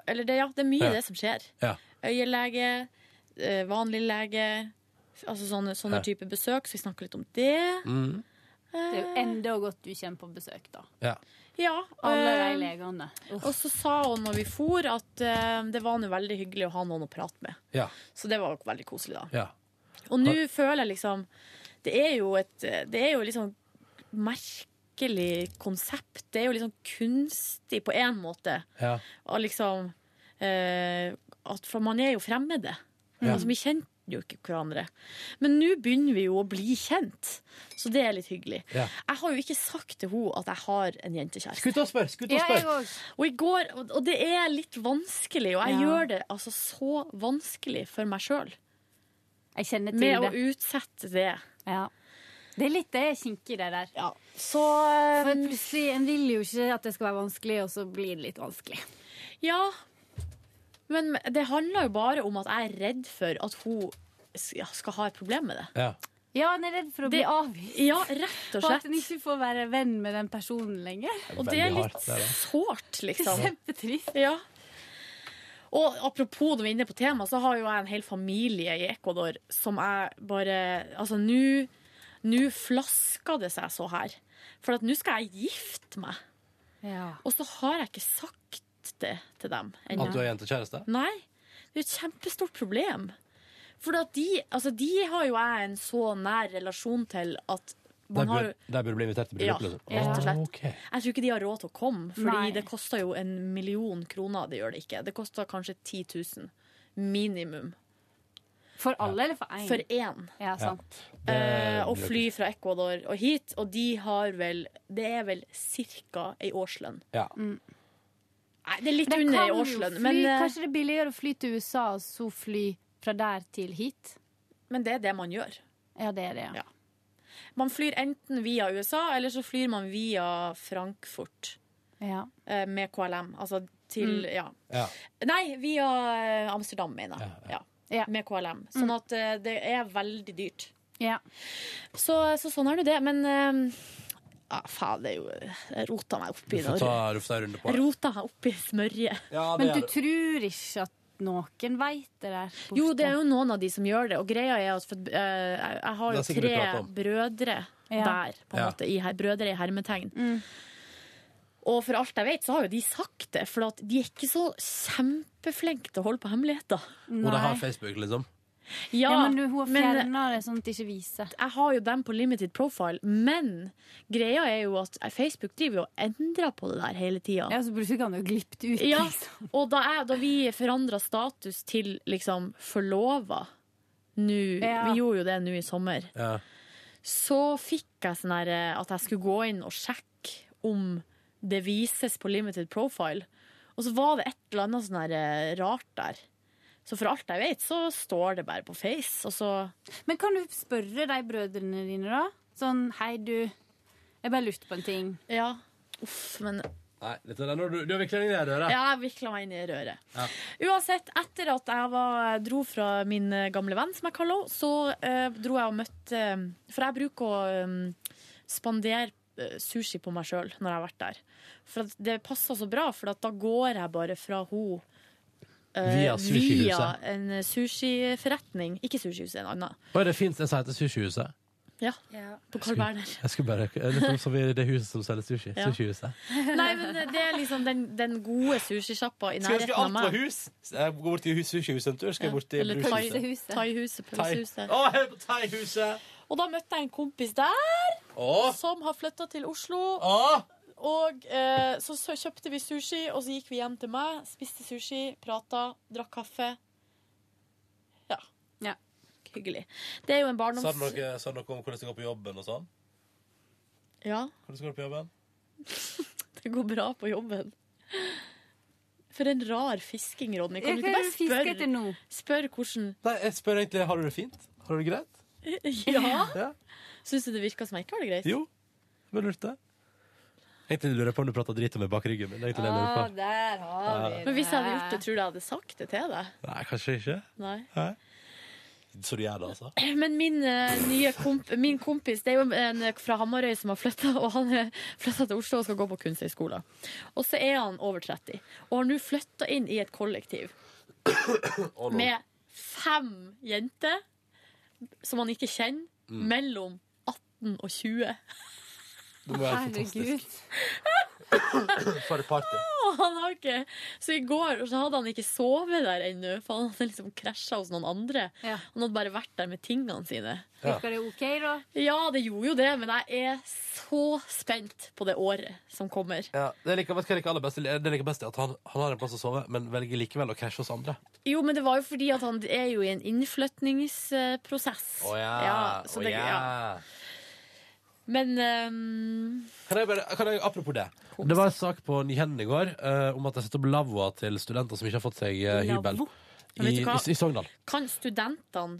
S3: Eller det, ja, det er mye
S2: Ja.
S3: det som skjer.
S2: Ja.
S3: Øyelege, eh, vanlig lege, altså sånne,
S2: Ja.
S3: sånne type besøk. Så vi snakker litt om det.
S2: Mm.
S13: Det er jo enda godt du kommer på besøk, da.
S2: ja.
S3: Ja,
S13: Alle
S11: Ehm,
S13: de
S3: eh,
S13: legene.
S3: Og så sa hun når vi for at eh, det var nå veldig hyggelig å ha noen å prate med.
S2: Ja.
S3: Så det var veldig koselig, da.
S2: Ja.
S3: Og nå føler jeg liksom Det er jo et Det er jo liksom merkelig konsept. Det er jo liksom kunstig på én måte.
S2: Ja.
S3: Og liksom eh, at, For man er jo fremmede.
S2: Ja.
S3: Altså, vi kjente jo ikke hverandre. Men nå begynner vi jo å bli kjent, så det er litt hyggelig.
S2: Ja.
S3: Jeg har jo ikke sagt til henne at jeg har en jentekjæreste.
S2: Skutt og spør, skutt og Ja, jeg spør.
S3: Og i går, og og det er litt vanskelig, og jeg
S13: Ja.
S3: gjør det altså så vanskelig for meg sjøl.
S13: Jeg kjenner til
S3: Med
S13: det.
S3: å utsette det.
S13: Ja. Det er litt det er kinkig, det der.
S3: Så
S13: For plutselig, En vil jo ikke at det skal være vanskelig, og så blir det litt vanskelig.
S3: Ja. Men det handler jo bare om at jeg er redd for at hun s- ja, skal ha et problem med det.
S2: Ja.
S13: Ja, han er redd for å bli
S3: Det-
S13: avvist.
S3: Ja, rett og
S13: Og at
S3: slett.
S13: en ikke får være venn med den personen lenger.
S3: Og det er litt sårt, liksom.
S13: Kjempetrist.
S3: Ja. Og apropos når vi er inne på tema, så har jo jeg en hel familie i Ecuador som jeg bare Altså, nå Nå flasker det seg så her. For at nå skal jeg gifte meg. Og så har jeg ikke sagt det til dem ennå.
S2: At du er jentekjæreste?
S3: Nei. Det er jo et kjempestort problem. For at de, altså, de har jo jeg en så nær relasjon til at
S2: Der
S3: man har
S2: burde, der burde du bli invitert til
S3: ja,
S2: bryllup, liksom.
S3: rett og slett.
S2: Ah, ok.
S3: Jeg tror ikke de har råd til å komme, fordi
S13: Nei.
S3: det koster jo en million kroner. Det gjør det ikke. Det koster kanskje 10 000. Minimum.
S13: For alle eller for én?
S3: For én.
S13: Ja, sant.
S3: Eh, og fly fra Ecuador og hit. Og de har vel Det er vel ca. ei årslønn.
S2: Ja.
S3: mm. Nei, det er litt
S13: Det
S3: under
S13: kan
S3: ei
S13: jo
S3: årslønn,
S13: fly-
S3: men, eh,
S13: Kanskje det er billigere å fly til USA og så fly fra der til hit?
S3: men det er det man gjør.
S13: Ja, det er det. ja.
S3: Man flyr enten via USA, eller så flyr man via Frankfurt
S11: Ja.
S3: eh, med KLM. Altså til
S11: Mm.
S3: Ja.
S11: Ja.
S3: Nei, via eh, Amsterdam, mener jeg. Ja, Med KLM.
S11: Mm.
S3: Sånn at eh, det er veldig dyrt. Så, så sånn er nå det. Men eh, ja, faen, det er jo Jeg rota meg opp
S2: Du
S3: i det.
S2: får ta du får ta en runde på
S3: Jeg
S2: det.
S3: rota meg opp i smørje.
S2: Ja, det
S11: Men
S2: er
S11: du
S2: det.
S11: tror ikke at noen veit det der?
S3: Jo, det er jo noen av de som gjør det, og greia er at for, eh, jeg jeg har
S11: Det
S3: jo
S11: er sikkert vi
S3: tre
S11: prater om.
S3: brødre
S11: Ja. Mm.
S3: der, på en
S11: Ja.
S3: måte, i, her- brødre i hermetegn. Og for alt jeg vet, så har jo de sagt det, for at de er ikke så kjempeflinke til å holde på hemmeligheter.
S2: Og de har Facebook, liksom.
S11: Ja,
S3: Ja,
S11: men du, hun har
S3: men- eh,
S11: fjerna det sånn at det ikke viser.
S3: Jeg har jo dem på limited profile, men greia er jo at eh, Facebook driver jo og endrer på det der hele tida.
S13: Altså,
S11: Ja, så plutselig kan det jo glippe ut.
S3: Ja, og da, jeg, da vi forandra status til liksom forlova nå
S11: Ja.
S3: Vi gjorde jo det nå i sommer.
S2: Ja.
S3: Så fikk jeg sånn her eh, at jeg skulle gå inn og sjekke om det vises på limited profile. Og så var det et eller annet sånn her eh, rart der. Så for alt jeg vet, så står det bare på Face, og så
S11: Men kan du spørre de brødrene dine, da? Sånn hei, du. Jeg bare lurte på en ting.
S3: Ja. Uff, men
S2: Nei, dette er når du, du har virkelig ingen idé,
S3: Ja,
S2: Røra.
S3: jeg vikla meg inn i røret.
S2: Ja.
S3: Uansett, etter at jeg var, dro fra min eh, gamle venn, som jeg kaller henne, så eh, dro jeg og møtte eh, For jeg bruker å eh, spandere eh, sushi på meg sjøl når jeg har vært der. For at det passer så bra, for at da går jeg bare fra henne
S2: Via sushihuset.
S3: via en eh, sushiforretning. Ikke sushihuset, en annen.
S2: Oi, det fins en som heter Sushihuset.
S3: Ja, På Carl Berner.
S2: Jeg skulle bare jeg lurer på om så vi- Det er huset som selger sushi.
S3: Ja.
S2: Sushihuset.
S3: Nei, men det er liksom den, den gode sushisjappa i
S5: Skal jeg
S3: nærheten
S5: huske
S3: av
S5: alt på
S3: meg.
S5: hus? Jeg går bort til hus- sushihuset en tur. Skal jeg bort til
S3: Eller
S5: brushuset.
S3: thai- thaihuset.
S5: Thai.
S3: pølsehuset.
S5: Å, jeg er på thaihuset!
S3: Og da møtte jeg en kompis der,
S5: Åh.
S3: som har flytta til Oslo. Og eh, så, så kjøpte vi sushi, og så gikk vi hjem til meg, spiste sushi, prata, drakk kaffe. Ja. Hyggelig. Det er jo
S2: Sa
S3: en
S2: du
S3: barndoms...
S2: noe, sa du noe om hvordan det går på jobben og sånn?
S3: Ja,
S2: Hvordan går det på jobben?
S3: det går bra på jobben. For en rar fisking, Ronny. Kan
S11: Ja,
S3: du
S11: hva
S3: ikke
S11: er det
S3: bare
S11: du fisker
S3: spørre
S11: etter nå?
S3: spør hvordan
S5: Nei, jeg spør egentlig har du det fint. Har du det greit?
S3: Ja? Syns du det virka som jeg ikke har det greit?
S2: Jo. Jeg bare lurte. Egentlig lurer jeg på om du prater drit om meg bak ryggen min. Det er egentlig det jeg lurer på.
S11: der
S2: har vi Ja. det.
S3: Men hvis jeg hadde gjort det, tror du jeg hadde sagt det til deg?
S2: Nei, kanskje ikke.
S3: Nei.
S2: Hæ? Så du gjør det, altså?
S3: Men min eh, nye komp min kompis Det er jo en eh, fra Hamarøy som har flytta, og han har flytta til Oslo og skal gå på kunsthøgskolen. Og så er han over 30, og har nå flytta inn i et kollektiv med fem jenter som han ikke kjenner,
S5: Mm.
S3: mellom 18 og 20.
S5: Det må være fantastisk. For et party.
S3: Og han har ikke Så i går så hadde han ikke sovet der ennå, for han hadde liksom krasja hos noen andre. Han hadde bare vært der med tingene sine.
S11: Ja. Virker det OK, da?
S3: Ja, det gjorde jo det, men jeg er så spent på det året som kommer.
S2: Ja, det liker, vet du hva jeg liker aller best? Det liker best er at han, han har en plass å sove, men velger likevel å krasje hos andre.
S3: Jo, men det var jo fordi at han er jo i en innflytningsprosess. så det- ja. Men ehm,
S2: Kan jeg bare, kan jeg, apropos det. Det var en sak på Nyhenden i går eh, om at de setter opp lavvoa til studenter som ikke har fått seg eh, hybel.
S3: Lavvo?
S2: I,
S3: Men vet du
S2: i,
S3: hva?
S2: I Sogndal.
S3: kan studentene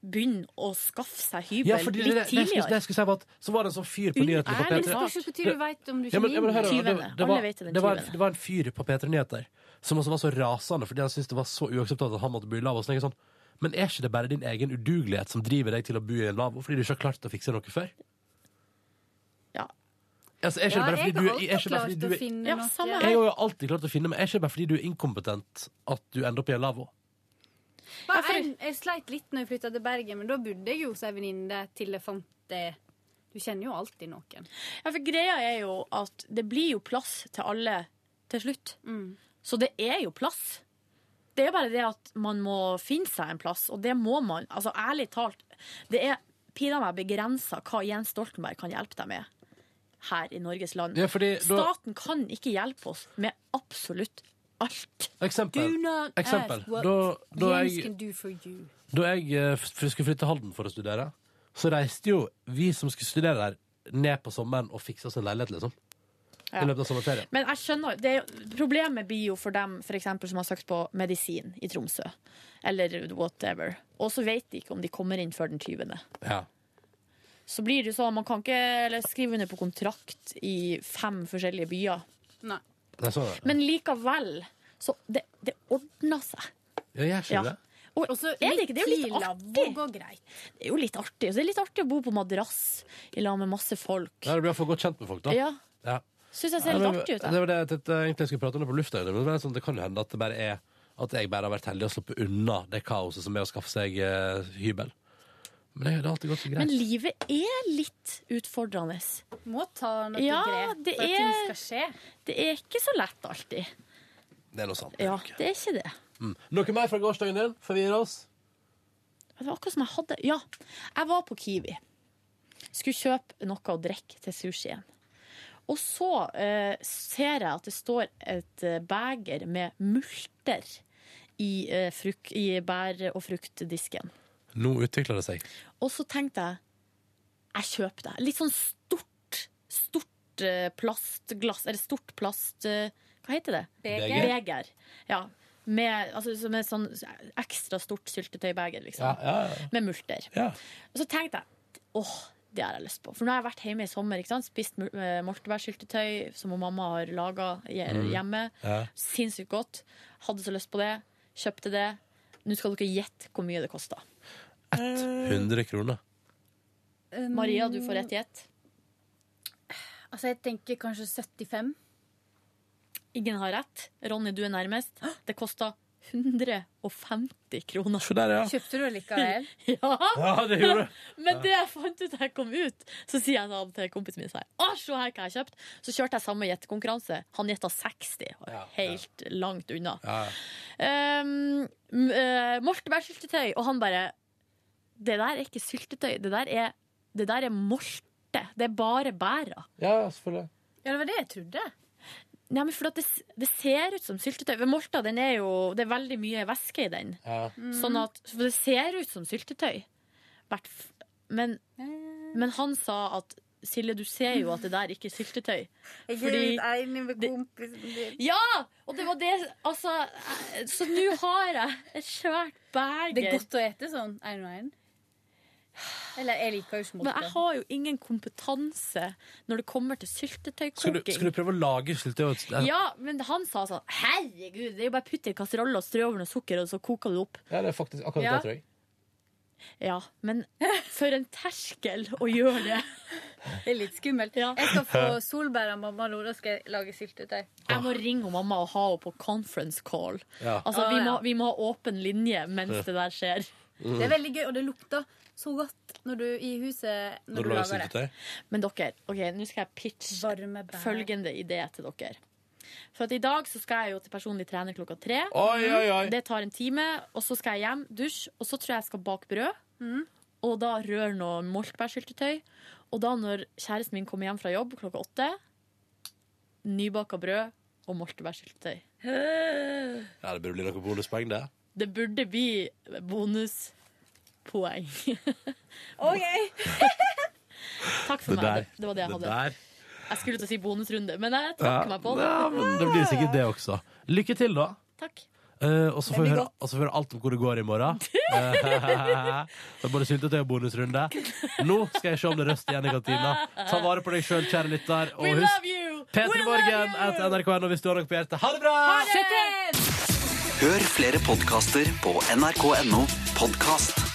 S3: begynne å skaffe seg hybel
S2: Ja, fordi det, det,
S3: litt
S2: det, jeg skulle- det
S3: tidligere?
S2: jeg skulle si var at Så var det en sånn fyr på nyhetene på
S3: Uærlig
S2: P3.
S3: smart. Det spørs jo hvor tidlig du vet om du
S2: Ja, men-
S3: kommer
S2: ja, men
S3: inn.
S2: hør da, det-
S3: Tyvene.
S2: det
S3: Alle
S2: var-
S3: vet det, den
S2: Det var en-
S3: tyvene.
S2: det var en fyr på P3 Nyheter som også var så rasende fordi han syntes det var så uakseptabelt at han måtte bo i lavvo. Så tenker jeg Sånn, men er ikke det bare din egen udugelighet som driver deg til å bo i en lavvo fordi du ikke har klart å fikse noe før?
S3: Ja.
S2: Altså, er ikke det bare fordi du er ikke det bare fordi du er-
S3: ja, samme
S2: Jeg
S3: her.
S2: har jo alltid klart å finne, men er ikke det bare fordi du er inkompetent at du ender opp i en lavvo?
S11: Bare en- jeg sleit litt når jeg flytta til Bergen, men da bodde jeg jo hos ei venninne til jeg fant det. Du kjenner jo alltid noen.
S3: Ja, for greia er jo at det blir jo plass til alle til slutt. Så det er jo plass. Det er bare det at man må finne seg en plass, og det må man. Altså, ærlig talt, det er pinadø meg begrensa hva Jens Stoltenberg kan hjelpe deg med her i Norges land.
S2: Ja, fordi da-
S3: Staten kan ikke hjelpe oss med absolutt alt.
S2: Eksempel. Eksempel. Da, da jeg Da jeg eh, f- skulle flytte til Halden for å studere, så reiste jo vi som skulle studere der, ned på sommeren og fiksa oss en leilighet, liksom.
S3: Ja.
S2: I løpet av sommerferien.
S3: Men jeg skjønner, det, er jo- problemet blir jo for dem for eksempel, som har søkt på medisin i Tromsø, eller whatever, og så vet de ikke om de kommer inn før den 20.
S2: Ja.
S3: så blir det jo sånn man kan ikke eller, skrive under på kontrakt i fem forskjellige byer.
S13: Nei.
S2: Nei, sånn, ja.
S3: Men likevel, så det, det ordner seg.
S2: Ja, jeg skjønner
S3: Ja.
S2: det.
S3: Og er det ikke? Det er jo litt
S13: tidlig
S3: artig. Det er jo litt artig. Og så er det litt artig å bo på madrass i lag med masse folk.
S2: Ja, det blir i hvert fall godt kjent med folk, da.
S3: Ja.
S2: Ja.
S3: Syns jeg ser
S2: Ja,
S3: litt
S2: men-
S3: artig ut.
S2: Det
S3: jeg.
S2: var det jeg tenkte egentlig jeg skulle prate om det på lufta. Men det, er sånn, det kan jo hende at det bare er at jeg bare har vært heldig og sluppet unna det kaoset som er å skaffe seg eh, hybel. Men det, det har alltid gått så greit.
S3: Men livet er litt utfordrende.
S13: Må ta noe
S3: Ja,
S13: grep
S3: det
S13: for at ting
S3: er-
S13: skal skje.
S3: Det er ikke så lett alltid.
S2: Det er noe sant.
S3: Ja, det er ikke det.
S2: Mm. Noe mer fra gårsdagen din før vi gir oss?
S3: Det var akkurat som jeg hadde Ja, jeg var på Kiwi. Skulle kjøpe noe å drikke til sushien. Og så eh, ser jeg at det står et eh, beger med multer i, eh, fruk i bær- og fruktdisken.
S2: Nå utvikler det seg.
S3: Og så tenkte jeg jeg kjøper det. Litt sånn stort, stort eh, plastglass, eller stort plast eh, Hva heter det?
S2: Beger.
S3: Beger. Ja. Med, altså, som et sånn ekstra stort syltetøybeger, liksom.
S2: Ja, ja, ja.
S3: Med multer. Og så tenkte jeg åh, det har jeg lyst på. For nå har jeg vært hjemme i sommer, ikke sant? spist mul- eh, moltebærsyltetøy som hun mamma har laga
S13: Mm.
S3: hjemme.
S13: Ja.
S3: Sinnssykt godt. Hadde så lyst på det. Kjøpte det. Nå skal dere gjette hvor mye det kosta.
S2: 100 kroner.
S3: Maria, du får rett gjett.
S13: Altså, jeg tenker kanskje 75.
S3: Ingen har rett. Ronny, du er nærmest. Det kosta 150 kroner.
S2: Se der, ja.
S13: Kjøpte du likevel?
S3: ja.
S2: Ja, det gjorde du.
S3: Men det jeg fant ut da jeg kom ut, så sier jeg sånn til kompisen min så her, Å, se her hva jeg har kjøpt. Så kjørte jeg samme gjettekonkurranse. Han gjetta 60. og Helt langt unna.
S2: Ja.
S3: Um, m- eh, Moltebærsyltetøy. Og han bare Det der er ikke syltetøy. Det der er, det der er molte. Det er bare bæra.
S2: Ja, selvfølgelig.
S13: Ja, det var det jeg trodde.
S3: Nei, men for at det, det ser ut som syltetøy. Ved Molta den er jo, det er veldig mye væske i den.
S2: Ja.
S3: Sånn at, for det ser ut som syltetøy. Hvert f- Men, men han sa at Silje, du ser jo at det der ikke er syltetøy. Fordi
S13: enig med kompisen din.
S3: Ja! Og det var det Altså, eh, så nå har jeg et svært beger.
S13: Det er godt å ete sånn én og én. Eller jeg liker jo ikke
S3: Men jeg har jo ingen kompetanse når det kommer til
S2: Skal du,
S3: syltetøykoking.
S2: skal du prøve å lage syltetøy? og-
S3: Ja, men han sa sånn Herregud, det er jo bare å putte i en kasserolle og strø over noe sukker, og så koker det opp.
S2: ja, det er faktisk akkurat
S3: Ja.
S2: det, tror jeg.
S3: Ja, men for en terskel å gjøre det.
S13: Det er litt skummelt. Jeg skal få solbær av mamma nå, da skal jeg lage syltetøy.
S2: Ah.
S3: Jeg må ringe hun mamma og ha henne på conference call.
S13: Ja.
S3: Altså, vi,
S13: Å,
S3: må,
S13: ja.
S3: vi må ha åpen linje mens det der skjer.
S13: Det er veldig gøy, og det lukter så godt når du, i huset når, du lager det.
S3: Men dere, ok, nå skal jeg pitche følgende idé til dere. For at i dag så skal jeg jo til personlig trener klokka tre.
S2: Oi, oi, oi.
S3: Det tar en time, og så skal jeg hjem, dusj, og så tror jeg jeg skal bake brød. Og da røre noe moltbærsyltetøy. Og da når kjæresten min kommer hjem fra jobb klokka åtte, nybaka brød og moltebærsyltetøy.
S2: Ja, det burde bli noen bonuspoeng, det.
S3: Det burde bli bonuspoeng.
S13: OK!
S3: Takk for
S2: Det
S3: meg.
S2: der.
S3: Det, det var det jeg
S2: Det
S3: hadde.
S2: der.
S3: Jeg skulle til å si bonusrunde, men jeg trakk meg på det.
S2: Ja, men det blir sikkert det også. Lykke til, da.
S3: Takk.
S2: Eh, og så
S3: Det
S2: får vi
S3: blir
S2: høre,
S3: godt.
S2: og så får vi høre alt om hvor det går i morgen. Eh, det er både syltetøy og bonusrunde. Nå skal jeg se om det er røst igjen i kantina. Ta vare på deg sjøl, kjære lytter.
S3: We
S2: Og
S3: love
S2: husk
S3: you! We love
S2: P3morgen at nrk.no hvis du har noe på hjertet. Ha det bra!
S3: you! Ha det!
S7: Hør flere podkaster på nrk.no podkast.